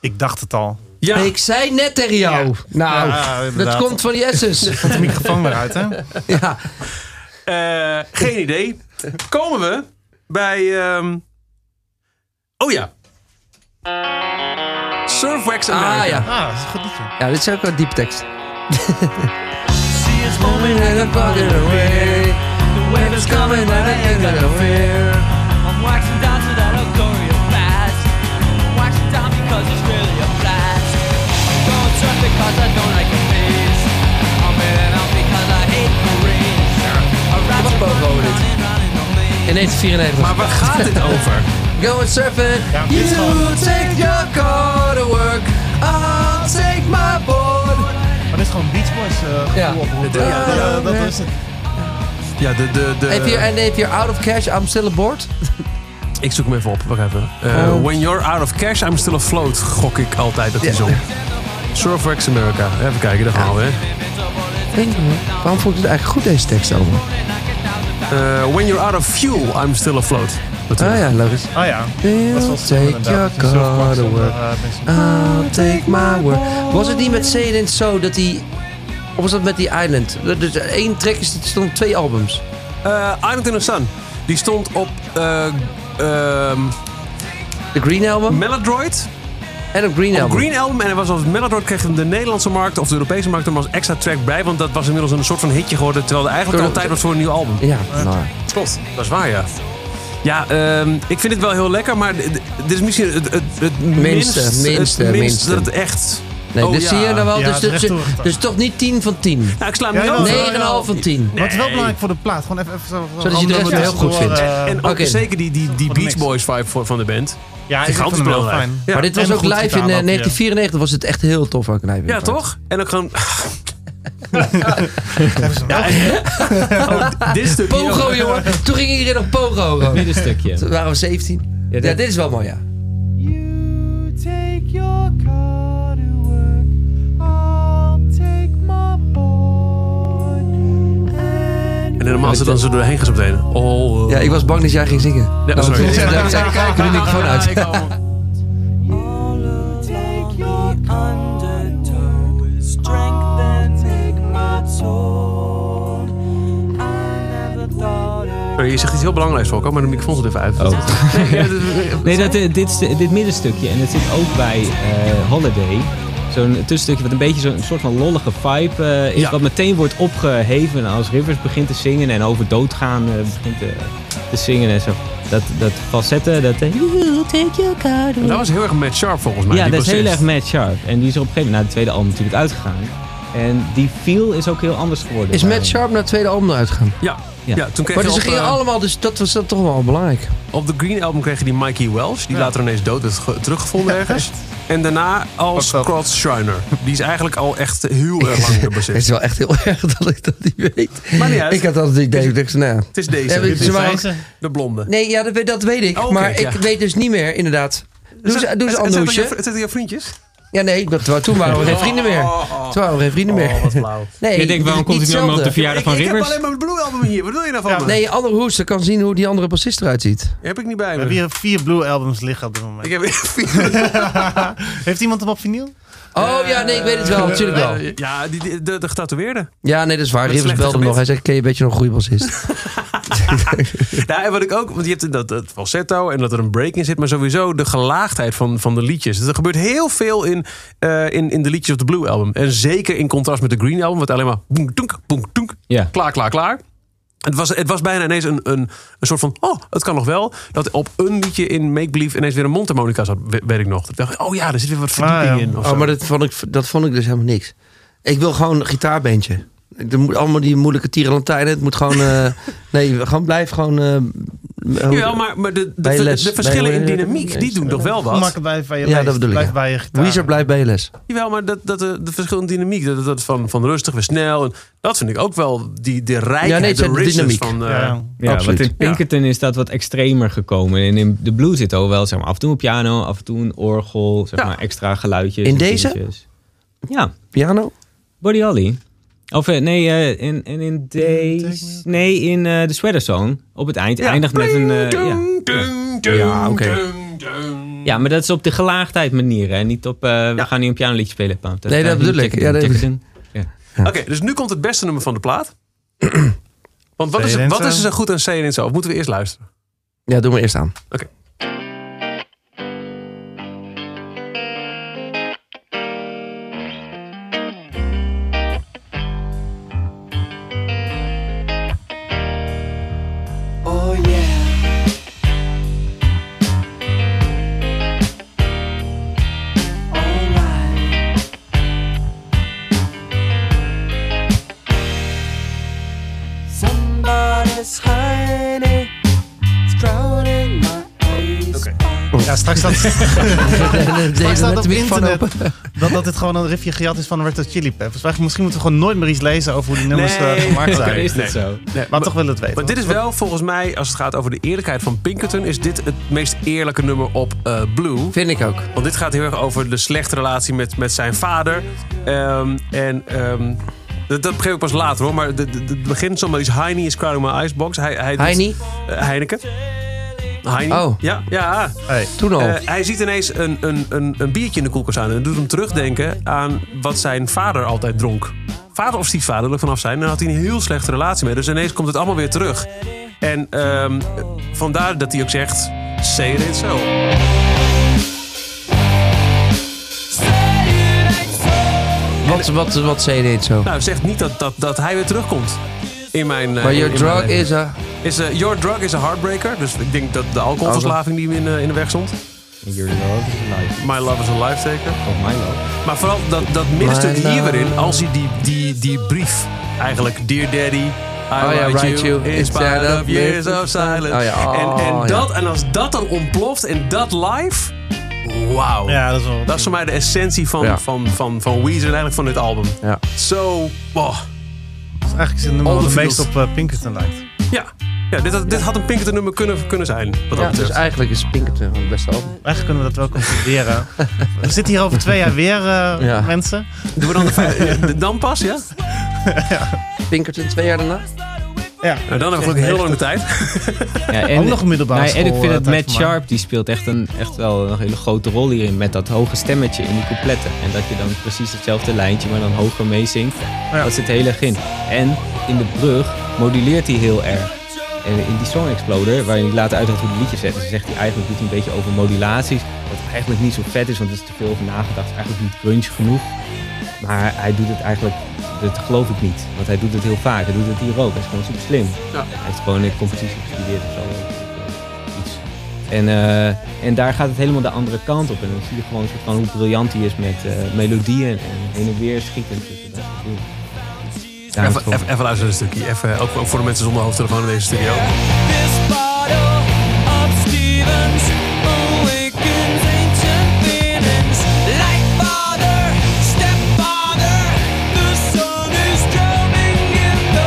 Speaker 3: Ik dacht het al.
Speaker 2: Ja,
Speaker 4: Ik zei net tegen jou.
Speaker 3: Ja.
Speaker 4: Nou,
Speaker 3: Ja,
Speaker 4: dat
Speaker 3: inderdaad.
Speaker 4: komt van die S's.
Speaker 3: Komt de microfoon weer uit, hè? Ah,
Speaker 4: ja.
Speaker 2: Eh, geen idee. Komen we bij. ehm, Oh ja. Surfwax America.
Speaker 4: Ah ja.
Speaker 3: Ah, dat is een goed liedje.
Speaker 4: Ja, dit is ook wel diep tekst.
Speaker 5: I'm waxing down to that Agoria blast. Waxing down because it's really a blast. I'm going surf because I don't like the face. I'm heading out because I hate the rain. I ride
Speaker 4: Wat
Speaker 5: your
Speaker 4: boven
Speaker 5: body
Speaker 4: over dit.
Speaker 5: round and round in
Speaker 4: In
Speaker 5: the lane.
Speaker 4: 1994.
Speaker 2: Maar waar gaat dit over?
Speaker 4: Go and surfing.
Speaker 3: Ja, dit
Speaker 4: you
Speaker 3: is gewoon-
Speaker 4: take your car to work. I'll take my board.
Speaker 3: Maar dit is gewoon Beach Boys. eh,
Speaker 4: Ja.
Speaker 3: gevoel oproepen.
Speaker 2: Ja, ja,
Speaker 3: Dat-
Speaker 4: ja.
Speaker 3: dat- dat is het.
Speaker 2: Ja, de. de,
Speaker 3: Eh.
Speaker 2: de
Speaker 4: If you're, and if you're out of cash, I'm still aboard.
Speaker 2: Ik zoek hem even op. Wacht even. Eh,
Speaker 4: Oh.
Speaker 2: When you're out of cash, I'm still afloat. Gok ik altijd dat hij
Speaker 4: Ja.
Speaker 2: zong. Surfwax America. Even kijken, daar gaan we. hè.
Speaker 4: Denk maar, waarom vond ik het eigenlijk goed deze tekst allemaal?
Speaker 2: Eh, when you're out of fuel, I'm still afloat.
Speaker 4: Ah
Speaker 2: Natuurlijk.
Speaker 4: ja, logisch.
Speaker 3: Ah ja. Dat is wel
Speaker 4: You'll
Speaker 3: slim,
Speaker 4: take your
Speaker 3: inderdaad. Dat je
Speaker 4: car
Speaker 3: surfplank
Speaker 4: to
Speaker 3: zonder,
Speaker 4: work.
Speaker 3: eh, mensen-
Speaker 4: I'll take my word. Was het niet met Say It Ain't So dat hij... Of was dat met die Island? Dat- Dus één track is, er stonden twee albums.
Speaker 2: Eh, Island in the Sun. Die stond op eh ehm
Speaker 4: De Green Album?
Speaker 2: Melodroid.
Speaker 4: En op Green
Speaker 2: Op
Speaker 4: Album.
Speaker 2: Oh, Green Album en hij was als Meladroid kreeg hem de Nederlandse markt of de Europese markt hem als extra track bij. Want dat was inmiddels een soort van hitje geworden. Terwijl er eigenlijk al
Speaker 4: Door-
Speaker 2: tijd was voor een nieuw album.
Speaker 4: Ja, nou.
Speaker 2: Klopt, dat is waar ja. Ja, ehm, ik vind het wel heel lekker, maar d- d- dit is misschien het, het, het minst,
Speaker 4: Minste,
Speaker 2: het
Speaker 4: minste,
Speaker 2: minst
Speaker 4: minste.
Speaker 2: dat het echt...
Speaker 4: Nee,
Speaker 2: Oh,
Speaker 4: dus
Speaker 2: ja.
Speaker 4: zie je dan wel.
Speaker 3: Ja,
Speaker 4: dus,
Speaker 3: het is
Speaker 4: dus,
Speaker 3: recht doorgegaan.
Speaker 4: dus toch niet 10 van 10.
Speaker 2: Nou, ik sla hem
Speaker 3: Ja,
Speaker 2: niet
Speaker 3: ja,
Speaker 2: over.
Speaker 3: ja.
Speaker 4: 9,5 van 10.
Speaker 3: Maar het is wel belangrijk voor de plaat. Gewoon even, even zo.
Speaker 4: Zodat je de rest
Speaker 3: andere
Speaker 4: heel goed
Speaker 3: tussendoor,
Speaker 4: vindt.
Speaker 3: eh,
Speaker 2: En ook
Speaker 4: Oké.
Speaker 2: zeker die, die, die
Speaker 3: Wat een
Speaker 2: Beach
Speaker 3: mix.
Speaker 2: Boys vibe van, van de band.
Speaker 3: ja, ik vind
Speaker 2: Gigantisch
Speaker 3: hem wel
Speaker 2: belangrijk.
Speaker 3: fijn.
Speaker 2: Ja.
Speaker 4: Maar dit was
Speaker 3: en
Speaker 4: ook
Speaker 3: goed
Speaker 4: live in eh,
Speaker 3: gitaar ook, ja.
Speaker 4: 1994. Was het echt heel tof ook live. in
Speaker 2: Ja,
Speaker 4: feite.
Speaker 2: toch? En ook gewoon...
Speaker 3: Ja, en-
Speaker 2: dit stukje...
Speaker 4: Pogo, jongen. Toen ging iedereen op Pogo. gewoon.
Speaker 6: Dit stukje.
Speaker 4: Toen waren we 17.
Speaker 6: Ja, dit-
Speaker 4: Ja, dit is wel mooi, ja.
Speaker 5: You take your car to work, I'll take my board.
Speaker 2: En helemaal als ze dan zo doorheen gaan optreden. Oh, eh.
Speaker 4: Ja, ik was bang dat jij ging zingen.
Speaker 2: Ja, sorry.
Speaker 4: toen- toen- toen- toen- Ik doe de microfoon uit.
Speaker 2: Ik hou hem.
Speaker 5: Take your undertow, strengthen, take my soul. I never thought it.
Speaker 2: Sorry, Oh, Je zegt iets heel belangrijks, Volko, maar de microfoon zit even uit.
Speaker 6: Oh. Nee, dat, eh, dit, stu- dit middenstukje. En het zit ook bij eh, Holiday. Zo'n tussenstukje wat een beetje zo'n soort van lollige vibe eh, is.
Speaker 2: Ja.
Speaker 6: Wat meteen wordt opgeheven als Rivers begint te zingen. En over doodgaan eh, begint te, te zingen en zo. Dat, dat falsette, dat... eh, "You take your car to
Speaker 2: Dat was heel erg Matt Sharp volgens mij.
Speaker 6: Ja,
Speaker 2: die
Speaker 6: dat is heel erg
Speaker 2: bassist.
Speaker 6: Matt Sharp. En die is er op een gegeven moment na de tweede album natuurlijk uitgegaan. En die feel is ook heel anders geworden.
Speaker 4: Is
Speaker 6: Maar-
Speaker 4: Matt Sharp naar het tweede album uitgegaan?
Speaker 2: Ja, ja.
Speaker 6: Ja.
Speaker 2: toen kreeg
Speaker 4: Maar
Speaker 2: je
Speaker 4: dus
Speaker 2: op,
Speaker 4: ze gingen
Speaker 2: eh,
Speaker 4: allemaal, dus dat was dat toch wel belangrijk.
Speaker 2: op de Green Album kreeg je die Mikey Welsh. Die later ineens dood werd ge- teruggevonden ergens. En daarna als
Speaker 3: Ook wel.
Speaker 2: Scott Shriner. Die is eigenlijk al echt heel erg lang de
Speaker 4: Het is
Speaker 2: bassist.
Speaker 4: wel echt heel erg dat ik dat niet weet.
Speaker 2: Maar niet uit.
Speaker 4: Ik had altijd het idee, ik dacht, nou ja.
Speaker 2: Het is deze.
Speaker 4: Ja,
Speaker 2: Dit
Speaker 4: ze
Speaker 2: is
Speaker 4: waren-
Speaker 2: deze. De blonde.
Speaker 4: Nee, ja, dat, weet- dat weet ik.
Speaker 2: Oh, oké,
Speaker 4: maar
Speaker 2: ja.
Speaker 4: ik weet dus niet meer, inderdaad. Doe ze, doe ze
Speaker 2: Het- het- het-
Speaker 4: Anouche.
Speaker 2: het- Het zijn jouw vriendjes?
Speaker 4: Ja, nee, dat, toen waren we geen vrienden meer.
Speaker 2: Oh,
Speaker 4: Toen waren we geen vrienden
Speaker 2: oh, wat
Speaker 4: meer.
Speaker 2: flauw.
Speaker 4: Nee,
Speaker 6: Je denkt, waarom
Speaker 4: het is
Speaker 6: komt
Speaker 4: niet
Speaker 6: hij nu allemaal op de
Speaker 4: hetzelfde.
Speaker 6: verjaardag
Speaker 2: ik,
Speaker 6: van
Speaker 2: ik heb
Speaker 6: Rivers?
Speaker 2: alleen maar het Blue Album hier. Wat wil je nou van me?
Speaker 4: Nee, Anne Hoester kan zien hoe die andere bassist eruit ziet.
Speaker 2: Heb ik niet bij
Speaker 3: We
Speaker 2: me.
Speaker 3: hebben hier vier Blue albums liggen op dit
Speaker 2: Ik
Speaker 3: moment.
Speaker 2: heb vier.
Speaker 3: Heeft iemand hem op vinyl?
Speaker 4: Oh ja, nee, ik weet het wel, natuurlijk wel.
Speaker 2: Ja, die, die- de, de getatoeëerde.
Speaker 4: Ja, nee, dat is waar.
Speaker 2: Met
Speaker 4: Rivers
Speaker 2: slechte
Speaker 4: belde hem nog.
Speaker 2: gebit.
Speaker 4: Hij zei, ken je een beetje nog een goede bassist?
Speaker 2: Ja, en wat ik ook, want je hebt dat, dat falsetto en dat er een break in zit, maar sowieso de gelaagdheid van, van de liedjes. Dus er gebeurt heel veel in, eh, in, in de liedjes op de Blue Album. En zeker in contrast met de Green Album, wat alleen maar boem, toenk, boem, toenk,
Speaker 6: Ja.
Speaker 2: klaar, klaar, klaar. Het was, het was bijna ineens een, een, een soort van, oh, het kan nog wel. Dat op een liedje in Make Believe ineens weer een mondharmonica zat, we- weet ik nog. Dat ik dacht, oh ja, er zit weer wat verdieping
Speaker 3: Ah, ja.
Speaker 2: in. Of
Speaker 4: Oh,
Speaker 2: zo.
Speaker 4: maar dat vond, ik, dat vond ik dus helemaal niks. Ik wil gewoon een gitaarbeentje. Ik- er moet allemaal die moeilijke tierenlantijnen. Het moet gewoon... eh, nee, gewoon blijf gewoon... eh,
Speaker 2: Jawel, maar, maar de, de,
Speaker 4: Bij
Speaker 2: de,
Speaker 4: les,
Speaker 2: de verschillen
Speaker 4: bij-
Speaker 2: in dynamiek, die doen toch wel wat.
Speaker 3: Maak bij van je
Speaker 4: Ja,
Speaker 3: leest.
Speaker 4: dat bedoel ik,
Speaker 3: Blijf
Speaker 4: ja.
Speaker 3: bij je gitaar.
Speaker 4: Weezer, blijf bij je les.
Speaker 2: Jawel, maar dat, dat, eh, de verschillende dynamiek, dat, dat van, van rustig weer snel, en dat vind ik ook wel die, de rijkheid,
Speaker 4: Ja, nee, het
Speaker 2: de
Speaker 4: zijn de
Speaker 2: richness
Speaker 4: dynamiek.
Speaker 2: van... eh,
Speaker 3: Ja.
Speaker 6: Ja,
Speaker 4: Absoluut.
Speaker 6: want in Pinkerton is dat wat extremer gekomen. En in de blues zit al wel zeg maar, af en toe een piano, af en toe een orgel, zeg
Speaker 2: Ja.
Speaker 6: maar, extra geluidjes.
Speaker 4: In
Speaker 6: en
Speaker 4: deze?
Speaker 6: dingetjes. Ja,
Speaker 4: Piano?
Speaker 6: Buddy Holly. Of eh, nee, eh, in, in, in deze... Nee, in eh The Sweater Song. Op het eind eindigt met een... eh, ja.
Speaker 2: Dung, dung, dung,
Speaker 6: Ja, oké.
Speaker 2: dung, dung.
Speaker 6: ja, maar dat is op de gelaagdheid manier. En niet op, eh, we
Speaker 2: Ja.
Speaker 6: gaan nu een pianoliedje spelen. Pam, ta-
Speaker 4: Nee, dat
Speaker 6: ta-
Speaker 4: bedoel ik.
Speaker 6: check-
Speaker 4: Ja, dat-
Speaker 6: check- check-
Speaker 2: Oké, dus nu komt het beste nummer van de plaat. Want wat
Speaker 3: Say
Speaker 2: is,
Speaker 3: it
Speaker 2: wat
Speaker 3: in
Speaker 2: is er
Speaker 3: zo.
Speaker 2: zo goed aan Say It In Zo? Of moeten we eerst luisteren?
Speaker 4: Ja, doe maar eerst aan.
Speaker 5: Oh yeah. Alright. Somebody's hiding, it's crowding my eyes.
Speaker 3: Ja, straks staat,
Speaker 4: Deze
Speaker 3: straks staat
Speaker 4: met
Speaker 3: op
Speaker 4: de microfoon
Speaker 3: internet
Speaker 4: open.
Speaker 3: dat, dat dit gewoon een riffje gejat is van Red Hot Chili Peppers. Wij- Misschien moeten we gewoon nooit meer iets lezen over hoe die nummers eh,
Speaker 2: Nee.
Speaker 3: gemaakt zijn.
Speaker 6: Oké, is dat
Speaker 2: Nee.
Speaker 6: zo?
Speaker 3: Maar toch willen we het weten.
Speaker 2: Want dit is wel, volgens mij, als het gaat over de eerlijkheid van Pinkerton... is dit het meest eerlijke nummer op eh, Blue.
Speaker 4: Vind ik ook.
Speaker 2: Want dit gaat heel erg over de slechte relatie met, met zijn vader. Ehm, en ehm, dat, dat begreep ik pas later hoor. Maar de- de- de- het begin somebody's Heine is crowding my icebox. Hij, hij doet-
Speaker 4: Heini,
Speaker 2: eh, Heineken. Heine.
Speaker 4: Oh.
Speaker 2: Ja, ja.
Speaker 3: Hey.
Speaker 4: toen al.
Speaker 2: Eh, hij ziet ineens een, een, een, een biertje in de koelkast aan. En dat doet hem terugdenken aan wat zijn vader altijd dronk. Vader of stiefvader, wil ik vanaf zijn. Daar had hij een heel slechte relatie mee. Dus ineens komt het allemaal weer terug. En ehm, vandaar dat hij ook zegt, say it ain't so.
Speaker 4: wat, wat zei je dit zo?
Speaker 2: Nou, zegt niet dat, dat, dat hij weer terugkomt. In mijn. eh,
Speaker 4: Maar
Speaker 2: in-
Speaker 4: your
Speaker 2: in mijn
Speaker 4: drug
Speaker 2: leven.
Speaker 4: is a...
Speaker 2: Is, eh, your drug is a heartbreaker. Dus ik denk dat de alcoholverslaving die hem in, eh, in de weg stond.
Speaker 6: Your love is life.
Speaker 2: My love is a life zeker.
Speaker 6: Of my love.
Speaker 2: Maar vooral dat, dat middenstuk
Speaker 4: My
Speaker 2: hier
Speaker 4: love.
Speaker 2: weer in, als hij die, die, die brief eigenlijk, Dear Daddy, I
Speaker 4: yeah,
Speaker 2: write
Speaker 4: Oh
Speaker 2: you,
Speaker 4: write you,
Speaker 2: in spite
Speaker 4: instead
Speaker 2: of
Speaker 4: of
Speaker 2: years
Speaker 4: me.
Speaker 2: of silence.
Speaker 4: Oh ja, oh,
Speaker 2: en, en,
Speaker 4: ja.
Speaker 2: dat, en als dat dan ontploft en dat live, wauw.
Speaker 3: Ja, dat is wel...
Speaker 2: Dat is voor mij de essentie van,
Speaker 4: Ja.
Speaker 2: van, van, van Weezer en eigenlijk van dit album.
Speaker 4: Ja.
Speaker 2: Zo, oh,
Speaker 3: dat is eigenlijk een nummer
Speaker 2: All
Speaker 3: wat
Speaker 2: the
Speaker 3: het meest
Speaker 2: fields.
Speaker 3: op eh, Pinkerton lijkt.
Speaker 2: ja. ja, dit, had, dit had een Pinkerton nummer kunnen, kunnen zijn, wat dat
Speaker 4: Ja, dus
Speaker 2: betreft.
Speaker 4: eigenlijk is Pinkerton van het beste album.
Speaker 3: Eigenlijk kunnen we dat wel concluderen. we zitten hier over twee jaar weer, eh,
Speaker 4: Ja.
Speaker 3: mensen.
Speaker 2: Doen we dan de vijf- ja, dan pas, ja?
Speaker 4: Pinkerton twee jaar daarna?
Speaker 3: Ja.
Speaker 2: Nou, dan hebben we ook heel lang de tijd.
Speaker 6: Ja, en,
Speaker 3: Ook nog een middelbare
Speaker 6: Nee, en ik
Speaker 3: school,
Speaker 6: vind
Speaker 3: eh,
Speaker 6: dat
Speaker 3: tijd
Speaker 6: Matt
Speaker 3: voor mij.
Speaker 6: Sharp, die speelt echt, een, echt wel een hele grote rol hierin. Met dat hoge stemmetje in die coupletten. En dat je dan precies hetzelfde lijntje, maar dan hoger meezingt. Dat zit heel erg in. En in de brug moduleert hij heel erg. En in die Song Exploder, waarin hij later uitlegt hoe het liedje zet, dus zegt hij eigenlijk doet hij een beetje over modulaties. Wat eigenlijk niet zo vet is, want er is te veel over nagedacht. Eigenlijk niet grunge genoeg. Maar hij doet het eigenlijk, dat geloof ik niet. Want hij doet het heel vaak. Hij doet het hier ook. Hij is gewoon super slim. Hij heeft gewoon een competitie gestudeerd of zo. Iets. En, eh, en daar gaat het helemaal de andere kant op. En dan zie je gewoon een soort van hoe briljant hij is met eh, melodieën en heen en weer schieten. tussen dat soort dingen. Daar hou ik
Speaker 2: Even,
Speaker 6: van.
Speaker 2: even, even luisteren een stukje. Even, ook, ook voor de mensen zonder hoofdtelefoon in deze studio.
Speaker 5: This bottle of Stevens awakens ancient feelings. Like father, stepfather, the sun is drowning in the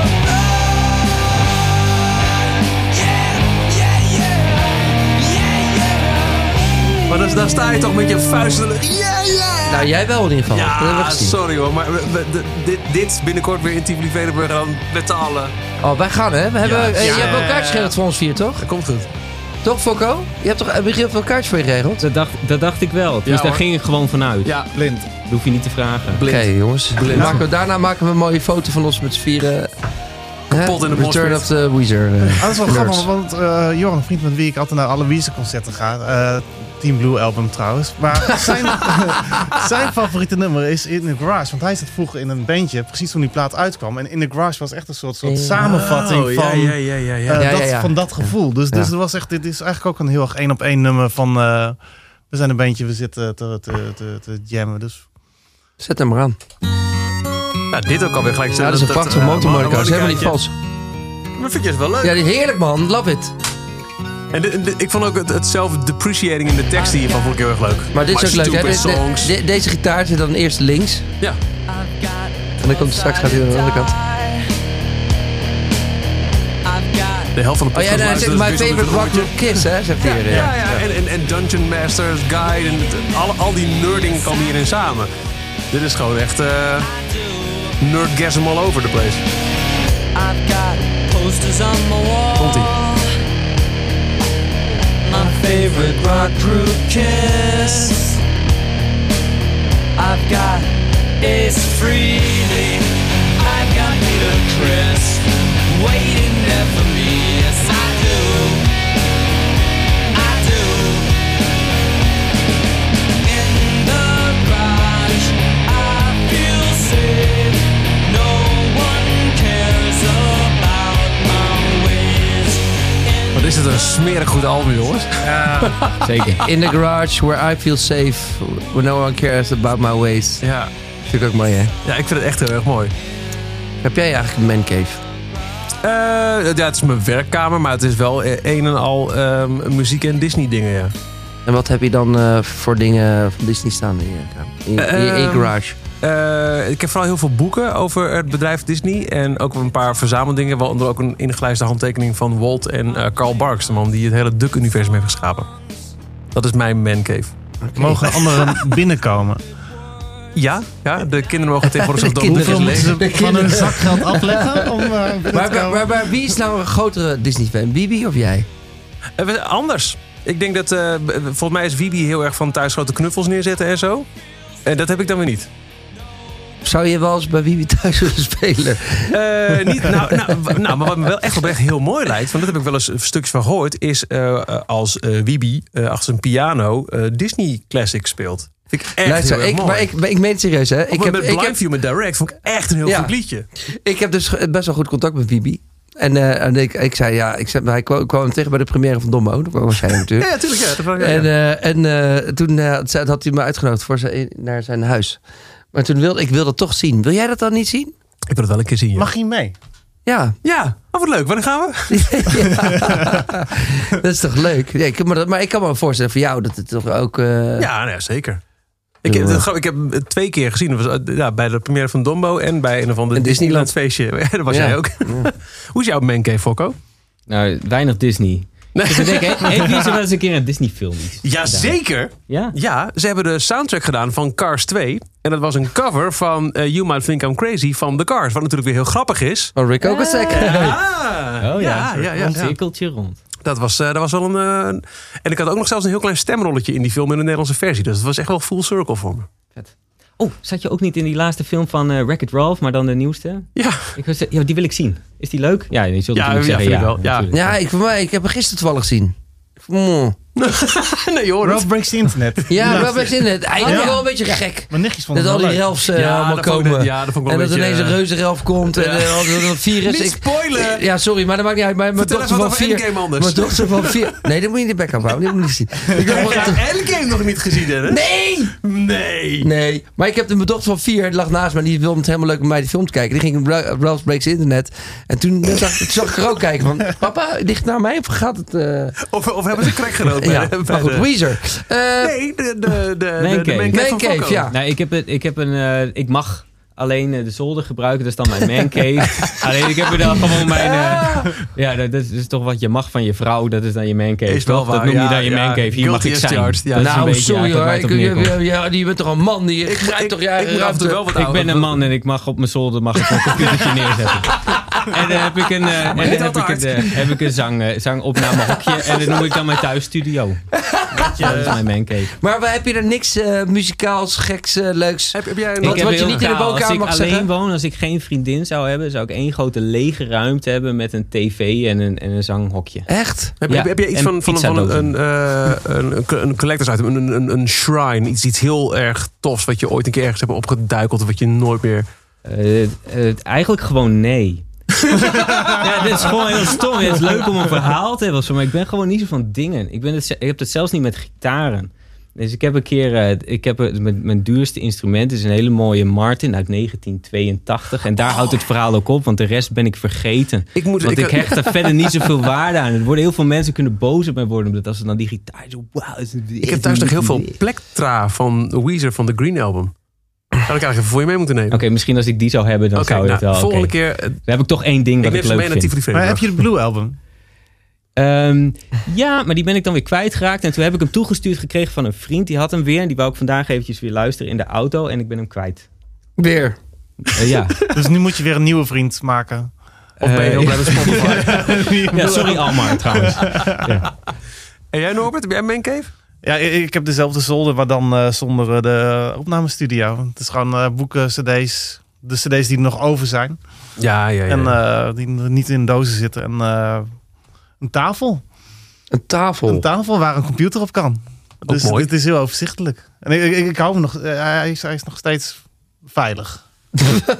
Speaker 5: blood. Yeah, yeah, yeah, yeah, yeah.
Speaker 2: Maar dan, dan sta je toch met je vuisten.
Speaker 5: Yeah, yeah.
Speaker 4: Nou, jij wel in ieder geval. dat hebben we
Speaker 2: Ja,
Speaker 4: gezien.
Speaker 2: Ah, sorry hoor. Maar we- we- de- dit, dit binnenkort weer in Tivoli Vredenburg dan betalen.
Speaker 4: Oh, wij gaan, hè? We hebben,
Speaker 2: Ja.
Speaker 4: eh,
Speaker 2: Ja.
Speaker 4: Je hebt wel kaartjes geregeld voor ons vier, toch?
Speaker 2: Dat komt goed.
Speaker 4: Toch, Fokko? Je hebt toch heb je wel kaartjes voor je geregeld?
Speaker 6: dat, dacht, dat dacht ik wel. Dus
Speaker 2: Ja,
Speaker 6: daar
Speaker 2: hoor.
Speaker 6: ging ik gewoon vanuit.
Speaker 2: Ja, blind.
Speaker 6: Dat hoef je niet te vragen.
Speaker 4: Oké, jongens.
Speaker 2: Blind.
Speaker 4: Maken we, daarna maken we een mooie foto van ons met z'n vieren. Hè?
Speaker 2: Kapot in de
Speaker 4: Return
Speaker 2: bosfeest.
Speaker 4: of the Weezer. eh,
Speaker 3: Ah, dat is wel
Speaker 4: nerds.
Speaker 3: grappig, want eh Joran, een vriend met wie ik altijd naar alle Weezer-concerten ga. eh, Team Blue album trouwens. Maar zijn, zijn favoriete nummer is In the Garage. Want hij zat vroeger in een bandje, precies toen die plaat uitkwam. En In the Garage was echt een soort, soort
Speaker 4: Ja.
Speaker 3: samenvatting
Speaker 2: Oh,
Speaker 3: van,
Speaker 2: ja, ja, ja, ja. ja.
Speaker 3: eh,
Speaker 4: Ja,
Speaker 3: dat,
Speaker 4: ja, ja.
Speaker 3: van dat gevoel. Dus, dus
Speaker 4: Ja.
Speaker 3: het was echt, dit is eigenlijk ook een heel erg één op één nummer van... eh, we zijn een bandje, we zitten te, te, te, te jammen. Dus
Speaker 4: Zet hem maar aan.
Speaker 2: Ja, dit ook alweer gelijk.
Speaker 4: Eh, Ja, dat is een prachtige
Speaker 2: eh,
Speaker 4: motormonica. Dat is helemaal niet
Speaker 2: motormonica.
Speaker 4: vals.
Speaker 2: Maar vind je het wel leuk.
Speaker 4: Ja, die heerlijk, man. Love it.
Speaker 2: En de- de- ik vond ook het, het self-depreciating in de tekst hiervan vond ik heel erg leuk.
Speaker 4: Maar dit
Speaker 2: My
Speaker 4: is ook leuk, hè?
Speaker 2: stupid
Speaker 4: De- de-
Speaker 2: songs.
Speaker 4: de- deze gitaar zit dan eerst links.
Speaker 2: Ja.
Speaker 4: En dan komt straks gaat hij aan de andere kant.
Speaker 2: De helft van de
Speaker 4: Oh
Speaker 2: podcast
Speaker 4: ja, nou, hij
Speaker 2: luistert
Speaker 4: zegt my
Speaker 2: dus weer
Speaker 4: favorite
Speaker 2: zo'n
Speaker 4: rock
Speaker 2: robotje.
Speaker 4: to kiss, hè? Zegt hij. weer, ja.
Speaker 2: Ja, ja. En, en, en Dungeon Masters, Guide en het- al, al die nerding kwam hierin samen. Dit is gewoon echt eh nerdgasm all over the place.
Speaker 5: I've got posters on my wall.
Speaker 2: Komt-ie.
Speaker 5: My favorite rock group Kiss. I've got Ace Frehley. I've got Peter Chris waiting there for me. Yes, I do. I do. In the garage, I feel safe. No one cares about my ways.
Speaker 2: Wat is het een smerig goed album, jongens.
Speaker 6: Zeker.
Speaker 4: In the garage where I feel safe, where no one cares about my ways.
Speaker 2: Ja.
Speaker 4: Natuurlijk ook mooi, hè?
Speaker 2: ja, ik vind het echt heel erg mooi.
Speaker 4: Heb jij eigenlijk een mancave?
Speaker 2: Eh, ja, het is mijn werkkamer, maar het is wel eh, een en al ehm, muziek- en Disney-dingen, ja.
Speaker 4: En wat heb je dan eh, voor dingen van Disney staan in je, kamer? in, in, je- in je
Speaker 2: Ehm,
Speaker 4: garage?
Speaker 2: Eh, ik heb vooral heel veel boeken over het bedrijf Disney. En ook een paar verzameldingen, waaronder ook een ingelijste handtekening van Walt en eh, Carl Barks. De man die het hele Duck-universum heeft geschapen. Dat is mijn mancave.
Speaker 3: mogen anderen binnenkomen.
Speaker 2: Ja, ja, de kinderen mogen tegenwoordig
Speaker 4: De
Speaker 2: zelf
Speaker 4: kinderen
Speaker 2: doen.
Speaker 3: Hoeveel moeten
Speaker 4: De
Speaker 3: ze van
Speaker 4: kinderen.
Speaker 3: hun zakgeld afleggen om eh, binnen
Speaker 4: Maar,
Speaker 3: te
Speaker 4: maar,
Speaker 3: komen?
Speaker 4: maar, maar wie is nou een grotere Disney-fan? Bibi of jij?
Speaker 2: Eh, we- Anders. Ik denk dat, eh, b- volgens mij is Wiebe heel erg van thuis grote knuffels neerzetten en zo. En dat heb ik dan weer niet.
Speaker 4: Zou je wel eens bij Bibi thuis willen spelen?
Speaker 2: Eh, niet nou, nou, w- nou, maar wat me wel echt oprecht heel mooi lijkt, want dat heb ik wel eens stukjes van gehoord, is eh, eh, als eh Wiebe eh, achter zijn piano eh, Disney Classics speelt. Vind ik echt
Speaker 4: Luister,
Speaker 2: heel erg
Speaker 4: ik,
Speaker 2: mooi.
Speaker 4: maar ik, maar ik meen het serieus, hè?
Speaker 2: ik
Speaker 4: Ik heb,
Speaker 2: met
Speaker 4: ik,
Speaker 2: Blind
Speaker 4: heb,
Speaker 2: View met Direct vond ik echt een heel
Speaker 4: Ja.
Speaker 2: goed liedje.
Speaker 4: ik heb dus ge- best wel goed contact met Bibi. En, eh, en ik, ik zei, ja, ik zei, hij kwam, kwam hem tegen bij de première van Domme Oon. Daar kwam hij natuurlijk.
Speaker 2: Ja, ja, tuurlijk. Ja. Dat vond ik- ja,
Speaker 4: En,
Speaker 2: ja.
Speaker 4: eh, en eh, toen eh, zei- had hij me uitgenodigd voor zijn, naar zijn huis. Maar toen wilde ik wil dat toch zien. Wil jij dat dan niet zien?
Speaker 2: ik wil het wel een keer zien. Ja,
Speaker 3: Mag je mee?
Speaker 4: Ja,
Speaker 2: ja. Oh, wat leuk. Wanneer gaan we?
Speaker 4: dat is toch leuk? Ja, ik, maar, dat, maar ik kan me voorstellen voor jou dat het toch ook... eh,
Speaker 2: Ja, nou ja zeker. Ik heb,
Speaker 4: Ja.
Speaker 2: dat grap- ik heb het twee keer gezien. Dat was, eh, ja, bij de première van Dombo en bij een of ander
Speaker 4: En
Speaker 2: Disneyland
Speaker 4: Disneyland.
Speaker 2: feestje. Daar was
Speaker 4: Ja.
Speaker 2: jij ook. Hoe is jouw mancave, Fokko?
Speaker 6: Nou, weinig Disney. Dus ik denk, he- heeft wie ze wel eens een keer een Disney-film? iets gedaan?
Speaker 2: Jazeker.
Speaker 6: Ja?
Speaker 2: Ja, ze hebben de soundtrack gedaan van Cars 2. En dat was een cover van eh, You Might Think I'm Crazy van The Cars. Wat natuurlijk weer heel grappig is.
Speaker 4: Van Rick Ocasek.
Speaker 2: Ah,
Speaker 6: Oh ja,
Speaker 2: ja, ja, ja,
Speaker 6: een
Speaker 2: ja.
Speaker 6: cirkeltje rond.
Speaker 2: Dat was, eh, dat was wel een... eh, een- en ik had ook nog zelfs een heel klein stemrolletje in die film in de Nederlandse versie. Dus het was echt wel full circle voor me.
Speaker 6: Oh, zat je ook niet in die laatste film van eh Wreck-It Ralph, maar dan de nieuwste?
Speaker 2: Ja,
Speaker 6: Ik was, ja, die wil ik zien. Is die leuk? Ja, je zult
Speaker 2: Ja,
Speaker 6: natuurlijk
Speaker 2: ja,
Speaker 6: zeggen
Speaker 2: vind
Speaker 6: ja.
Speaker 2: ik wel. Ja.
Speaker 6: natuurlijk.
Speaker 4: Ja, ik, voor mij, ik heb hem gisteren toevallig gezien. Mm.
Speaker 2: nee joh. dat-
Speaker 3: Ralph Breaks the Internet.
Speaker 4: Ja, wel
Speaker 3: Laatste.
Speaker 4: best in het. Eigenlijk
Speaker 3: Ja.
Speaker 4: wel een beetje gek.
Speaker 3: Mijn nichtjes vonden
Speaker 4: Dat al
Speaker 3: het
Speaker 4: die
Speaker 3: wel leuk.
Speaker 4: relfs eh, allemaal
Speaker 2: dat vond ik net-
Speaker 4: komen.
Speaker 2: ja, dat vond ik
Speaker 4: en
Speaker 2: wel
Speaker 4: dat
Speaker 2: een
Speaker 4: ineens
Speaker 2: beetje, eh,
Speaker 4: een reuzenrelf komt. En eh, al dat virus.
Speaker 2: Niet
Speaker 4: Ik-
Speaker 2: spoilen!
Speaker 4: Ja, sorry, maar dat maakt niet uit. Mijn, mijn
Speaker 2: Vertel
Speaker 4: dochter
Speaker 2: even
Speaker 4: van
Speaker 2: wat over
Speaker 4: vier.
Speaker 2: Endgame anders.
Speaker 4: Mijn dochter van vier. Nee, dat moet je in de bek houden. Dat moet je niet zien. Ik heb-
Speaker 2: Heb jij Endgame nog niet gezien, hè?
Speaker 4: Nee!
Speaker 2: Nee.
Speaker 4: Nee, maar ik heb de mijn dochter van vier, die lag naast me en die wilde het helemaal leuk om mij die film te kijken. Die ging Ra- Ralph Breaks Internet. En toen net dacht, toen zag ik er ook kijken van, papa, dicht naar mij of gaat het... eh,
Speaker 2: Of, of hebben ze crack gerookt? bij
Speaker 4: ja,
Speaker 2: de- bij
Speaker 4: maar goed,
Speaker 2: de-
Speaker 4: Weezer. Eh,
Speaker 2: Nee, de, de, de, de, de
Speaker 6: Mancave.
Speaker 2: mancave van
Speaker 4: Mancave,
Speaker 2: Fokko.
Speaker 4: ja.
Speaker 6: Nou, ik heb, het, ik heb een... eh, ik mag alleen eh, de zolder gebruiken, dat is dan mijn mancave. alleen ik heb er dan gewoon mijn... eh, ja, dat is, is toch wat je mag van je vrouw, dat is dan je mancave.
Speaker 2: Is wel
Speaker 6: toch?
Speaker 2: waar,
Speaker 6: Dat noem je
Speaker 2: ja,
Speaker 6: dan je
Speaker 2: ja.
Speaker 6: mancave. Hier mag
Speaker 2: Guilty
Speaker 6: ik
Speaker 2: as
Speaker 6: zijn.
Speaker 2: charged, ja.
Speaker 6: Dat is een
Speaker 4: nou,
Speaker 6: beetje
Speaker 4: sorry
Speaker 6: eigenlijk
Speaker 4: hoor.
Speaker 6: waar het
Speaker 4: Ik,
Speaker 6: op neerkomt.
Speaker 4: je, ja, die bent toch een man? Die
Speaker 2: Ik,
Speaker 4: grijpt
Speaker 2: ik,
Speaker 4: toch
Speaker 2: toch
Speaker 4: je
Speaker 2: ik
Speaker 4: eigen
Speaker 2: moet af en toe wel
Speaker 4: ruimte.
Speaker 2: wat
Speaker 6: Ik ben
Speaker 2: ouder.
Speaker 6: een man en ik mag op mijn zolder mag ik een computertje neerzetten. En dan heb ik een, eh, en dan
Speaker 2: niet
Speaker 6: heb
Speaker 2: al
Speaker 6: ik
Speaker 2: te
Speaker 6: een, eh, heb ik een zang, eh, zangopnamehokje. En dat noem ik dan mijn thuisstudio. Dat is mijn mancave.
Speaker 4: Maar we- heb je er niks eh, muzikaals, geks, eh, leuks?
Speaker 2: Heb, heb jij een...
Speaker 4: Wat-
Speaker 6: heb
Speaker 4: wat je
Speaker 6: heel
Speaker 4: niet in de
Speaker 6: kaal.
Speaker 4: woonkamer mag
Speaker 6: Als ik alleen
Speaker 4: zeggen?
Speaker 6: woon, als ik geen vriendin zou hebben, zou ik één grote lege ruimte hebben met een tv en een, en een zanghokje.
Speaker 4: Echt?
Speaker 2: Heb,
Speaker 6: Ja,
Speaker 2: heb, heb je iets
Speaker 6: en
Speaker 2: van, van, van een, een,
Speaker 6: pizzadozen.
Speaker 2: eh, een, een- een collectors item, een, een, een shrine, iets, iets heel erg tofs wat je ooit een keer ergens hebt opgeduikeld of wat je nooit meer...
Speaker 6: Eh, eh, eigenlijk gewoon nee. ja, dit is gewoon heel stom. Ja, het is leuk om een verhaal te hebben, of zo, maar ik ben gewoon niet zo van dingen. Ik, ben het, ze- ik heb het zelfs niet met gitaren. Dus ik heb een keer, eh, ik heb een- mijn, mijn duurste instrument is een hele mooie Martin uit 1982. En daar houdt het verhaal ook op, want de rest ben ik vergeten.
Speaker 2: Ik moet...
Speaker 6: Want ik hecht er verder niet zoveel waarde aan. Er worden heel veel mensen kunnen boos op mij worden. Omdat als ze dan die gitaar zo... Wauw, is het-
Speaker 2: Ik heb thuis nog heel veel Plectra van Weezer van de Green Album. Zou ik eigenlijk even voor je mee moeten nemen.
Speaker 6: Oké, misschien als ik die zou hebben, dan
Speaker 2: Oké,
Speaker 6: zou je
Speaker 2: nou,
Speaker 6: het wel...
Speaker 2: volgende
Speaker 6: oké.
Speaker 2: keer... eh,
Speaker 6: Dan heb ik toch één ding
Speaker 2: Ik
Speaker 6: dat
Speaker 2: neem
Speaker 6: ik
Speaker 2: ze
Speaker 6: leuk
Speaker 2: mee naar
Speaker 6: vind.
Speaker 2: Tivoli
Speaker 3: Maar
Speaker 2: Vredenburg.
Speaker 3: heb je de Blue Album?
Speaker 6: Ehm, ja, maar die ben ik dan weer kwijtgeraakt. En toen heb ik hem toegestuurd gekregen van een vriend. Die had hem weer en die wou ik vandaag eventjes weer luisteren in de auto. En ik ben hem kwijt.
Speaker 4: Weer.
Speaker 6: Eh, ja.
Speaker 3: Dus nu moet je weer een nieuwe vriend maken.
Speaker 2: Of ben je
Speaker 6: Eh,
Speaker 2: heel blij met Spotify?
Speaker 6: ja, sorry Almar trouwens.
Speaker 2: En jij Norbert, heb jij een mancave?
Speaker 3: Ja, i- ik heb dezelfde zolder, maar dan eh, zonder eh, de opnamestudio. Het is gewoon eh, boeken, cd's. De cd's die er nog over zijn.
Speaker 2: Ja, ja, ja.
Speaker 3: En eh, die er niet in dozen zitten. En eh, een tafel.
Speaker 4: Een
Speaker 3: Een
Speaker 4: tafel.
Speaker 3: tafel waar een computer op kan. Dus
Speaker 2: mooi.
Speaker 3: het is heel overzichtelijk. En ik, ik, ik hou hem nog. eh, hij, is, hij is nog steeds veilig.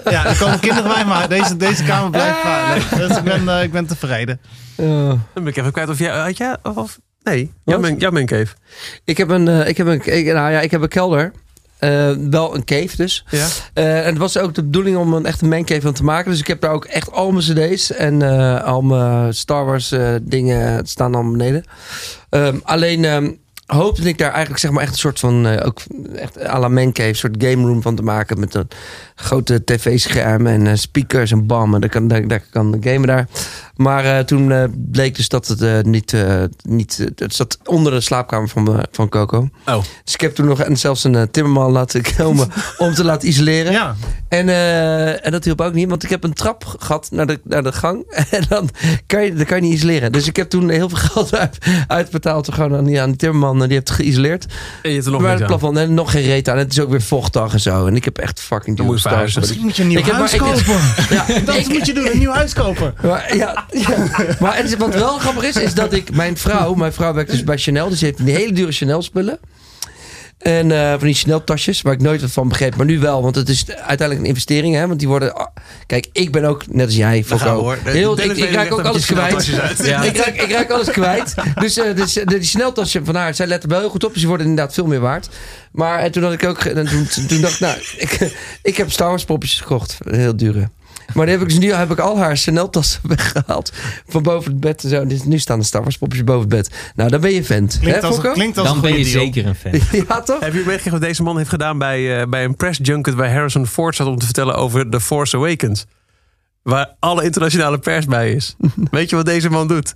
Speaker 3: ja, er komen kinderen bij, maar deze, deze kamer blijft veilig. Dus ik ben, eh, ik ben tevreden.
Speaker 4: Ja.
Speaker 2: Dan ben ik even kwijt of jij... Had jij of, of- nee, jouw, man, jouw mancave.
Speaker 4: Ik heb een, eh, ik heb een, ik, nou ja, ik heb een kelder. Eh, wel een cave dus.
Speaker 2: Ja.
Speaker 4: Eh, en het was ook de bedoeling om een echte mancave van te maken. Dus ik heb daar ook echt al mijn cd's en eh, al mijn Star Wars eh, dingen staan allemaal beneden. Ehm, alleen ehm, hoopte ik daar eigenlijk zeg maar echt een soort van, eh, ook echt à la mancave, een soort game room van te maken. Met een grote tv-scherm en eh, speakers en bam. En daar kan, daar, daar kan gamen daar. Maar eh, toen eh, bleek dus dat het eh, niet, eh, niet eh, het zat onder de slaapkamer van, me- van Coco.
Speaker 2: Oh.
Speaker 4: Dus ik heb toen nog en zelfs een eh, timmerman laten komen om te laten isoleren.
Speaker 3: Ja,
Speaker 4: En, eh, en dat hielp ook niet, want ik heb een trap gehad naar de, naar de gang. En dan kan, je, dan kan je niet isoleren. Dus ik heb toen heel veel geld uit, uitbetaald. Gewoon aan die, aan die timmerman, en die heeft het geïsoleerd.
Speaker 2: En je hebt er nog
Speaker 4: maar
Speaker 2: niks
Speaker 4: het
Speaker 2: aan.
Speaker 4: plafond, en nog geen reet aan. Het is ook weer vochtig en zo. En ik heb echt fucking
Speaker 2: Dan
Speaker 4: duur
Speaker 2: moet je
Speaker 4: Star Wars.
Speaker 2: verhuizen.
Speaker 3: misschien moet je een nieuw
Speaker 4: Ik heb
Speaker 3: huis
Speaker 4: maar- ik-
Speaker 3: kopen.
Speaker 4: Ja,
Speaker 3: Dat
Speaker 4: ik-
Speaker 3: moet je doen, een nieuw huis kopen.
Speaker 4: Maar, ja, ja. maar het is, wat wel grappig is, is dat ik mijn vrouw, mijn vrouw werkt dus bij Chanel, dus die heeft een hele dure Chanel spullen. En eh, van die Chanel tasjes, waar ik nooit wat van begreep. Maar nu wel, want het is uiteindelijk een investering. Hè? Want die worden... ah, Kijk, ik ben ook, net als jij,
Speaker 7: Daar gaan we,
Speaker 4: Fokko.
Speaker 7: Nou, hoor. De-
Speaker 4: Heel,
Speaker 7: Dennis
Speaker 4: ik, ik
Speaker 7: weet
Speaker 4: raak
Speaker 7: echt
Speaker 4: ook
Speaker 7: even
Speaker 4: alles
Speaker 7: die
Speaker 4: kwijt.
Speaker 7: sneltasjes uit.
Speaker 4: Ja. Ik, raak, ik raak alles kwijt. Dus eh, dus, eh, de, die sneltassen van haar, zij letten wel heel goed op. Dus die worden inderdaad veel meer waard. Maar en toen, had ik ook, ge- en toen, toen dacht ik, nou, ik, ik heb Star Wars poppetjes gekocht. Heel dure. Maar die heb ik, dus nu heb ik al haar Chanel-tassen weggehaald. Van boven het bed en zo. Dus nu staan de Star Wars poppetjes boven het bed. Nou, dan ben je vent.
Speaker 3: Klinkt
Speaker 4: Hè,
Speaker 3: als,
Speaker 4: Fokko?
Speaker 3: klinkt als
Speaker 6: Dan
Speaker 3: een
Speaker 6: ben je
Speaker 3: goede deal.
Speaker 6: zeker een fan.
Speaker 4: Ja, toch?
Speaker 2: Heb je meegekregen wat deze man heeft gedaan bij, eh, bij een press junket waar Harrison Ford zat om te vertellen over The Force Awakens? Waar alle internationale pers bij is. Weet je wat deze man doet?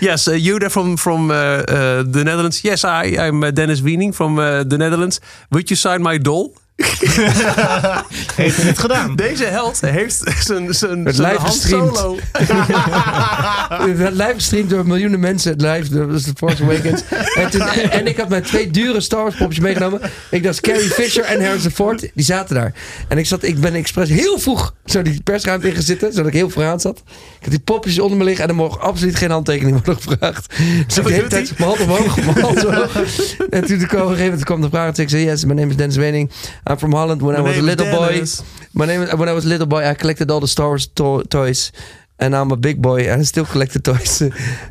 Speaker 2: Yes, uh, you there from, from eh, eh, the Netherlands. Yes, I, I'm eh, Dennis Wiening from eh, the Netherlands. Would you sign my doll?
Speaker 3: Heeft hij dit gedaan?
Speaker 2: Deze held heeft zijn, zijn,
Speaker 4: Het
Speaker 2: zijn
Speaker 4: lijf
Speaker 2: hand
Speaker 4: gestreamd.
Speaker 2: solo.
Speaker 4: Het live gestreamd door miljoenen mensen. Het live, dat was The Force Awakens. en, toen- en ik had mijn twee dure Star Wars popjes meegenomen. Ik dacht, Carrie Fisher en Harrison Ford, die zaten daar. En ik, zat, ik ben expres heel vroeg zo die persruimte in gaan zitten, zodat ik heel vooraan zat. Ik had die popjes onder me liggen en er mocht absoluut geen handtekening worden gevraagd. Dus ik de hele
Speaker 2: doet
Speaker 4: tijd mijn hand omhoog, mijn hand omhoog. En toen kwam op een gegeven moment kwam de vraag en ik zei, yes, my name is Dennis Wening. I'm from Holland when I was a little boy. My name, when I was a little boy, I collected all the Star Wars to- toys. And I'm a big boy and I still collect the toys.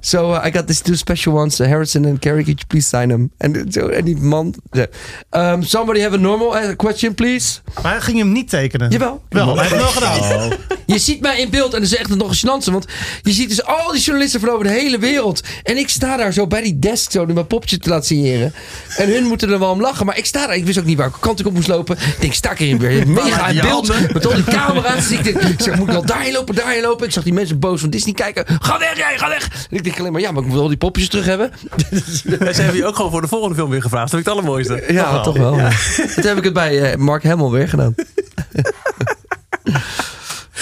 Speaker 4: so uh, I got these two special ones, uh, Harrison and Carrie. Could you please sign them? En zo, en die man. zei, Um, somebody have a normal eh, question, please?
Speaker 3: Maar hij ging hem niet tekenen.
Speaker 4: Jawel.
Speaker 3: Wel, hij heeft het wel gedaan.
Speaker 4: Je ziet mij in beeld en dat is echt nog een chance. Want je ziet dus al die journalisten van over de hele wereld. En ik sta daar zo bij die desk zo mijn popje te laten signeren. En hun moeten er wel om lachen. Maar ik sta daar. Ik wist ook niet waar ik kant ik op moest lopen. Ik denk, sta ik erin weer. Mega in beeld. Met al die camera's. Dus ik denk, ik zeg, moet ik wel daarheen lopen, daarheen lopen? Ik zag die mensen boos van Disney kijken. Ga weg jij, ga weg. En ik denk alleen maar, ja, maar ik moet al die popjes terug hebben.
Speaker 2: En ze hebben je ook gewoon voor de volgende film weer gevraagd. Dat vind ik het allermooiste.
Speaker 4: Nou, Ja, toch wel. Ja. Toen heb ik het bij eh, Mark Hamill weer gedaan.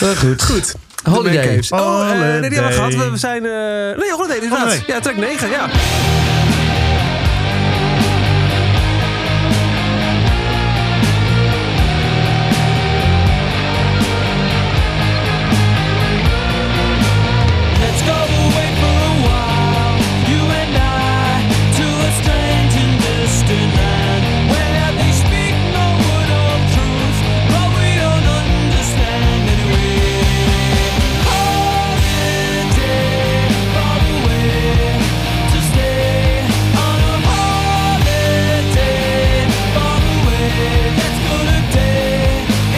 Speaker 4: Maar goed.
Speaker 2: Goed.
Speaker 4: Holiday.
Speaker 2: De Bear Caves. Oh, eh, nee, die hebben we gehad.
Speaker 3: Holiday.
Speaker 2: We, we zijn... eh nee, Holiday, inderdaad.
Speaker 3: Holiday.
Speaker 2: Ja, track 9, ja.
Speaker 5: Let's go away for a while, you and I, to a strange and distant land where they speak no word of truth, but we don't understand anyway. Holiday, far away to stay on a holiday, far away. Let's go today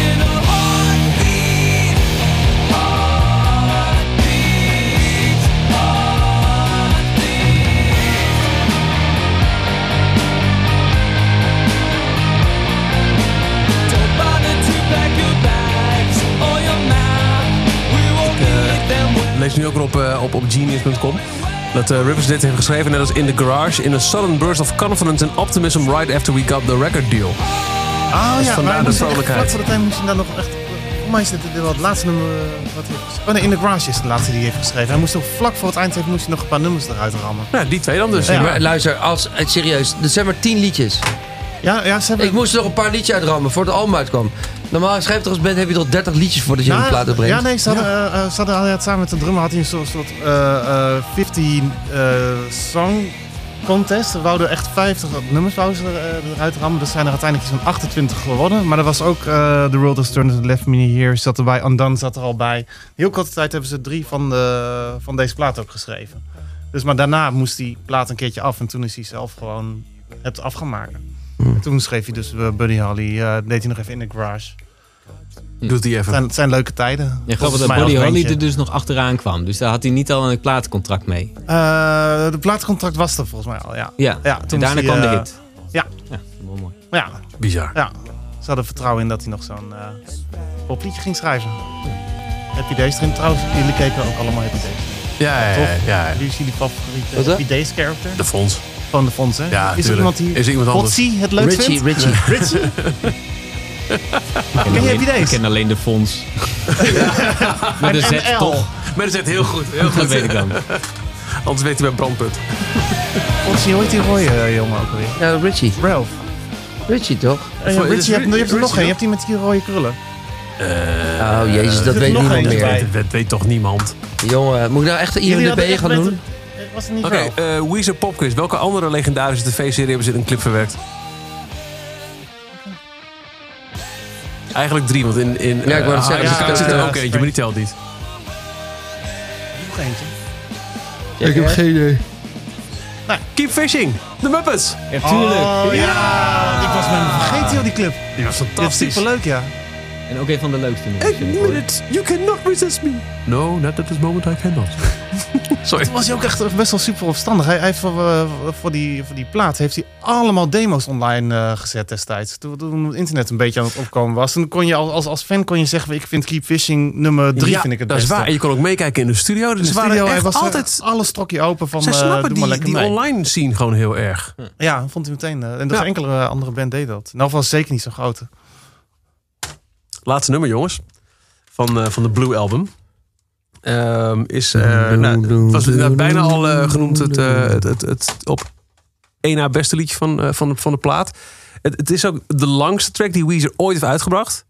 Speaker 5: in a heartbeat. Heartbeat, heartbeat. Don't bother to pack your bags or your map. We won't need them when
Speaker 2: lees nu ook weer op, eh, op, op genius.com. Dat eh, Rivers dit heeft geschreven, net als In the Garage. In a sudden burst of confidence and optimism right after we got the record deal.
Speaker 3: Oh ja,
Speaker 2: Dus vandaar
Speaker 3: maar
Speaker 2: de
Speaker 3: de vrolijkheid.
Speaker 2: vrolijkheid.
Speaker 3: Wat voor de tijd moest hij dan nog echt... Voor mij is dit wel het laatste nummer eh, wat hij heeft geschreven. Oh nee, In The Garage is de laatste die hij heeft geschreven. Hij moest nog vlak voor het eind heeft, moest hij nog een paar nummers eruit rammen.
Speaker 2: Nou, die twee dan dus.
Speaker 3: Ja.
Speaker 4: Maar luister, als, eh, serieus, er zijn maar tien liedjes.
Speaker 3: Ja, ja ze hebben...
Speaker 4: Ik moest er nog een paar liedjes uitrammen voordat het album uitkwam. Normaal schrijft er als band heb je toch 30 liedjes voordat je
Speaker 3: Ja,
Speaker 4: een plaat uitbrengt.
Speaker 3: Ja, nee, ze hadden, eh, eh, ze hadden hij had samen met de drummer had hij een soort, soort eh, eh, 15 eh, song contest. Ze wouden echt 50 nummers wouden ze, eh, eruit rammen. Dat zijn er uiteindelijk zo'n 28 geworden. Maar er was ook eh, The World Has Turned and Left Me Here zat erbij. Undone zat er al bij. Heel korte tijd hebben ze drie van, de, van deze plaat ook geschreven. Dus, maar daarna moest die plaat een keertje af. En toen is hij zelf gewoon het af gaan maken.
Speaker 4: Hmm.
Speaker 3: En toen schreef hij dus eh, Buddy Holly. eh, deed hij nog even in de garage.
Speaker 2: Doet die
Speaker 3: Het
Speaker 2: even.
Speaker 3: zijn, het zijn leuke tijden.
Speaker 6: Ja, grappig
Speaker 3: Volgens
Speaker 6: dat
Speaker 3: mij
Speaker 6: Buddy
Speaker 3: als
Speaker 6: Holly
Speaker 3: bandje.
Speaker 6: er dus nog achteraan kwam. Dus daar had hij niet al een plaatcontract mee.
Speaker 3: Eh, de plaatcontract was er volgens mij al, ja.
Speaker 6: Ja,
Speaker 3: Ja,
Speaker 6: en
Speaker 3: toen
Speaker 6: daarna
Speaker 3: moest
Speaker 6: kwam
Speaker 3: hij,
Speaker 6: de
Speaker 3: eh,
Speaker 6: hit.
Speaker 3: ja.
Speaker 6: ja wel mooi.
Speaker 3: Ja,
Speaker 2: Bizar.
Speaker 3: ja. Ze hadden vertrouwen in dat hij nog zo'n eh popliedje ging schrijven. Happy Days erin trouwens. Jullie keken ook allemaal Happy Days.
Speaker 2: Ja, ja, ja.
Speaker 3: Toch?
Speaker 2: ja, ja.
Speaker 3: Wie is jullie favoriete
Speaker 4: Wat, hè?
Speaker 3: Happy Days character?
Speaker 2: De fonds.
Speaker 3: Van de fonds,
Speaker 2: Ja,
Speaker 3: hè? is er
Speaker 2: tuurlijk.
Speaker 3: iemand die
Speaker 2: Is er iemand anders?
Speaker 3: Hotsie het leuk
Speaker 4: Richie,
Speaker 3: vindt?
Speaker 4: Richie.
Speaker 6: Ik ken
Speaker 3: je
Speaker 6: alleen-
Speaker 3: Happy Days?
Speaker 6: Ik ken alleen de fonds. Met een
Speaker 3: ML.
Speaker 6: zet toch?
Speaker 2: Maar dat is echt heel goed. Heel
Speaker 6: Dat
Speaker 2: goed.
Speaker 6: weet ik dan.
Speaker 2: Anders weet hij bij Brandpunt.
Speaker 3: Hotsie, hoe heet die rode eh, jongen ook alweer?
Speaker 4: Ja, Richie.
Speaker 3: Ralph.
Speaker 4: Richie toch?
Speaker 3: Eh,
Speaker 2: Voor-
Speaker 3: Richie, je hebt, je hebt er nog
Speaker 2: Richie,
Speaker 3: één. Je hebt die met die rode krullen.
Speaker 4: oh jezus, dat
Speaker 3: er
Speaker 4: weet
Speaker 3: nog
Speaker 4: niemand
Speaker 3: eentje
Speaker 4: meer.
Speaker 3: bij.
Speaker 2: Dat, weet toch niemand.
Speaker 4: Jongen, moet ik nou echt een
Speaker 3: Jullie hadden
Speaker 4: IMDB
Speaker 3: echt
Speaker 4: gaan
Speaker 3: beter-
Speaker 4: doen?
Speaker 3: eh, Was het niet
Speaker 2: Oké,
Speaker 3: Ralph?
Speaker 2: eh Weezer Popquiz. Welke andere legendarische tv-serie hebben ze in een clip verwerkt? Eigenlijk drie, want in, in
Speaker 4: Ja, ik
Speaker 2: eh,
Speaker 4: wou het zeggen,
Speaker 2: Harry
Speaker 3: dus
Speaker 2: Kaat
Speaker 3: ik-
Speaker 2: zit
Speaker 3: eh,
Speaker 2: er ook eentje, maar die telt niet.
Speaker 3: Nog eentje.
Speaker 4: Ik heb geen idee.
Speaker 2: Keep Fishing, The Muppets.
Speaker 6: Ja, tuurlijk.
Speaker 3: Oh, ja. Ik was me helemaal vergeten, joh, die club.
Speaker 2: Die was
Speaker 3: Dat is
Speaker 2: fantastisch.
Speaker 3: superleuk, ja.
Speaker 6: En ook een van de leukste nummers, vind ik, hoor.
Speaker 2: minute, you cannot resist me. No, not at this moment I cannot. Sorry.
Speaker 3: Toen was hij ook echt best wel super opstandig. Hij, hij heeft voor, eh, voor, die, voor die plaat heeft hij allemaal demo's online eh, gezet destijds. Toen, toen het internet een beetje aan het opkomen was. Toen kon je als, als, als fan kon je zeggen, ik vind Keep Fishing nummer drie
Speaker 2: Ja,
Speaker 3: vind ik het
Speaker 2: dat
Speaker 3: beste.
Speaker 2: is waar. En je kon ook meekijken in de studio. Dus
Speaker 3: Dus
Speaker 2: ze waren
Speaker 3: studio, hij
Speaker 2: echt
Speaker 3: was eh,
Speaker 2: altijd...
Speaker 3: alles strokje open van
Speaker 2: Zij
Speaker 3: eh,
Speaker 2: snappen
Speaker 3: doe
Speaker 2: die,
Speaker 3: maar lekker
Speaker 2: die
Speaker 3: mee.
Speaker 2: online scene gewoon heel erg.
Speaker 3: Ja, vond hij meteen. eh, en dat
Speaker 2: Ja.
Speaker 3: enkele eh, andere band deed dat. Nou was zeker niet zo'n grote.
Speaker 2: Laatste nummer, jongens. Van, eh, van de Blue Album. Ehm, is, eh, nou, het was inderdaad bijna al eh, genoemd het, eh, het, het, het op één na beste liedje van, eh, van, de, van de plaat. Het, het is ook de langste track die Weezer ooit heeft uitgebracht.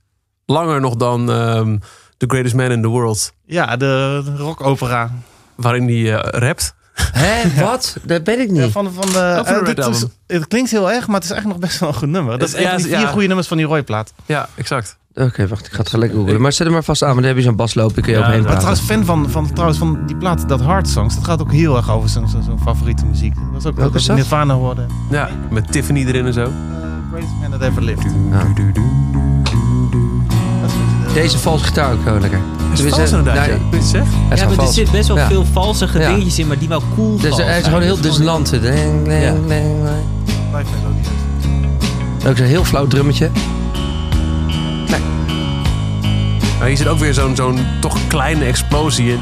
Speaker 2: Langer nog dan ehm, The Greatest Man in the World.
Speaker 3: Ja, de, de rockopera.
Speaker 2: Waarin hij eh, rapt.
Speaker 4: Hé, wat? Dat ben ik
Speaker 3: Ja,
Speaker 4: niet.
Speaker 3: van, van de,
Speaker 2: Oh, van de
Speaker 3: eh,
Speaker 2: Red
Speaker 3: het, is-
Speaker 2: Album.
Speaker 3: het klinkt heel erg, maar het is eigenlijk nog best wel een goed nummer. Dat is
Speaker 2: Ja,
Speaker 3: echt die
Speaker 2: ja.
Speaker 3: vier goede nummers van die Roy-plaat.
Speaker 2: Ja, exact.
Speaker 4: Oké, wacht, ik ga het gelijk googlen. Maar zet hem maar vast aan, want dan heb je zo'n baslopen, kun je
Speaker 2: Ja,
Speaker 4: overheen
Speaker 2: dat-
Speaker 3: Maar
Speaker 4: praten.
Speaker 3: trouwens, fan van, van, trouwens van die plaat, dat Hard Songs, dat gaat ook heel erg over zijn, zijn, zijn favoriete muziek. Dat is ook
Speaker 4: Welke
Speaker 3: wat
Speaker 4: is
Speaker 3: we
Speaker 4: dat?
Speaker 3: Nirvana hoorden.
Speaker 2: Ja, met Tiffany erin en zo.
Speaker 3: Greatest Man That Ever Lived. Dat is, eh,
Speaker 4: Deze vals gitaar ook gewoon lekker.
Speaker 2: Is het vals inderdaad, ja. Goed zeg.
Speaker 4: Hij is
Speaker 6: Ja,
Speaker 4: gewoon
Speaker 6: maar er
Speaker 4: vals.
Speaker 6: zit best wel
Speaker 4: Ja.
Speaker 6: veel valsige
Speaker 4: Ja.
Speaker 6: dingetjes in, maar die wel cool
Speaker 4: Dus
Speaker 6: vals
Speaker 4: hij is
Speaker 6: zijn.
Speaker 4: gewoon
Speaker 6: Dat
Speaker 4: heel dislant. Ding, ding,
Speaker 6: Ja.
Speaker 4: ding, ding.
Speaker 3: live melodies.
Speaker 4: Ook zo'n heel flauw drummetje.
Speaker 2: Maar Nou, hier zit ook weer zo'n zo'n toch kleine explosie in.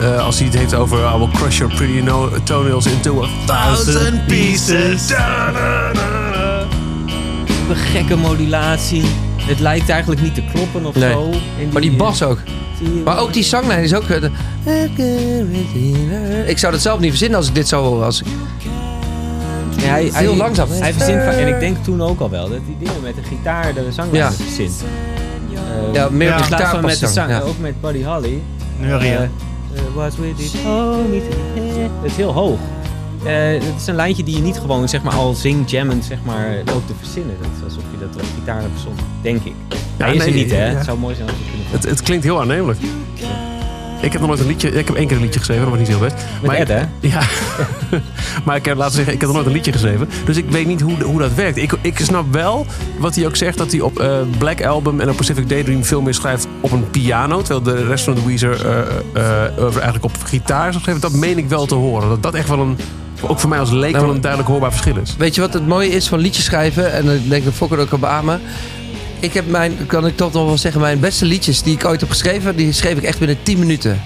Speaker 2: Eh, als hij het heeft over I will crush your pretty no toenails into a thousand pieces. Da, da, da, da.
Speaker 6: Ook Een gekke modulatie. Het lijkt eigenlijk niet te kloppen of
Speaker 4: Nee.
Speaker 6: zo. eh,
Speaker 4: Maar die bas ook.
Speaker 6: Zie
Speaker 4: Maar ook die zanglijn is ook... eh, de- Ik zou dat zelf niet verzinnen als ik dit zou horen. Als ik...
Speaker 6: Ja, hij,
Speaker 4: Heel
Speaker 6: hij-
Speaker 4: langzaam.
Speaker 6: Hij verzint vaak- en ik denk toen ook al wel, dat die dingen met de gitaar de zanglijn
Speaker 4: Ja.
Speaker 6: verzint. Eh,
Speaker 4: Ja, meer
Speaker 3: Ja.
Speaker 4: op de
Speaker 6: in plaats
Speaker 4: gitaar
Speaker 6: van met
Speaker 4: past
Speaker 6: de
Speaker 4: dan.
Speaker 6: zang,
Speaker 4: Ja.
Speaker 6: ook met Buddy Holly.
Speaker 3: Nu
Speaker 6: Eh,
Speaker 3: Aria.
Speaker 6: eh, was with it, oh, niet Het is heel hoog. Eh, het is een lijntje die je niet gewoon zeg maar, al zing, jammend zeg maar, loopt te verzinnen. Dat is alsof je dat op gitaar hebt verzonnen, denk ik. hij is
Speaker 2: nee,
Speaker 6: er niet, hè?
Speaker 2: ja.
Speaker 6: Het zou mooi zijn als je het kunnen
Speaker 2: Het, het klinkt heel aannemelijk. Ik heb nog nooit een liedje... Ik heb één keer een liedje geschreven, dat was niet zo best.
Speaker 6: Met Ed, hè?
Speaker 2: Ja. maar ik heb, laten we zeggen, ik heb nog nooit een liedje geschreven. Dus ik weet niet hoe, hoe dat werkt. Ik, ik snap wel wat hij ook zegt. Dat hij op eh, Black Album en op Pacific Daydream veel meer schrijft op een piano. Terwijl de rest van de Weezer eh, eh, eh, eigenlijk op gitaar is geschreven. Dat meen ik wel te horen. Dat dat echt wel een... Ook voor mij als leek
Speaker 4: Nou,
Speaker 2: wel een duidelijk hoorbaar verschil is.
Speaker 4: Weet je wat het mooie is van liedjes schrijven? En ik denk dat Fokker ook kan beamen. Ik heb mijn, kan ik toch nog wel zeggen, mijn beste liedjes die ik ooit heb geschreven, die schreef ik echt binnen 10 minuten.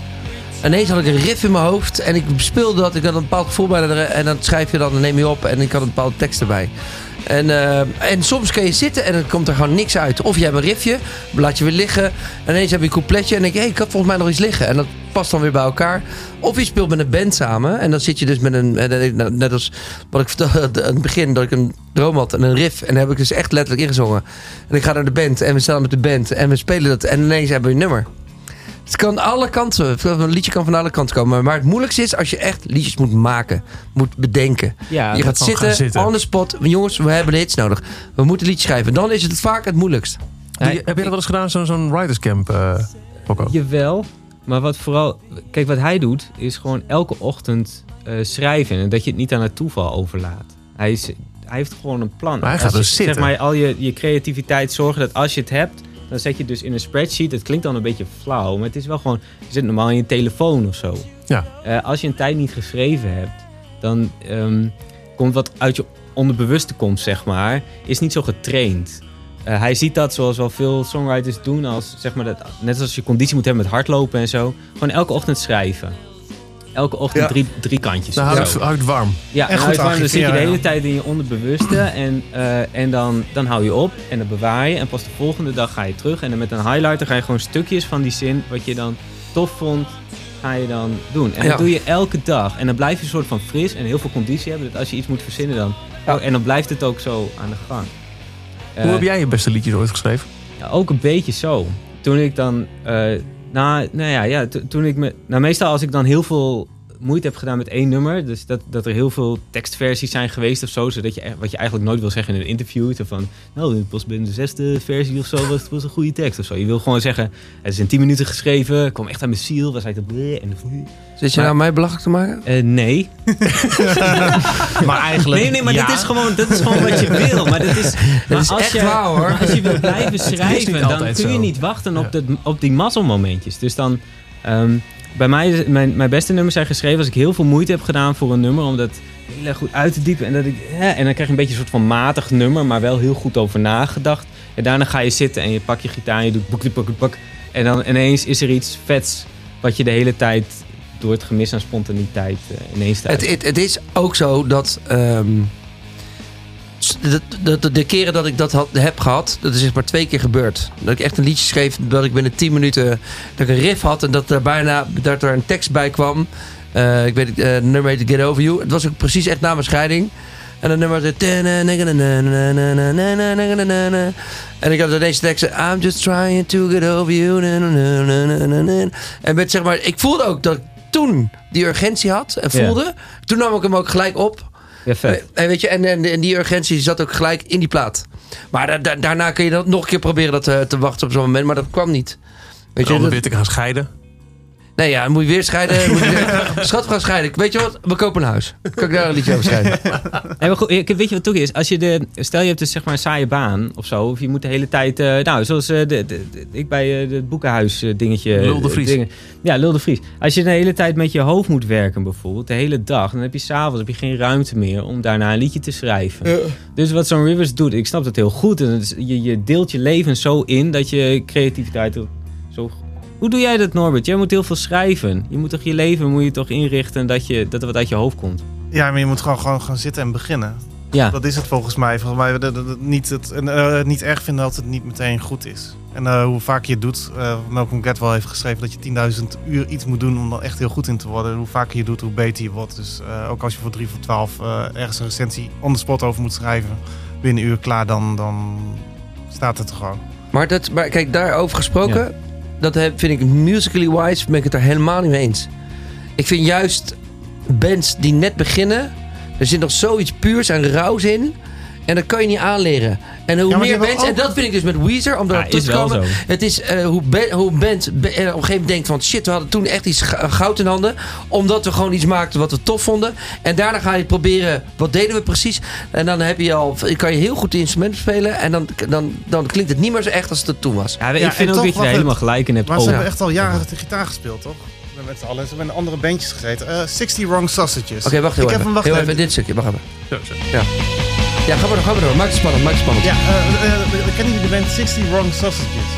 Speaker 4: Ineens had ik een riff in mijn hoofd en ik speelde dat. Ik had een bepaald gevoel bij de, en dan schrijf je dat en neem je op en ik had een bepaalde tekst erbij. En, eh, en soms kun je zitten en dan komt er gewoon niks uit. Of je hebt een riffje, laat je weer liggen. En ineens heb je een coupletje en denk je, hey, ik had volgens mij nog iets liggen. En dat past dan weer bij elkaar. Of je speelt met een band samen en dan zit je dus met een... en dan- nou, Net als wat ik vertelde aan het begin, dat ik een droom had en een riff. En daar heb ik dus echt letterlijk ingezongen. En ik ga naar de band en we staan met de band en we spelen dat. En ineens hebben we een nummer. Het kan alle kanten. Een liedje kan van alle kanten komen. Maar het moeilijkste is als je echt liedjes moet maken. Moet bedenken.
Speaker 6: Ja,
Speaker 4: je gaat
Speaker 2: gewoon
Speaker 4: zitten,
Speaker 2: gaan zitten.
Speaker 4: on the spot. Jongens, we hebben hits nodig. We moeten liedjes schrijven. Dan is het vaak het moeilijkst.
Speaker 2: Doe je- heb je dat wel eens gedaan, zo'n zo'n writerscamp, eh Fokko?
Speaker 6: Jawel, maar wat vooral... Kijk, wat hij doet, is gewoon elke ochtend eh, schrijven. En dat je het niet aan het toeval overlaat. Hij, is, hij heeft gewoon een plan.
Speaker 2: Maar hij
Speaker 6: Als
Speaker 2: gaat
Speaker 6: je,
Speaker 2: dus zitten.
Speaker 6: Zeg maar, al je, je creativiteit zorgen dat als je het hebt... dan zet je het dus in een spreadsheet. Het klinkt dan een beetje flauw, maar het is wel gewoon... Je zit normaal in je telefoon of zo.
Speaker 2: Ja.
Speaker 6: Eh, als je een tijd niet geschreven hebt, dan ehm, komt wat uit je onderbewuste komt, zeg maar... is niet zo getraind. Eh, hij ziet dat zoals wel veel songwriters doen. Als, zeg maar dat, net als je conditie moet hebben met hardlopen en zo. Gewoon elke ochtend schrijven. Elke ochtend
Speaker 3: Ja.
Speaker 6: drie, drie kantjes.
Speaker 2: Nou,
Speaker 6: of
Speaker 2: hou
Speaker 6: zo.
Speaker 2: het- hou het warm.
Speaker 6: ja, en
Speaker 3: goed
Speaker 6: uit- dan zit je
Speaker 3: archiveren,
Speaker 6: de hele
Speaker 3: ja.
Speaker 6: tijd in je onderbewuste. En, eh, en dan, dan hou je op en dan bewaar je. En pas de volgende dag ga je terug. En dan met een highlighter ga je gewoon stukjes van die zin... wat je dan tof vond, ga je dan doen. En
Speaker 4: Ja.
Speaker 6: dat doe je elke dag. En dan blijf je een soort van fris en heel veel conditie hebben. Dat als je iets moet verzinnen dan... oh,
Speaker 4: Ja.
Speaker 6: En dan blijft het ook zo aan de gang.
Speaker 2: Hoe
Speaker 6: Eh,
Speaker 2: heb jij je beste liedjes ooit geschreven?
Speaker 6: ja, ook een beetje zo. Toen ik dan. eh, na, nou ja, ja to- toen ik me. Nou, meestal als ik dan heel veel moeite heb gedaan met één nummer. Dus dat, dat er heel veel tekstversies zijn geweest of zo. Zodat je, echt- wat je eigenlijk nooit wil zeggen in een interview. Zo van, nou, het was bij de zesde versie of zo was het was een goede tekst of zo. Je wil gewoon zeggen, het is in tien minuten geschreven. kwam echt aan mijn ziel. Was hij te bleh en...
Speaker 4: Zit je
Speaker 6: Maar-
Speaker 4: nou mij belachelijk te maken?
Speaker 6: Eh, nee.
Speaker 3: Maar eigenlijk.
Speaker 6: Nee, nee, maar
Speaker 3: ja.
Speaker 6: dit, is gewoon, dit is gewoon wat je wil. Maar dit is, maar
Speaker 4: is
Speaker 6: als
Speaker 4: echt
Speaker 6: je,
Speaker 4: waar, hoor.
Speaker 6: maar Als je wil blijven
Speaker 2: niet
Speaker 6: schrijven, dan kun
Speaker 2: altijd
Speaker 6: je
Speaker 2: zo.
Speaker 6: niet wachten op, dat, op die mazzelmomentjes. Dus dan, ehm, bij mij, is- mijn, mijn beste nummers zijn geschreven als ik heel veel moeite heb gedaan voor een nummer. Om dat heel erg goed uit te diepen. En, dat ik, hè, en dan krijg je een beetje een soort van matig nummer, maar wel heel goed over nagedacht. En daarna ga je zitten en je pakt je gitaar en je doet boek, boek, boek, boek. En dan ineens is er iets vets wat je de hele tijd door het gemis aan spontaniteit eh, ineens staat.
Speaker 4: Het, het, het is ook zo dat, ehm, s- dat, dat- dat de keren dat ik dat had, heb gehad, dat is zeg maar twee keer gebeurd. Dat ik echt een liedje schreef, dat ik binnen 10 minuten dat ik een riff had en dat er bijna dat er een tekst bij kwam. Eh, ik weet het, eh, het nummer heette Get Over You. Het was ook precies echt na mijn scheiding. En dat nummer de En ik had deze tekst. I'm just trying to get over you. En met zeg maar, ik voelde ook dat ik toen die urgentie had en
Speaker 6: Ja.
Speaker 4: voelde. Toen nam ik hem ook gelijk op.
Speaker 6: Ja, vet.
Speaker 4: Eh, En, weet je, en, en, en die urgentie zat ook gelijk in die plaat. Maar da- da- daarna kun je dat nog een keer proberen dat, eh, te wachten op zo'n moment. Maar dat kwam niet. Weet
Speaker 2: Om
Speaker 4: je, dat-
Speaker 2: weer te gaan scheiden.
Speaker 4: nee ja, dan moet je weer scheiden. moet je weer- Schat, we gaan scheiden. Weet je wat? We kopen een huis. Kan ik daar een liedje over schrijven?
Speaker 6: Nee, maar goed, ik- weet je wat het ook is? Als je de, stel je hebt dus zeg maar een saaie baan of zo. Of je moet de hele tijd... eh, nou, zoals eh, de, de- de- ik bij eh, het boekenhuis eh, dingetje...
Speaker 2: Lul de Vries.
Speaker 6: dingen. ja, Lul de Vries. Als je de hele tijd met je hoofd moet werken bijvoorbeeld. De hele dag. Dan heb je s'avonds heb je geen ruimte meer om daarna een liedje te schrijven. Dus wat zo'n Rivers doet, ik snap dat heel goed. En het is- je, je deelt je leven zo in dat je creativiteit ook zo... Hoe doe jij dat, Norbert? Jij moet heel veel schrijven. Je moet toch je leven moet je toch inrichten dat, je, dat er wat uit je hoofd komt.
Speaker 3: Ja, maar je moet gewoon, gewoon gaan zitten en beginnen.
Speaker 6: Ja.
Speaker 3: Dat is het volgens mij. Volgens mij dat, dat- dat niet, het, en, eh, het niet erg vinden dat het niet meteen goed is. En eh, hoe vaak je het doet, eh, Malcolm Gladwell heeft geschreven dat je 10.000 uur iets moet doen om dan echt heel goed in te worden. Hoe vaker je het doet, hoe beter je wordt. Dus eh, ook als je voor 3 voor 12 eh, ergens een recensie on the spot over moet schrijven, binnen een uur klaar, dan, dan staat het er gewoon.
Speaker 4: Maar, dat, maar kijk, daarover gesproken, dat heb- vind ik musically wise, ben ik het er helemaal niet mee eens. Ik vind juist bands die net beginnen, er zit nog zoiets puurs en raus in. En dat kan je niet aanleren. En hoe
Speaker 3: maar die
Speaker 4: meer
Speaker 3: hebben
Speaker 4: bands, en
Speaker 3: ook-
Speaker 4: dat vind ik dus met Weezer, om daar
Speaker 6: Ja,
Speaker 4: toe
Speaker 6: is
Speaker 4: te
Speaker 6: wel
Speaker 4: komen.
Speaker 6: zo.
Speaker 4: Het is eh, hoe, ba- hoe bands be- eh, op een gegeven moment denkt van shit, we hadden toen echt iets g- goud in handen. Omdat we gewoon iets maakten wat we tof vonden. En daarna ga je proberen, wat deden we precies? En dan heb je al, kan je heel goed de instrumenten spelen. En dan, dan, dan klinkt het niet meer zo echt als het toen was.
Speaker 6: Ja,
Speaker 3: Ja,
Speaker 6: ik vind
Speaker 3: en
Speaker 6: ook
Speaker 3: toch
Speaker 6: dat je
Speaker 3: was
Speaker 6: daar
Speaker 3: het-
Speaker 6: helemaal gelijk in hebt.
Speaker 3: Maar ze
Speaker 6: Oh,
Speaker 3: hebben echt al jaren de gitaar gespeeld, toch? Met z'n allen. Ze hebben in andere bandjes gezeten. Eh 60 Wrong Sausages.
Speaker 4: Oké, wacht heel
Speaker 3: Ik heb
Speaker 4: even.
Speaker 3: hem, wacht
Speaker 4: heel
Speaker 3: even.
Speaker 4: even, dit stukje, wacht even.
Speaker 2: Zo, zo.
Speaker 4: Ja, ga maar door, ga maar door. Maak het spannend, maak het spannend.
Speaker 3: Ja, eh, eh, kennen jullie de band 60 Wrong Sausages?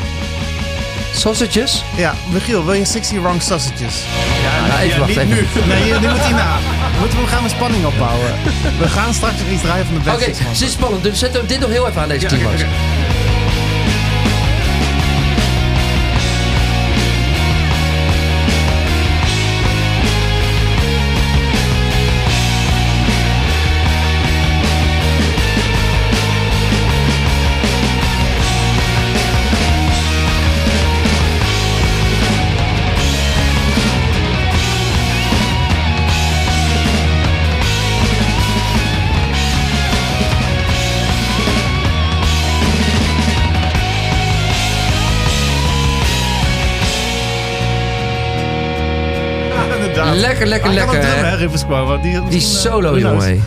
Speaker 4: Sausages?
Speaker 3: Ja, Michiel, wil je 60 Wrong Sausages?
Speaker 4: Ja, even wachten. even.
Speaker 3: Nee, je- die moet hierna. Moeten we gaan een spanning opbouwen. We gaan straks nog iets draaien van de band
Speaker 4: Oké,
Speaker 3: Six Wrong
Speaker 4: dit is spannend. Dus zet dit nog heel even aan deze climax.
Speaker 3: Ja, inderdaad.
Speaker 4: Lekker, lekker,
Speaker 3: Hij kan
Speaker 4: lekker,
Speaker 3: ook drummen, hè,
Speaker 4: hè?
Speaker 3: Rivers Cuomo. Die, eh,
Speaker 4: Die solo, jongen. hé.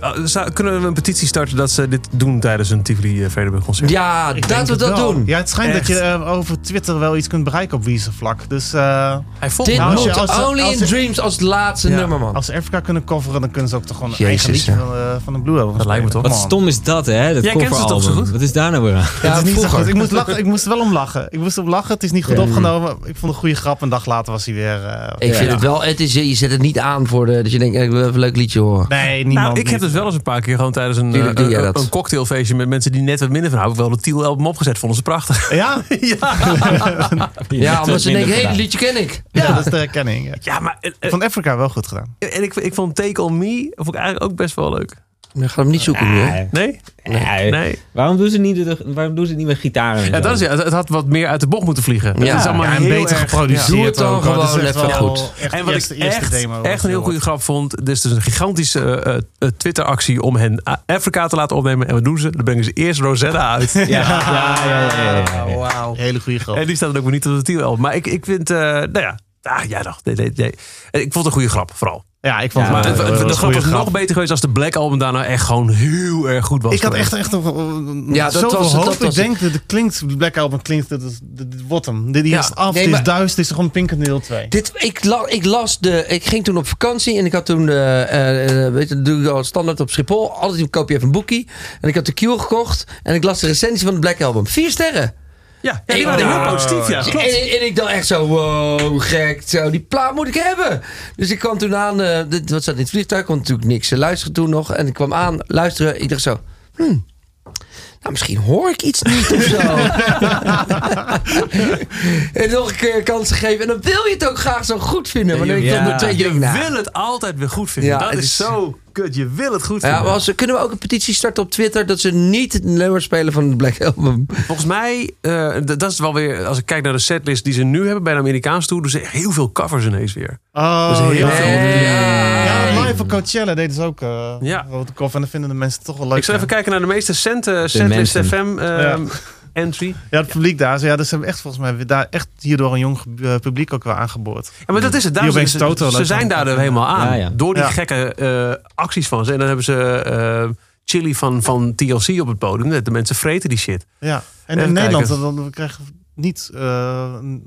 Speaker 2: Eh, zou- Kunnen we een petitie starten dat ze dit doen tijdens een Tivoli Vredeburg concert?
Speaker 4: Ja, dat we dat doen.
Speaker 3: Ja, het schijnt
Speaker 2: Echt.
Speaker 3: dat je eh, over Twitter wel iets kunt bereiken op Weezer vlak. Dus eh,
Speaker 2: Hij volgt
Speaker 4: Dit
Speaker 2: me.
Speaker 3: als je-
Speaker 4: moet
Speaker 3: als je-
Speaker 4: Only
Speaker 3: als
Speaker 4: in
Speaker 3: je-
Speaker 4: Dreams als het laatste
Speaker 2: Ja,
Speaker 4: nummer, man.
Speaker 3: als ze Africa kunnen coveren, dan kunnen ze ook toch gewoon een eigen
Speaker 4: Jezus,
Speaker 3: liedje
Speaker 4: ja.
Speaker 3: van, eh, van de Blue Album
Speaker 2: Dat lijkt me
Speaker 3: spelen.
Speaker 6: Wat
Speaker 3: Man.
Speaker 6: stom is dat, hè? Dat
Speaker 2: Jij kent ze toch
Speaker 6: coveralbum.
Speaker 2: zo goed?
Speaker 6: Wat is daar nou weer aan?
Speaker 3: Het
Speaker 4: Ja,
Speaker 3: is niet zo goed.
Speaker 4: vroeger.
Speaker 3: Ik moest, lachen. ik moest er wel om lachen. Ik moest om lachen. Het is niet goed opgenomen. Ik vond een goede grap. Een dag later was hij weer... eh,
Speaker 4: Ik vind
Speaker 3: ja.
Speaker 4: het wel, het is, je zet het niet aan voor de, dat je denkt, eh, ik wil even een leuk liedje horen.
Speaker 3: Nee, niemand.
Speaker 2: Nou, ik heb
Speaker 3: niet.
Speaker 2: dus wel eens een paar keer gewoon tijdens een,
Speaker 4: Tuurlijk
Speaker 2: eh,
Speaker 4: doe jij
Speaker 2: een-
Speaker 4: dat.
Speaker 2: een cocktailfeestje met mensen die net wat minder van houden. Wel de Tiel album opgezet, vonden ze prachtig.
Speaker 3: Ja?
Speaker 4: Ja, omdat ze denken, hé,
Speaker 6: gedaan.
Speaker 4: dit liedje ken ik.
Speaker 3: Ja, dat is de herkenning. ja.
Speaker 2: Ja, maar eh,
Speaker 3: Ik
Speaker 2: eh,
Speaker 3: vond Africa wel goed gedaan.
Speaker 2: en ik, ik vond Take On Me vond ik eigenlijk ook best wel leuk.
Speaker 4: Ik ga hem niet zoeken
Speaker 3: Ah,
Speaker 4: nu. hè?
Speaker 2: Nee?
Speaker 6: Nee.
Speaker 2: Nee.
Speaker 6: Waarom doen ze niet, de- waarom doen ze het niet met gitaren? en
Speaker 2: Ja,
Speaker 6: zo?
Speaker 2: dat is, het het had wat meer uit de bocht moeten vliegen. Het
Speaker 4: Ja.
Speaker 2: is allemaal
Speaker 3: Ja, en
Speaker 2: heel
Speaker 3: beter
Speaker 2: erg-
Speaker 3: geproduceerd.
Speaker 4: Doe het dan
Speaker 3: ook, hoor.
Speaker 4: gewoon
Speaker 3: is echt
Speaker 4: even
Speaker 3: wel
Speaker 4: goed.
Speaker 3: Echt
Speaker 2: en wat
Speaker 3: eerste,
Speaker 2: ik
Speaker 3: eerste
Speaker 2: echt,
Speaker 3: demo was
Speaker 2: echt een heel goede grap vond. Dus, dus een gigantische eh, eh, eh, Twitter-actie om hen A- Afrika te laten opnemen. En wat doen ze? Dan brengen ze eerst Rosetta uit.
Speaker 6: Ja, ja, ja, ja, ja, ja.
Speaker 4: Oh, Wauw.
Speaker 3: Hele goede grap.
Speaker 2: En die staat dan ook weer niet op de titel. Maar ik, ik vind, eh, nou ja. Ah, ja, dacht. Nee, nee, nee. Ik vond het een goede grap, vooral.
Speaker 3: Ja, ik vond
Speaker 6: Ja,
Speaker 2: maar
Speaker 3: het
Speaker 2: het-
Speaker 3: wel-
Speaker 2: het-
Speaker 3: wel
Speaker 2: de
Speaker 3: een
Speaker 2: grap
Speaker 3: goede
Speaker 2: was nog beter geweest als de Black Album daarna echt gewoon heel erg goed was.
Speaker 3: Ik had
Speaker 2: geweest.
Speaker 3: echt, echt een,
Speaker 4: Ja,
Speaker 3: ja,
Speaker 4: dat
Speaker 3: dat zoveel
Speaker 4: was het,
Speaker 3: hoop.
Speaker 4: dat was
Speaker 3: ik denk dat het klinkt, Black Album klinkt, dat is dat is bottom. Dit die
Speaker 2: Ja.
Speaker 3: is af,
Speaker 4: Nee,
Speaker 3: dit
Speaker 4: maar-
Speaker 3: is duist, dit is gewoon Pinkendeel 2.
Speaker 4: Dit, ik, la- ik las de. Ik ging toen op vakantie en ik had toen. eh, eh, eh, weet je, dat doe ik al standaard op Schiphol. Altijd een koopje even een boekie. En ik had de Cure gekocht. En ik las de recensie van de Black Album. Vier sterren.
Speaker 2: Ja, ja
Speaker 4: Ik
Speaker 2: die waren
Speaker 4: dacht-
Speaker 2: heel positief, ja.
Speaker 4: En, en ik dacht echt zo, wow, gek, zo, die plaat moet ik hebben. Dus ik kwam toen aan, eh, dit- wat zat in het vliegtuig, kon natuurlijk niks eh, luisteren toen nog. En ik kwam aan, luisteren, ik dacht zo, hmm, nou misschien hoor ik iets niet of zo. en nog een keer kansen geven. En dan wil je het ook graag zo goed vinden. Maar dan denk ik
Speaker 6: Ja,
Speaker 4: dan meteen,
Speaker 2: Je
Speaker 4: denk ik, nou,
Speaker 2: wil het altijd weer goed vinden.
Speaker 4: Ja,
Speaker 2: dat
Speaker 4: het
Speaker 2: is
Speaker 4: is-
Speaker 2: zo kut. Je wil het goed vinden.
Speaker 4: ja, maar als, kunnen we ook een petitie starten op Twitter dat ze niet het nummer spelen van de Black Album?
Speaker 2: Volgens mij, eh, d- dat is wel weer... Als ik kijk naar de setlist die ze nu hebben bij de Amerikaanse tour... doen ze echt heel veel covers ineens weer.
Speaker 3: Oh,
Speaker 2: Dat is heel
Speaker 3: ja.
Speaker 2: veel.
Speaker 3: Ja, live op Coachella deden ze ook eh
Speaker 2: Ja.
Speaker 3: ja. de koffer. En dat vinden de mensen toch wel leuk.
Speaker 2: ik zal even
Speaker 3: ja.
Speaker 2: kijken naar de meest recente setlist
Speaker 6: mensen.
Speaker 2: FM eh,
Speaker 3: Ja.
Speaker 2: entry.
Speaker 3: Ja, het publiek daar. Ze, ja, dus ze hebben echt volgens mij weer daar echt hierdoor een jong eh, publiek ook wel aangeboord.
Speaker 2: Ja, maar dat is het. Daarom
Speaker 3: opeens
Speaker 2: ze,
Speaker 3: Toto
Speaker 2: ze
Speaker 3: leuk
Speaker 2: zijn
Speaker 3: vond.
Speaker 2: daar er helemaal aan.
Speaker 6: Ja, ja.
Speaker 2: Door die
Speaker 3: Ja.
Speaker 2: gekke eh, acties van ze. En dan hebben ze eh, Chili van, van TLC op het podium. De mensen vreten die shit.
Speaker 3: Ja. En
Speaker 2: Even
Speaker 3: in Nederland, dan, dan krijgen we niet eh, een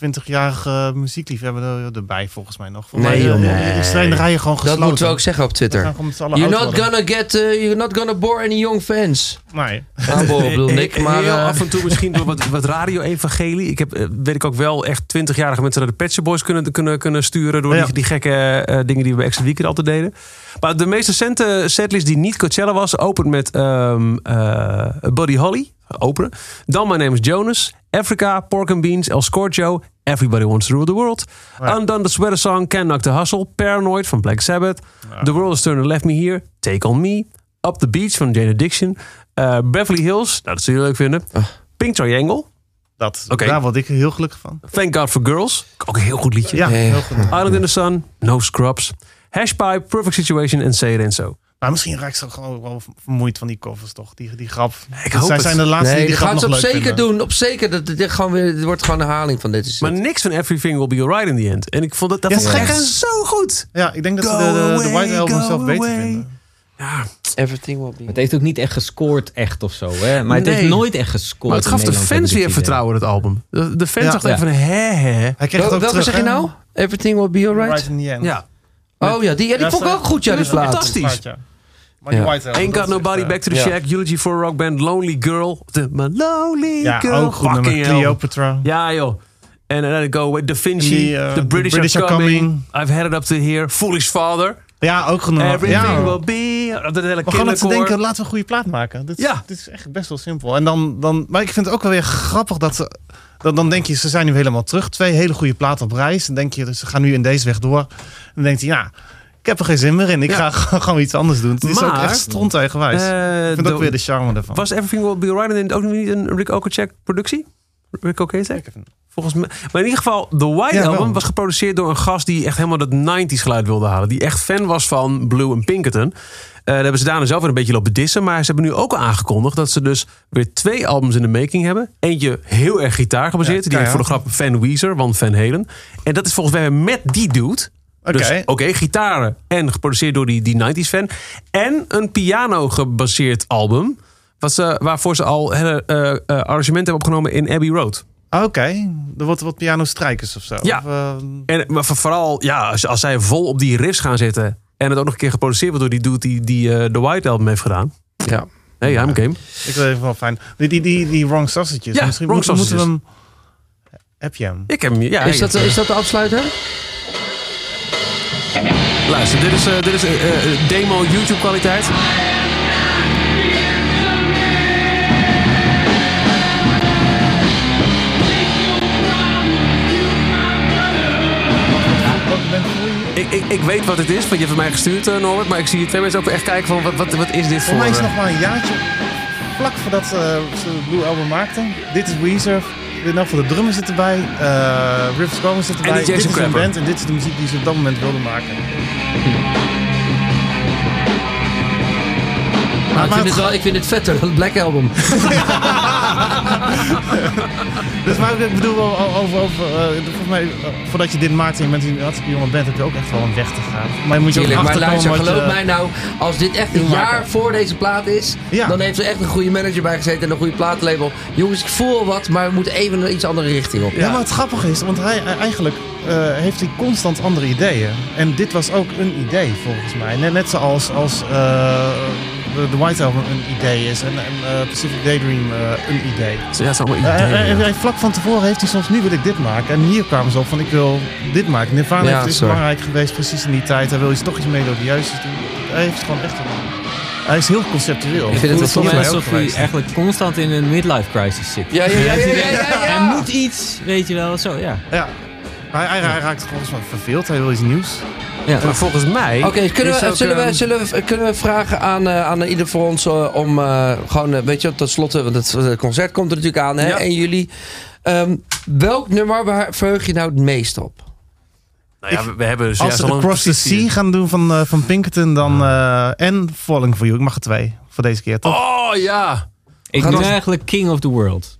Speaker 3: een 20-jarige muziekliefhebber er- erbij volgens mij nog. Volgens
Speaker 4: Nee,
Speaker 3: mij,
Speaker 4: joh,
Speaker 3: eh,
Speaker 4: nee.
Speaker 3: Die strijden rijden gewoon
Speaker 4: Dat
Speaker 3: gesloten.
Speaker 4: moeten we ook zeggen op
Speaker 3: We
Speaker 4: Twitter.
Speaker 3: gaan gewoon met z'n allen
Speaker 4: You're
Speaker 3: oud
Speaker 4: not
Speaker 3: worden.
Speaker 4: gonna get, eh, you're not gonna bore any young fans.
Speaker 3: Nee.
Speaker 4: Aanboren bedoel ik,
Speaker 2: Heel
Speaker 4: maar... eh,
Speaker 2: af en toe misschien door wat, wat radio-evangelie. Ik heb, eh, weet ik ook wel, echt twintigjarige mensen naar de Pet Shop Boys kunnen, kunnen, kunnen sturen... door
Speaker 3: Ja.
Speaker 2: die, die gekke eh, dingen die we bij Extra Weekend altijd deden. Maar de meest recente setlist die niet Coachella was... opent met ehm eh, Buddy Holly, openen. Dan My Name is Jonas, Africa, Pork and Beans, El Scorcho... Everybody Wants to Rule the World.
Speaker 3: Ja.
Speaker 2: Undone the Sweater Song, Can Knock the Hustle, Paranoid van Black Sabbath... The World Is Turning Left Me Here, Take On Me... Up the Beach van Jane Addiction... eh, Beverly Hills, nou, dat zullen jullie leuk vinden. Pink Triangle,
Speaker 3: Dat,
Speaker 2: Oké.
Speaker 3: Daar word ik heel gelukkig van.
Speaker 2: Thank God for Girls. Ook een heel goed liedje.
Speaker 3: Ja,
Speaker 4: Nee.
Speaker 3: heel goed.
Speaker 2: Island in the Sun, No Scrubs. Hashpipe, Perfect Situation en Say It Ain't So.
Speaker 3: Maar misschien raak ik ze gewoon wel vermoeid van die covers toch? Die, die grap.
Speaker 2: Ik hoop
Speaker 3: Zij
Speaker 2: het.
Speaker 3: zijn de laatste die
Speaker 4: nee,
Speaker 3: die
Speaker 4: dat
Speaker 3: grap
Speaker 4: gaan
Speaker 3: nog
Speaker 4: ze
Speaker 3: leuk
Speaker 4: op zeker
Speaker 3: vinden.
Speaker 4: doen. Op zeker. Dat, dit gewoon weer, dit wordt gewoon een herhaling van dit. Is
Speaker 2: Maar niks van Everything Will Be Alright in the End. En ik vond dat, dat
Speaker 3: Ja,
Speaker 2: vond ik
Speaker 3: gek,
Speaker 2: echt
Speaker 3: hè?
Speaker 2: zo goed.
Speaker 3: Ja, ik denk dat ze
Speaker 2: Go
Speaker 3: de, de, de
Speaker 2: away,
Speaker 3: White Album
Speaker 2: go
Speaker 3: zelf beter
Speaker 2: away.
Speaker 3: vinden.
Speaker 2: Ja,
Speaker 4: Everything will
Speaker 6: Het heeft ook niet echt gescoord, echt of zo. Hè? Maar het
Speaker 2: Nee.
Speaker 6: heeft nooit echt gescoord.
Speaker 2: maar het gaf
Speaker 6: in
Speaker 2: de
Speaker 6: Nederland,
Speaker 2: fans
Speaker 6: heb ik
Speaker 2: weer
Speaker 6: het
Speaker 2: vertrouwen in het album. De, de fans
Speaker 3: Ja.
Speaker 2: dachten even, hè hè.
Speaker 3: Hij kreeg het ook
Speaker 4: Welke
Speaker 3: terug,
Speaker 4: zeg je
Speaker 3: hè?
Speaker 4: nou? Everything will be alright?
Speaker 3: Right in the end.
Speaker 2: Ja.
Speaker 4: Oh ja, die, ja, die
Speaker 3: Ja,
Speaker 4: vond ik
Speaker 3: ze-
Speaker 4: ook goed, ja,
Speaker 2: Ja,
Speaker 4: die
Speaker 2: dat is
Speaker 4: plaat.
Speaker 2: fantastisch.
Speaker 3: Plaatje. Maar die
Speaker 4: Ja.
Speaker 3: White Album,
Speaker 2: Ain't
Speaker 3: dat
Speaker 2: Got
Speaker 3: is echt,
Speaker 2: Nobody,
Speaker 3: eh,
Speaker 2: Back to the
Speaker 4: ja.
Speaker 2: Shack, Eulogy for a Rock Band, Lonely Girl. The, my Lonely
Speaker 3: Ja,
Speaker 2: Girl.
Speaker 3: ook goed nummer.
Speaker 2: Fucking hell.
Speaker 3: Cleopatra.
Speaker 2: Ja joh. En then I go with Da Vinci,
Speaker 3: Die, eh,
Speaker 2: The
Speaker 3: The
Speaker 2: British,
Speaker 3: British
Speaker 2: are
Speaker 3: Are
Speaker 2: coming.
Speaker 3: Coming.
Speaker 2: I've had it up to here, Foolish Father.
Speaker 3: Ja, ook genoeg.
Speaker 2: Everything
Speaker 3: ja.
Speaker 2: will be. Dat hele
Speaker 3: Maar gewoon dat ze
Speaker 2: kinderkoor.
Speaker 3: denken, laten we een goede plaat maken. Dit, is-
Speaker 2: Ja.
Speaker 3: dit is echt best wel simpel. En dan, dan, maar ik vind het ook wel weer grappig dat ze... Dan, dan denk je, ze zijn nu helemaal terug. Twee hele goede platen op reis. Dan denk je, dus ze gaan nu in deze weg door. Dan denkt hij, ja, ik heb er geen zin meer in. Ik
Speaker 2: Ja.
Speaker 3: ga gewoon iets anders doen. Het is ook
Speaker 2: Maar-
Speaker 3: echt stront eigenwijs.
Speaker 2: Eh,
Speaker 3: ik vind
Speaker 2: de-
Speaker 3: ook weer de charme ervan.
Speaker 2: Was Everything Will Be Alright in ook niet een Rick Okacek productie? Rick Okacek? Volgens mij. Maar in ieder geval, The White
Speaker 3: Ja, wel.
Speaker 2: Album was geproduceerd door een gast die echt helemaal dat 90s geluid wilde halen. Die echt fan was van Blue en Pinkerton. Eh daar hebben ze daarna zelf weer een beetje lopen dissen. Maar ze hebben nu ook al aangekondigd dat ze dus weer twee albums in de making hebben. Eentje heel erg gitaar gebaseerd.
Speaker 3: Ja,
Speaker 2: die heeft voor de
Speaker 3: keihard.
Speaker 2: grap Van Weezer, want Van Halen. En dat is volgens mij met die dude.
Speaker 3: Oké.
Speaker 2: Dus oké, gitaren en geproduceerd door die, die 90s fan. En een piano gebaseerd album. Wat ze, waarvoor ze al hele, eh, eh, arrangementen hebben opgenomen in Abbey Road.
Speaker 3: Oké, er wordt wat piano-strijkers of zo.
Speaker 2: Ja.
Speaker 3: Of, eh,
Speaker 2: En, maar voor- vooral, ja, als, als zij vol op die riffs gaan zitten. En het ook nog een keer geproduceerd wordt door die dude die, die eh, de White Album heeft gedaan.
Speaker 4: Ja.
Speaker 2: Hey, I'm game.
Speaker 3: ik wil even wel fijn. Die, die, die, die Wrong Sausages.
Speaker 2: Ja,
Speaker 3: Misschien
Speaker 2: Wrong
Speaker 3: moeten- moeten we hem... Heb je hem?
Speaker 2: Ik heb hem. Ja,
Speaker 4: Is dat,
Speaker 2: ja.
Speaker 4: is dat de afsluiter?
Speaker 2: Luister, dit is, eh, dit is eh, eh, demo YouTube kwaliteit. Ik, ik, ik, ik weet wat het is, want je hebt het mij gestuurd, eh, Norbert. Maar ik zie twee mensen ook echt kijken van, wat, wat, wat is dit voor...
Speaker 3: Voor mij is
Speaker 2: eh,
Speaker 3: het nog maar een jaartje vlak voordat eh, ze Blue Album maakten. Dit is Weezer. Dit nou voor de drummer zit erbij. eh Rivers Cuomo zit erbij.
Speaker 2: die Jason
Speaker 3: dit is hun
Speaker 2: Crapper.
Speaker 3: band en dit is de muziek die ze op dat moment wilden
Speaker 4: Hm.
Speaker 3: maken.
Speaker 4: Maar ik,
Speaker 3: maar
Speaker 4: vind
Speaker 3: het
Speaker 4: het wel, ik vind het vetter dan Black Album.
Speaker 3: Dus maar ik bedoel o- o- over, over eh, volgens mij, eh, voordat je dit maakte en je bent een hartstikke jonge band, heb je ook echt wel een weg te gaan. Maar je moet je
Speaker 4: Tuurlijk,
Speaker 3: ook
Speaker 4: maar
Speaker 3: achterkomen
Speaker 4: luister,
Speaker 3: wat
Speaker 4: geloof
Speaker 3: je-
Speaker 4: mij nou, als dit echt een
Speaker 3: wil maken.
Speaker 4: jaar voor deze plaat is,
Speaker 3: Ja.
Speaker 4: dan heeft er echt een goede manager bij gezeten en een goede platenlabel. Jongens, ik voel wel wat, maar we moeten even een iets andere richting op.
Speaker 3: Ja, maar het grappige is, want hij hij- eigenlijk eh, heeft hij constant andere ideeën. En dit was ook een idee volgens mij. Net, net zoals als, eh, de, de White Album een idee is en, en eh, Pacific Daydream eh, een idee.
Speaker 2: Ja, het is allemaal
Speaker 3: Eh,
Speaker 2: ideeën,
Speaker 3: eh,
Speaker 2: ja.
Speaker 3: eh, hij- vlak van tevoren heeft hij soms, nu wil ik dit maken. En hier kwamen ze op van, ik wil dit maken. Nirvana
Speaker 4: Ja,
Speaker 3: heeft- is
Speaker 4: sorry.
Speaker 3: belangrijk geweest precies in die tijd. Hij wil iets toch iets melodieus doen. Hij heeft gewoon echt... een- Hij is heel conceptueel.
Speaker 4: vind het
Speaker 6: voelt
Speaker 4: wel
Speaker 6: voor mij
Speaker 4: volgens mij
Speaker 6: alsof hij eigenlijk constant in een midlife crisis zit.
Speaker 4: Ja, ja, ja, ja, ja, ja, ja.
Speaker 6: Hij moet iets, weet je wel, zo, ja.
Speaker 3: Ja. Hij, hij, hij raakt volgens mij verveeld. Hij wil iets nieuws.
Speaker 2: Maar volgens mij...
Speaker 4: Oké, kunnen,
Speaker 2: is
Speaker 4: we,
Speaker 2: ook,
Speaker 4: zullen we,
Speaker 2: ehm,
Speaker 4: zullen we, kunnen we vragen aan, eh, aan ieder voor ons eh, om eh, gewoon, eh, weet je, tot slotte, want het, eh, concert komt er natuurlijk aan, hè,
Speaker 2: Ja.
Speaker 4: 1 juli. Ehm, welk nummer waar verheug je nou het meest op?
Speaker 2: Nou ja, we, we hebben dus
Speaker 3: Als
Speaker 2: juist
Speaker 3: ze
Speaker 2: al
Speaker 3: de
Speaker 2: een
Speaker 3: Cross the
Speaker 2: positie.
Speaker 3: Sea gaan doen van, eh, van Pinkerton, dan...
Speaker 2: Ah.
Speaker 3: eh, en Falling For You. Ik mag er twee voor deze keer, toch?
Speaker 2: Oh ja!
Speaker 6: Ik
Speaker 4: Gaan
Speaker 6: doe
Speaker 4: als-
Speaker 6: eigenlijk King of the World.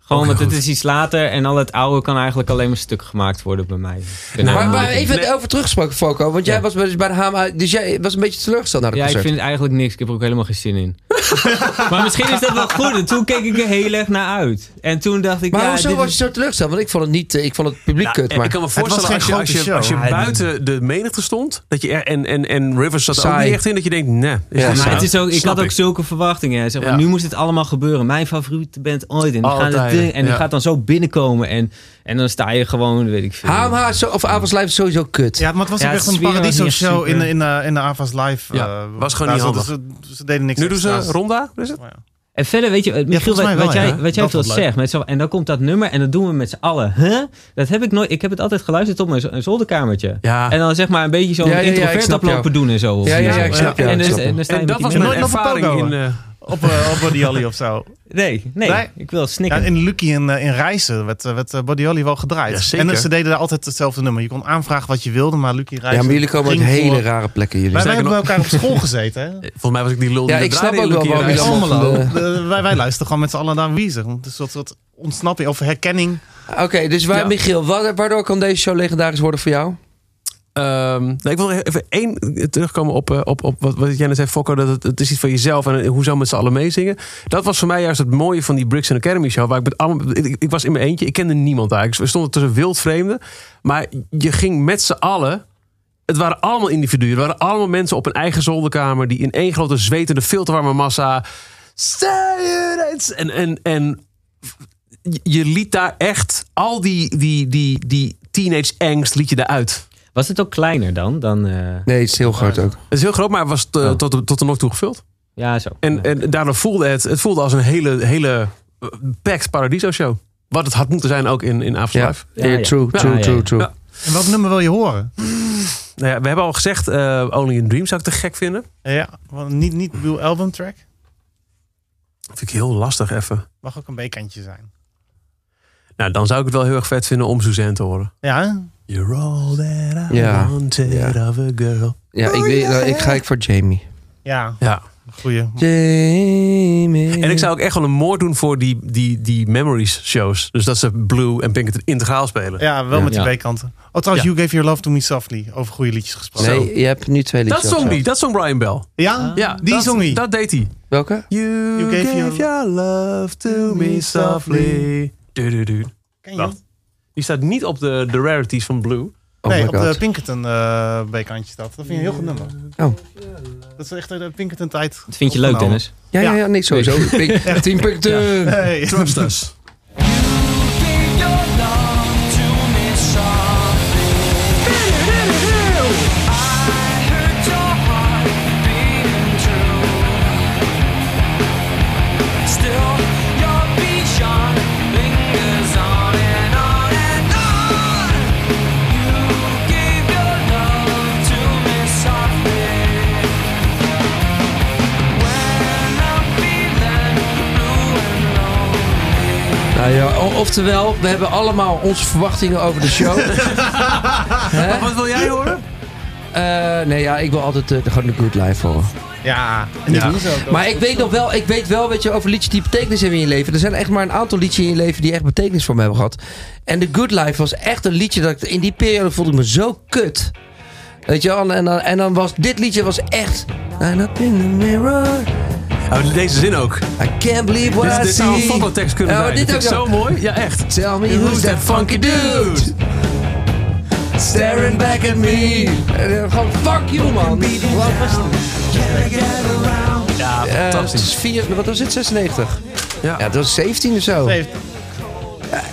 Speaker 6: Gewoon,
Speaker 2: Ook
Speaker 6: want het
Speaker 2: goed.
Speaker 6: is iets later en al het oude kan eigenlijk alleen maar stuk gemaakt worden bij mij.
Speaker 2: Nou,
Speaker 4: maar,
Speaker 2: nee,
Speaker 4: maar
Speaker 2: nee.
Speaker 4: even
Speaker 2: Nee.
Speaker 4: over teruggesproken, Foco, want jij
Speaker 6: Ja.
Speaker 4: was bij- dus bij de HMA, dus jij was een beetje teleurgesteld naar de
Speaker 6: ja, ik
Speaker 4: concert.
Speaker 6: vind het eigenlijk niks. Ik heb er ook helemaal geen zin in. maar misschien is dat wel goed. En toen keek ik er heel erg naar uit. En toen dacht ik,
Speaker 4: Maar
Speaker 6: ja,
Speaker 4: hoezo
Speaker 6: dit
Speaker 4: was
Speaker 6: is-
Speaker 4: je zo teleurgesteld? Want ik vond het niet, eh, ik vond het publiek
Speaker 2: Nou,
Speaker 4: kut, maar
Speaker 2: ik kan me
Speaker 3: was
Speaker 2: voorstellen,
Speaker 3: geen
Speaker 2: als je, als je,
Speaker 3: grote
Speaker 2: als je
Speaker 3: show.
Speaker 2: buiten de menigte stond, dat je er, en, en, en Rivers zat er ook
Speaker 4: Saai.
Speaker 2: niet echt in, dat je denkt, nee.
Speaker 4: Ja,
Speaker 2: dit
Speaker 6: Maar
Speaker 2: zo?
Speaker 6: het is ook, ik
Speaker 2: Snap
Speaker 6: had ook zulke verwachtingen. Zeg maar,
Speaker 2: Ja.
Speaker 6: Nu moest het allemaal gebeuren. Mijn favoriete band ooit. En die, gaan het
Speaker 2: Altijd,
Speaker 6: ding, en die
Speaker 2: ja.
Speaker 6: gaat dan zo binnenkomen. En, en dan sta je gewoon, weet ik veel.
Speaker 4: HMH is zo- of Avondslijf is sowieso kut.
Speaker 3: Ja, maar het was
Speaker 6: Ja,
Speaker 3: ook
Speaker 6: de
Speaker 3: echt een
Speaker 6: sfeer was
Speaker 3: paradiso
Speaker 6: niet echt
Speaker 3: show in,
Speaker 6: super.
Speaker 3: in, eh, in de Avas Live.
Speaker 2: Ja,
Speaker 3: eh,
Speaker 2: was gewoon
Speaker 3: daar
Speaker 2: niet
Speaker 3: zat- dus, Ze, ze deden niks
Speaker 2: Nu doen ze
Speaker 3: extra's.
Speaker 2: ronda, is het?
Speaker 6: En verder, weet je, eh, Michiel,
Speaker 3: volgens
Speaker 6: wat,
Speaker 3: mij wel,
Speaker 6: wat
Speaker 3: ja.
Speaker 6: jij, wat jij
Speaker 3: Dat
Speaker 6: veel
Speaker 3: vond ik leuk.
Speaker 6: zegt. Met zo, en dan komt dat nummer en dat doen we met z'n allen. Huh? Dat heb ik nooit. Ik heb het altijd geluisterd op mijn z- een zolderkamertje.
Speaker 2: Ja.
Speaker 6: En dan zeg maar een beetje zo'n
Speaker 4: Ja, ja, ja, ik
Speaker 6: introvert
Speaker 4: snap jou.
Speaker 6: oplopen doen en zo. of
Speaker 4: Ja, ja,
Speaker 6: zo.
Speaker 4: ja, ik snap jou,
Speaker 6: En,
Speaker 4: ik
Speaker 6: dus-
Speaker 4: snap jou.
Speaker 6: en dan sta je
Speaker 2: En
Speaker 6: met
Speaker 2: dat
Speaker 6: die
Speaker 2: was
Speaker 6: mensen.
Speaker 2: mijn
Speaker 3: Nooit nog een
Speaker 2: ervaring
Speaker 3: pogo,
Speaker 2: in... eh,
Speaker 3: Op, eh, op Body Holly of zo.
Speaker 6: Nee, nee,
Speaker 3: Nee.
Speaker 6: Ik wil
Speaker 3: Ja,
Speaker 6: snikken.
Speaker 3: in Lucky en eh, in Rijssen werd, eh, werd eh, Body Holly wel gedraaid.
Speaker 2: Ja, zeker.
Speaker 3: En eh, ze deden daar altijd hetzelfde nummer. Je kon aanvragen wat je wilde, maar Lucky Rijssen...
Speaker 4: Ja, maar jullie komen uit
Speaker 3: ging
Speaker 4: hele
Speaker 3: voor-
Speaker 4: rare plekken,
Speaker 3: Wij,
Speaker 4: jullie.
Speaker 3: wij
Speaker 2: Sterker
Speaker 3: hebben bij elkaar op school gezeten, hè?
Speaker 2: Volgens mij was ik die lul die
Speaker 4: Ja,
Speaker 2: dat
Speaker 4: ik snap
Speaker 2: draaide
Speaker 4: ook
Speaker 2: in
Speaker 4: wel
Speaker 2: Lucky
Speaker 4: waarom
Speaker 2: Rijs.
Speaker 4: jullie allemaal-
Speaker 3: Almelo.
Speaker 4: van
Speaker 3: Eh, wij, wij luisteren gewoon met z'n allen naar Weezer. Het is wat, wat ontsnapping of herkenning.
Speaker 4: Oké, dus waar,
Speaker 2: Ja.
Speaker 4: Michiel, wa- waardoor kan deze show legendarisch worden voor jou?
Speaker 2: Ehm, nou, ik wil even één terugkomen op, eh, op, op wat, wat jij net zei, Fokko. Dat het, het is iets van jezelf en hoe zou met z'n allen meezingen. Dat was voor mij juist het mooie van die Bricks and Academy show. Waar ik, met allemaal, ik, ik was in mijn eentje, ik kende niemand eigenlijk. We stonden tussen wildvreemden. Maar je ging met z'n allen... Het waren allemaal individuen. Het waren allemaal mensen op een eigen zolderkamer... die in één grote zwetende filterwarme massa... Science! En, en, en je liet daar echt al die, die, die, die teenage angst liet je daaruit.
Speaker 6: Was het ook kleiner dan? dan eh,
Speaker 4: Nee, het is heel groot ook.
Speaker 2: Het is heel groot, maar het was eh,
Speaker 6: Oh.
Speaker 2: tot, tot de nog toe gevuld.
Speaker 6: Ja, zo.
Speaker 2: En,
Speaker 6: Nee.
Speaker 2: en daardoor voelde het, het voelde als een hele, hele eh, packed Paradiso show. Wat het had moeten zijn ook in, in Avondlife.
Speaker 4: Ja, Eh,
Speaker 6: Ja, ja.
Speaker 4: true,
Speaker 2: Ja,
Speaker 4: true,
Speaker 6: ja,
Speaker 4: true,
Speaker 6: ja.
Speaker 4: true.
Speaker 2: Ja.
Speaker 3: En welk nummer wil je horen?
Speaker 2: Nou ja, we hebben al gezegd, eh, Only in Dreams zou ik te gek vinden.
Speaker 3: Eh, Ja, want niet, niet Blue Album Track.
Speaker 2: Dat vind ik heel lastig even.
Speaker 3: Mag ook een bekantje zijn.
Speaker 2: Nou, dan zou ik het wel heel erg vet vinden om Suzanne te horen.
Speaker 3: Ja, hè?
Speaker 2: You're all that I
Speaker 4: Ja.
Speaker 2: wanted
Speaker 4: Ja.
Speaker 2: of a girl.
Speaker 4: Ja, ik, weet- nou, ik ga ik voor Jamie.
Speaker 3: ja,
Speaker 2: Ja.
Speaker 3: goeie.
Speaker 4: Jamie.
Speaker 2: En ik zou ook echt wel een moord doen voor die, die, die Memories shows. Dus dat ze Blue en Pinkerton integraal spelen.
Speaker 3: Ja, wel
Speaker 4: Ja.
Speaker 3: met die
Speaker 6: Ja.
Speaker 3: B-kanten. Oh, trouwens, You Gave Your Love To Me Softly. Over goede liedjes gesproken.
Speaker 4: Nee, je hebt nu twee
Speaker 2: dat
Speaker 4: liedjes.
Speaker 2: zong die, dat zong Brian Bell.
Speaker 3: Ja?
Speaker 2: Ja,
Speaker 3: Die
Speaker 2: dat,
Speaker 3: zong hij.
Speaker 2: Dat deed hij.
Speaker 4: Welke?
Speaker 2: You,
Speaker 3: You gave
Speaker 2: gave,
Speaker 3: your-
Speaker 2: your love to me softly. Du, du, du.
Speaker 3: Ken je?
Speaker 2: Wacht. Die staat niet op de, de rarities van Blue.
Speaker 4: Oh
Speaker 3: nee,
Speaker 4: my
Speaker 3: op de
Speaker 4: god.
Speaker 3: Pinkerton eh B-kantje staat. Dat vind je een heel goed nummer.
Speaker 4: Oh.
Speaker 3: Dat is echt de Pinkerton tijd.
Speaker 6: dat vind je leuk,
Speaker 3: opgenomen.
Speaker 6: Dennis?
Speaker 4: Ja, ja, ja, nee, sowieso. Pink- Team Picton.
Speaker 3: Hey.
Speaker 2: Trust us.
Speaker 5: Love
Speaker 4: ja. O- Oftewel, we hebben allemaal onze verwachtingen over de show. Hè?
Speaker 2: Wat wil jij horen?
Speaker 4: Eh, nee, ja, ik wil altijd eh, gewoon de good life horen.
Speaker 3: Ja, en die
Speaker 2: Ja.
Speaker 3: doen ze ook.
Speaker 4: Maar ik weet nog wel, ik weet wel, weet je, over liedjes die betekenis hebben in je leven. Er zijn echt maar een aantal liedjes in je leven die echt betekenis voor me hebben gehad. En The Good Life was echt een liedje dat ik, in die periode voelde ik me zo kut. Weet je wel, en- en dan, en dan was dit liedje was echt. I'm up in the mirror,
Speaker 2: Oh, deze zin ook.
Speaker 4: I can't believe what
Speaker 2: Dit,
Speaker 4: I
Speaker 2: dit
Speaker 4: see.
Speaker 2: zou een fototekst kunnen
Speaker 4: Ja,
Speaker 2: zijn.
Speaker 4: dit
Speaker 2: Dit is
Speaker 4: ook
Speaker 2: zo
Speaker 4: wel.
Speaker 2: mooi. Ja, echt.
Speaker 4: Tell me who's that funky dude staring back at me. En dan gewoon fuck you man. Wat was
Speaker 2: Ja,
Speaker 4: Eh, het
Speaker 2: fantastisch.
Speaker 4: is vier, wat was het? 96?
Speaker 2: Ja.
Speaker 4: Ja, dat was 17 of zo.
Speaker 3: Heeft-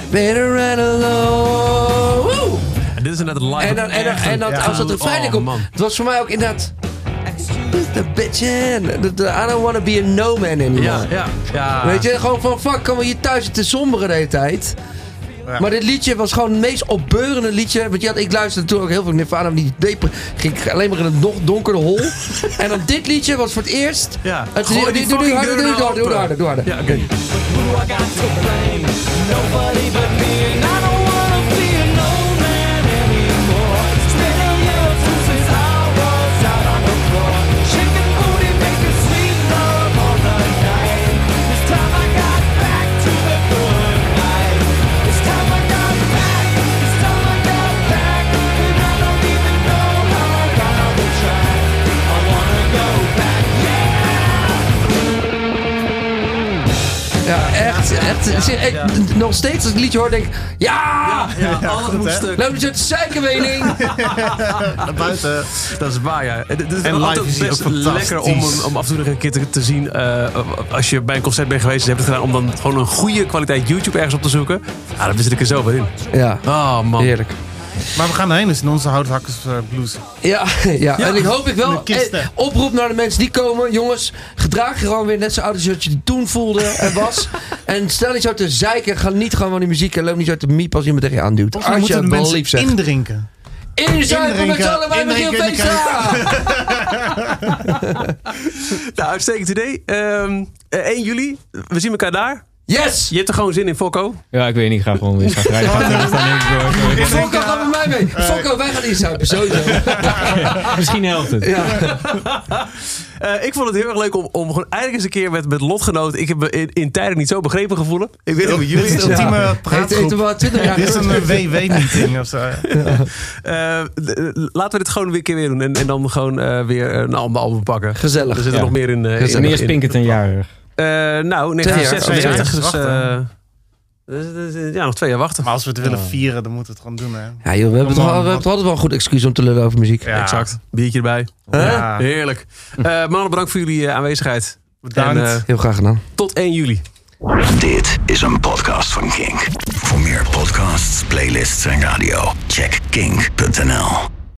Speaker 4: Better and alone. Woe!
Speaker 2: Dit is inderdaad live.
Speaker 4: En dan, en dan, en dan als dat refrein er
Speaker 2: Oh,
Speaker 4: komt.
Speaker 2: man.
Speaker 4: Het was voor mij ook inderdaad... The bitch in. The- the- I don't wanna be a no man anymore.
Speaker 2: Ja, ja, ja.
Speaker 4: Weet je, gewoon van fuck, komen we hier thuis te somberen de hele tijd.
Speaker 3: Ja.
Speaker 4: Maar dit liedje was gewoon het meest opbeurende liedje. Want je had, ik luisterde toen ook heel veel Nirvana, maar die depre, ging ik alleen maar in een nog donkere hol. en dan dit liedje was voor het eerst.
Speaker 2: Ja.
Speaker 4: Het,
Speaker 2: Gooi
Speaker 4: doe-
Speaker 2: die
Speaker 4: doe- doe-
Speaker 2: fucking deur
Speaker 4: doe- doe-
Speaker 2: nou
Speaker 4: doe- doe-
Speaker 2: open.
Speaker 4: harder, doe harder.
Speaker 2: Ja, oké.
Speaker 4: Ja, echt, echt. zie- ik- Nog steeds als ik het liedje hoor, denk ik, ja!
Speaker 2: Ja, alles
Speaker 3: goed,
Speaker 2: moet
Speaker 3: hè?
Speaker 2: stuk.
Speaker 4: Loop niet zo te zeiken, mening!
Speaker 3: Naar buiten.
Speaker 2: Dat is waar, ja. Het- het is
Speaker 3: En
Speaker 2: altijd
Speaker 3: live is hij
Speaker 2: best
Speaker 3: ook fantastisch.
Speaker 2: lekker om, hem- om af en toe nog een keer te, te zien. eh, als je bij een concert bent geweest en je hebt het gedaan, om dan gewoon een goede kwaliteit YouTube ergens op te zoeken. Ah, dan zit ik er zo weer in.
Speaker 4: Ja,
Speaker 2: Oh, man.
Speaker 4: heerlijk.
Speaker 3: Maar we gaan erheen, dus in onze houthakkers eh, blues.
Speaker 4: Ja, ja. en ik hoop ik
Speaker 3: De
Speaker 4: wel.
Speaker 3: kisten.
Speaker 4: eh, oproep naar de mensen die komen. Jongens, gedraag je gewoon weer net zo oud als dat je die toen voelde en was. en stel niet zo te zeiken. Ga niet gewoon van die muziek en loop niet zo te miep als iemand tegen je aanduwt.
Speaker 3: Of we
Speaker 4: Als je
Speaker 3: moeten de
Speaker 4: het wel
Speaker 3: mensen
Speaker 4: lief zegt.
Speaker 3: indrinken.
Speaker 4: Inzuipen met z'n
Speaker 3: indrinken,
Speaker 4: allen bij Michiel
Speaker 3: indrinken in de
Speaker 4: Veenstra!
Speaker 2: Nou, uitstekend idee. Ehm, eh, 1 juli, we zien elkaar daar.
Speaker 4: Yes!
Speaker 2: Je hebt er gewoon zin in, Fokko.
Speaker 6: Ja, ik weet niet. Ik ga gewoon weer gaan rijden. Gaat er staan, denk ik, door, door.
Speaker 4: Fokko, ga met mij mee.
Speaker 3: Eh.
Speaker 4: Fokko, wij gaan inzuipen, sowieso.
Speaker 6: Misschien helpt het.
Speaker 4: Ja.
Speaker 2: Eh, ik vond het heel erg leuk om, om gewoon eindelijk eens een keer met, met lotgenoten. Ik heb me in, in tijden niet zo begrepen gevoelen. Ik weet niet hoe
Speaker 3: Dit
Speaker 2: jullie
Speaker 3: is de ultieme
Speaker 4: Heeft heeft er
Speaker 3: praatgroep.
Speaker 4: wel 20 jaar
Speaker 3: Dit is
Speaker 4: geleden.
Speaker 3: een eh, WW-meeting of zo.
Speaker 2: Eh, d- d- laten we dit gewoon weer een keer weer doen. En, en dan gewoon eh, weer een album, album pakken.
Speaker 4: Gezellig.
Speaker 2: Er zitten
Speaker 6: Ja.
Speaker 2: nog meer in. eh, in-
Speaker 6: Wanneer is
Speaker 2: in-
Speaker 6: Pinkert een jarig?
Speaker 2: Eh, nou,
Speaker 4: Twee jaar.
Speaker 2: 1996.
Speaker 3: Twee
Speaker 2: Dus,
Speaker 3: jaar.
Speaker 2: eh, dus- dus- dus- ja, nog twee jaar wachten.
Speaker 3: Maar als we het willen vieren, dan moeten we het gewoon doen, hè.
Speaker 4: Ja joh, we
Speaker 3: Come
Speaker 4: hebben,
Speaker 3: on,
Speaker 4: toch, al- we hebben
Speaker 3: wat-
Speaker 4: toch altijd wel een goed excuus om te lullen over muziek.
Speaker 3: Ja.
Speaker 2: Exact. Biertje erbij.
Speaker 3: Ja.
Speaker 2: Heerlijk. Eh mannen, bedankt voor jullie eh, aanwezigheid.
Speaker 3: Bedankt.
Speaker 2: En, eh,
Speaker 4: Heel graag gedaan.
Speaker 2: tot 1 juli.
Speaker 1: Dit is een podcast van Kink. Voor meer podcasts, playlists en radio, check kink.nl.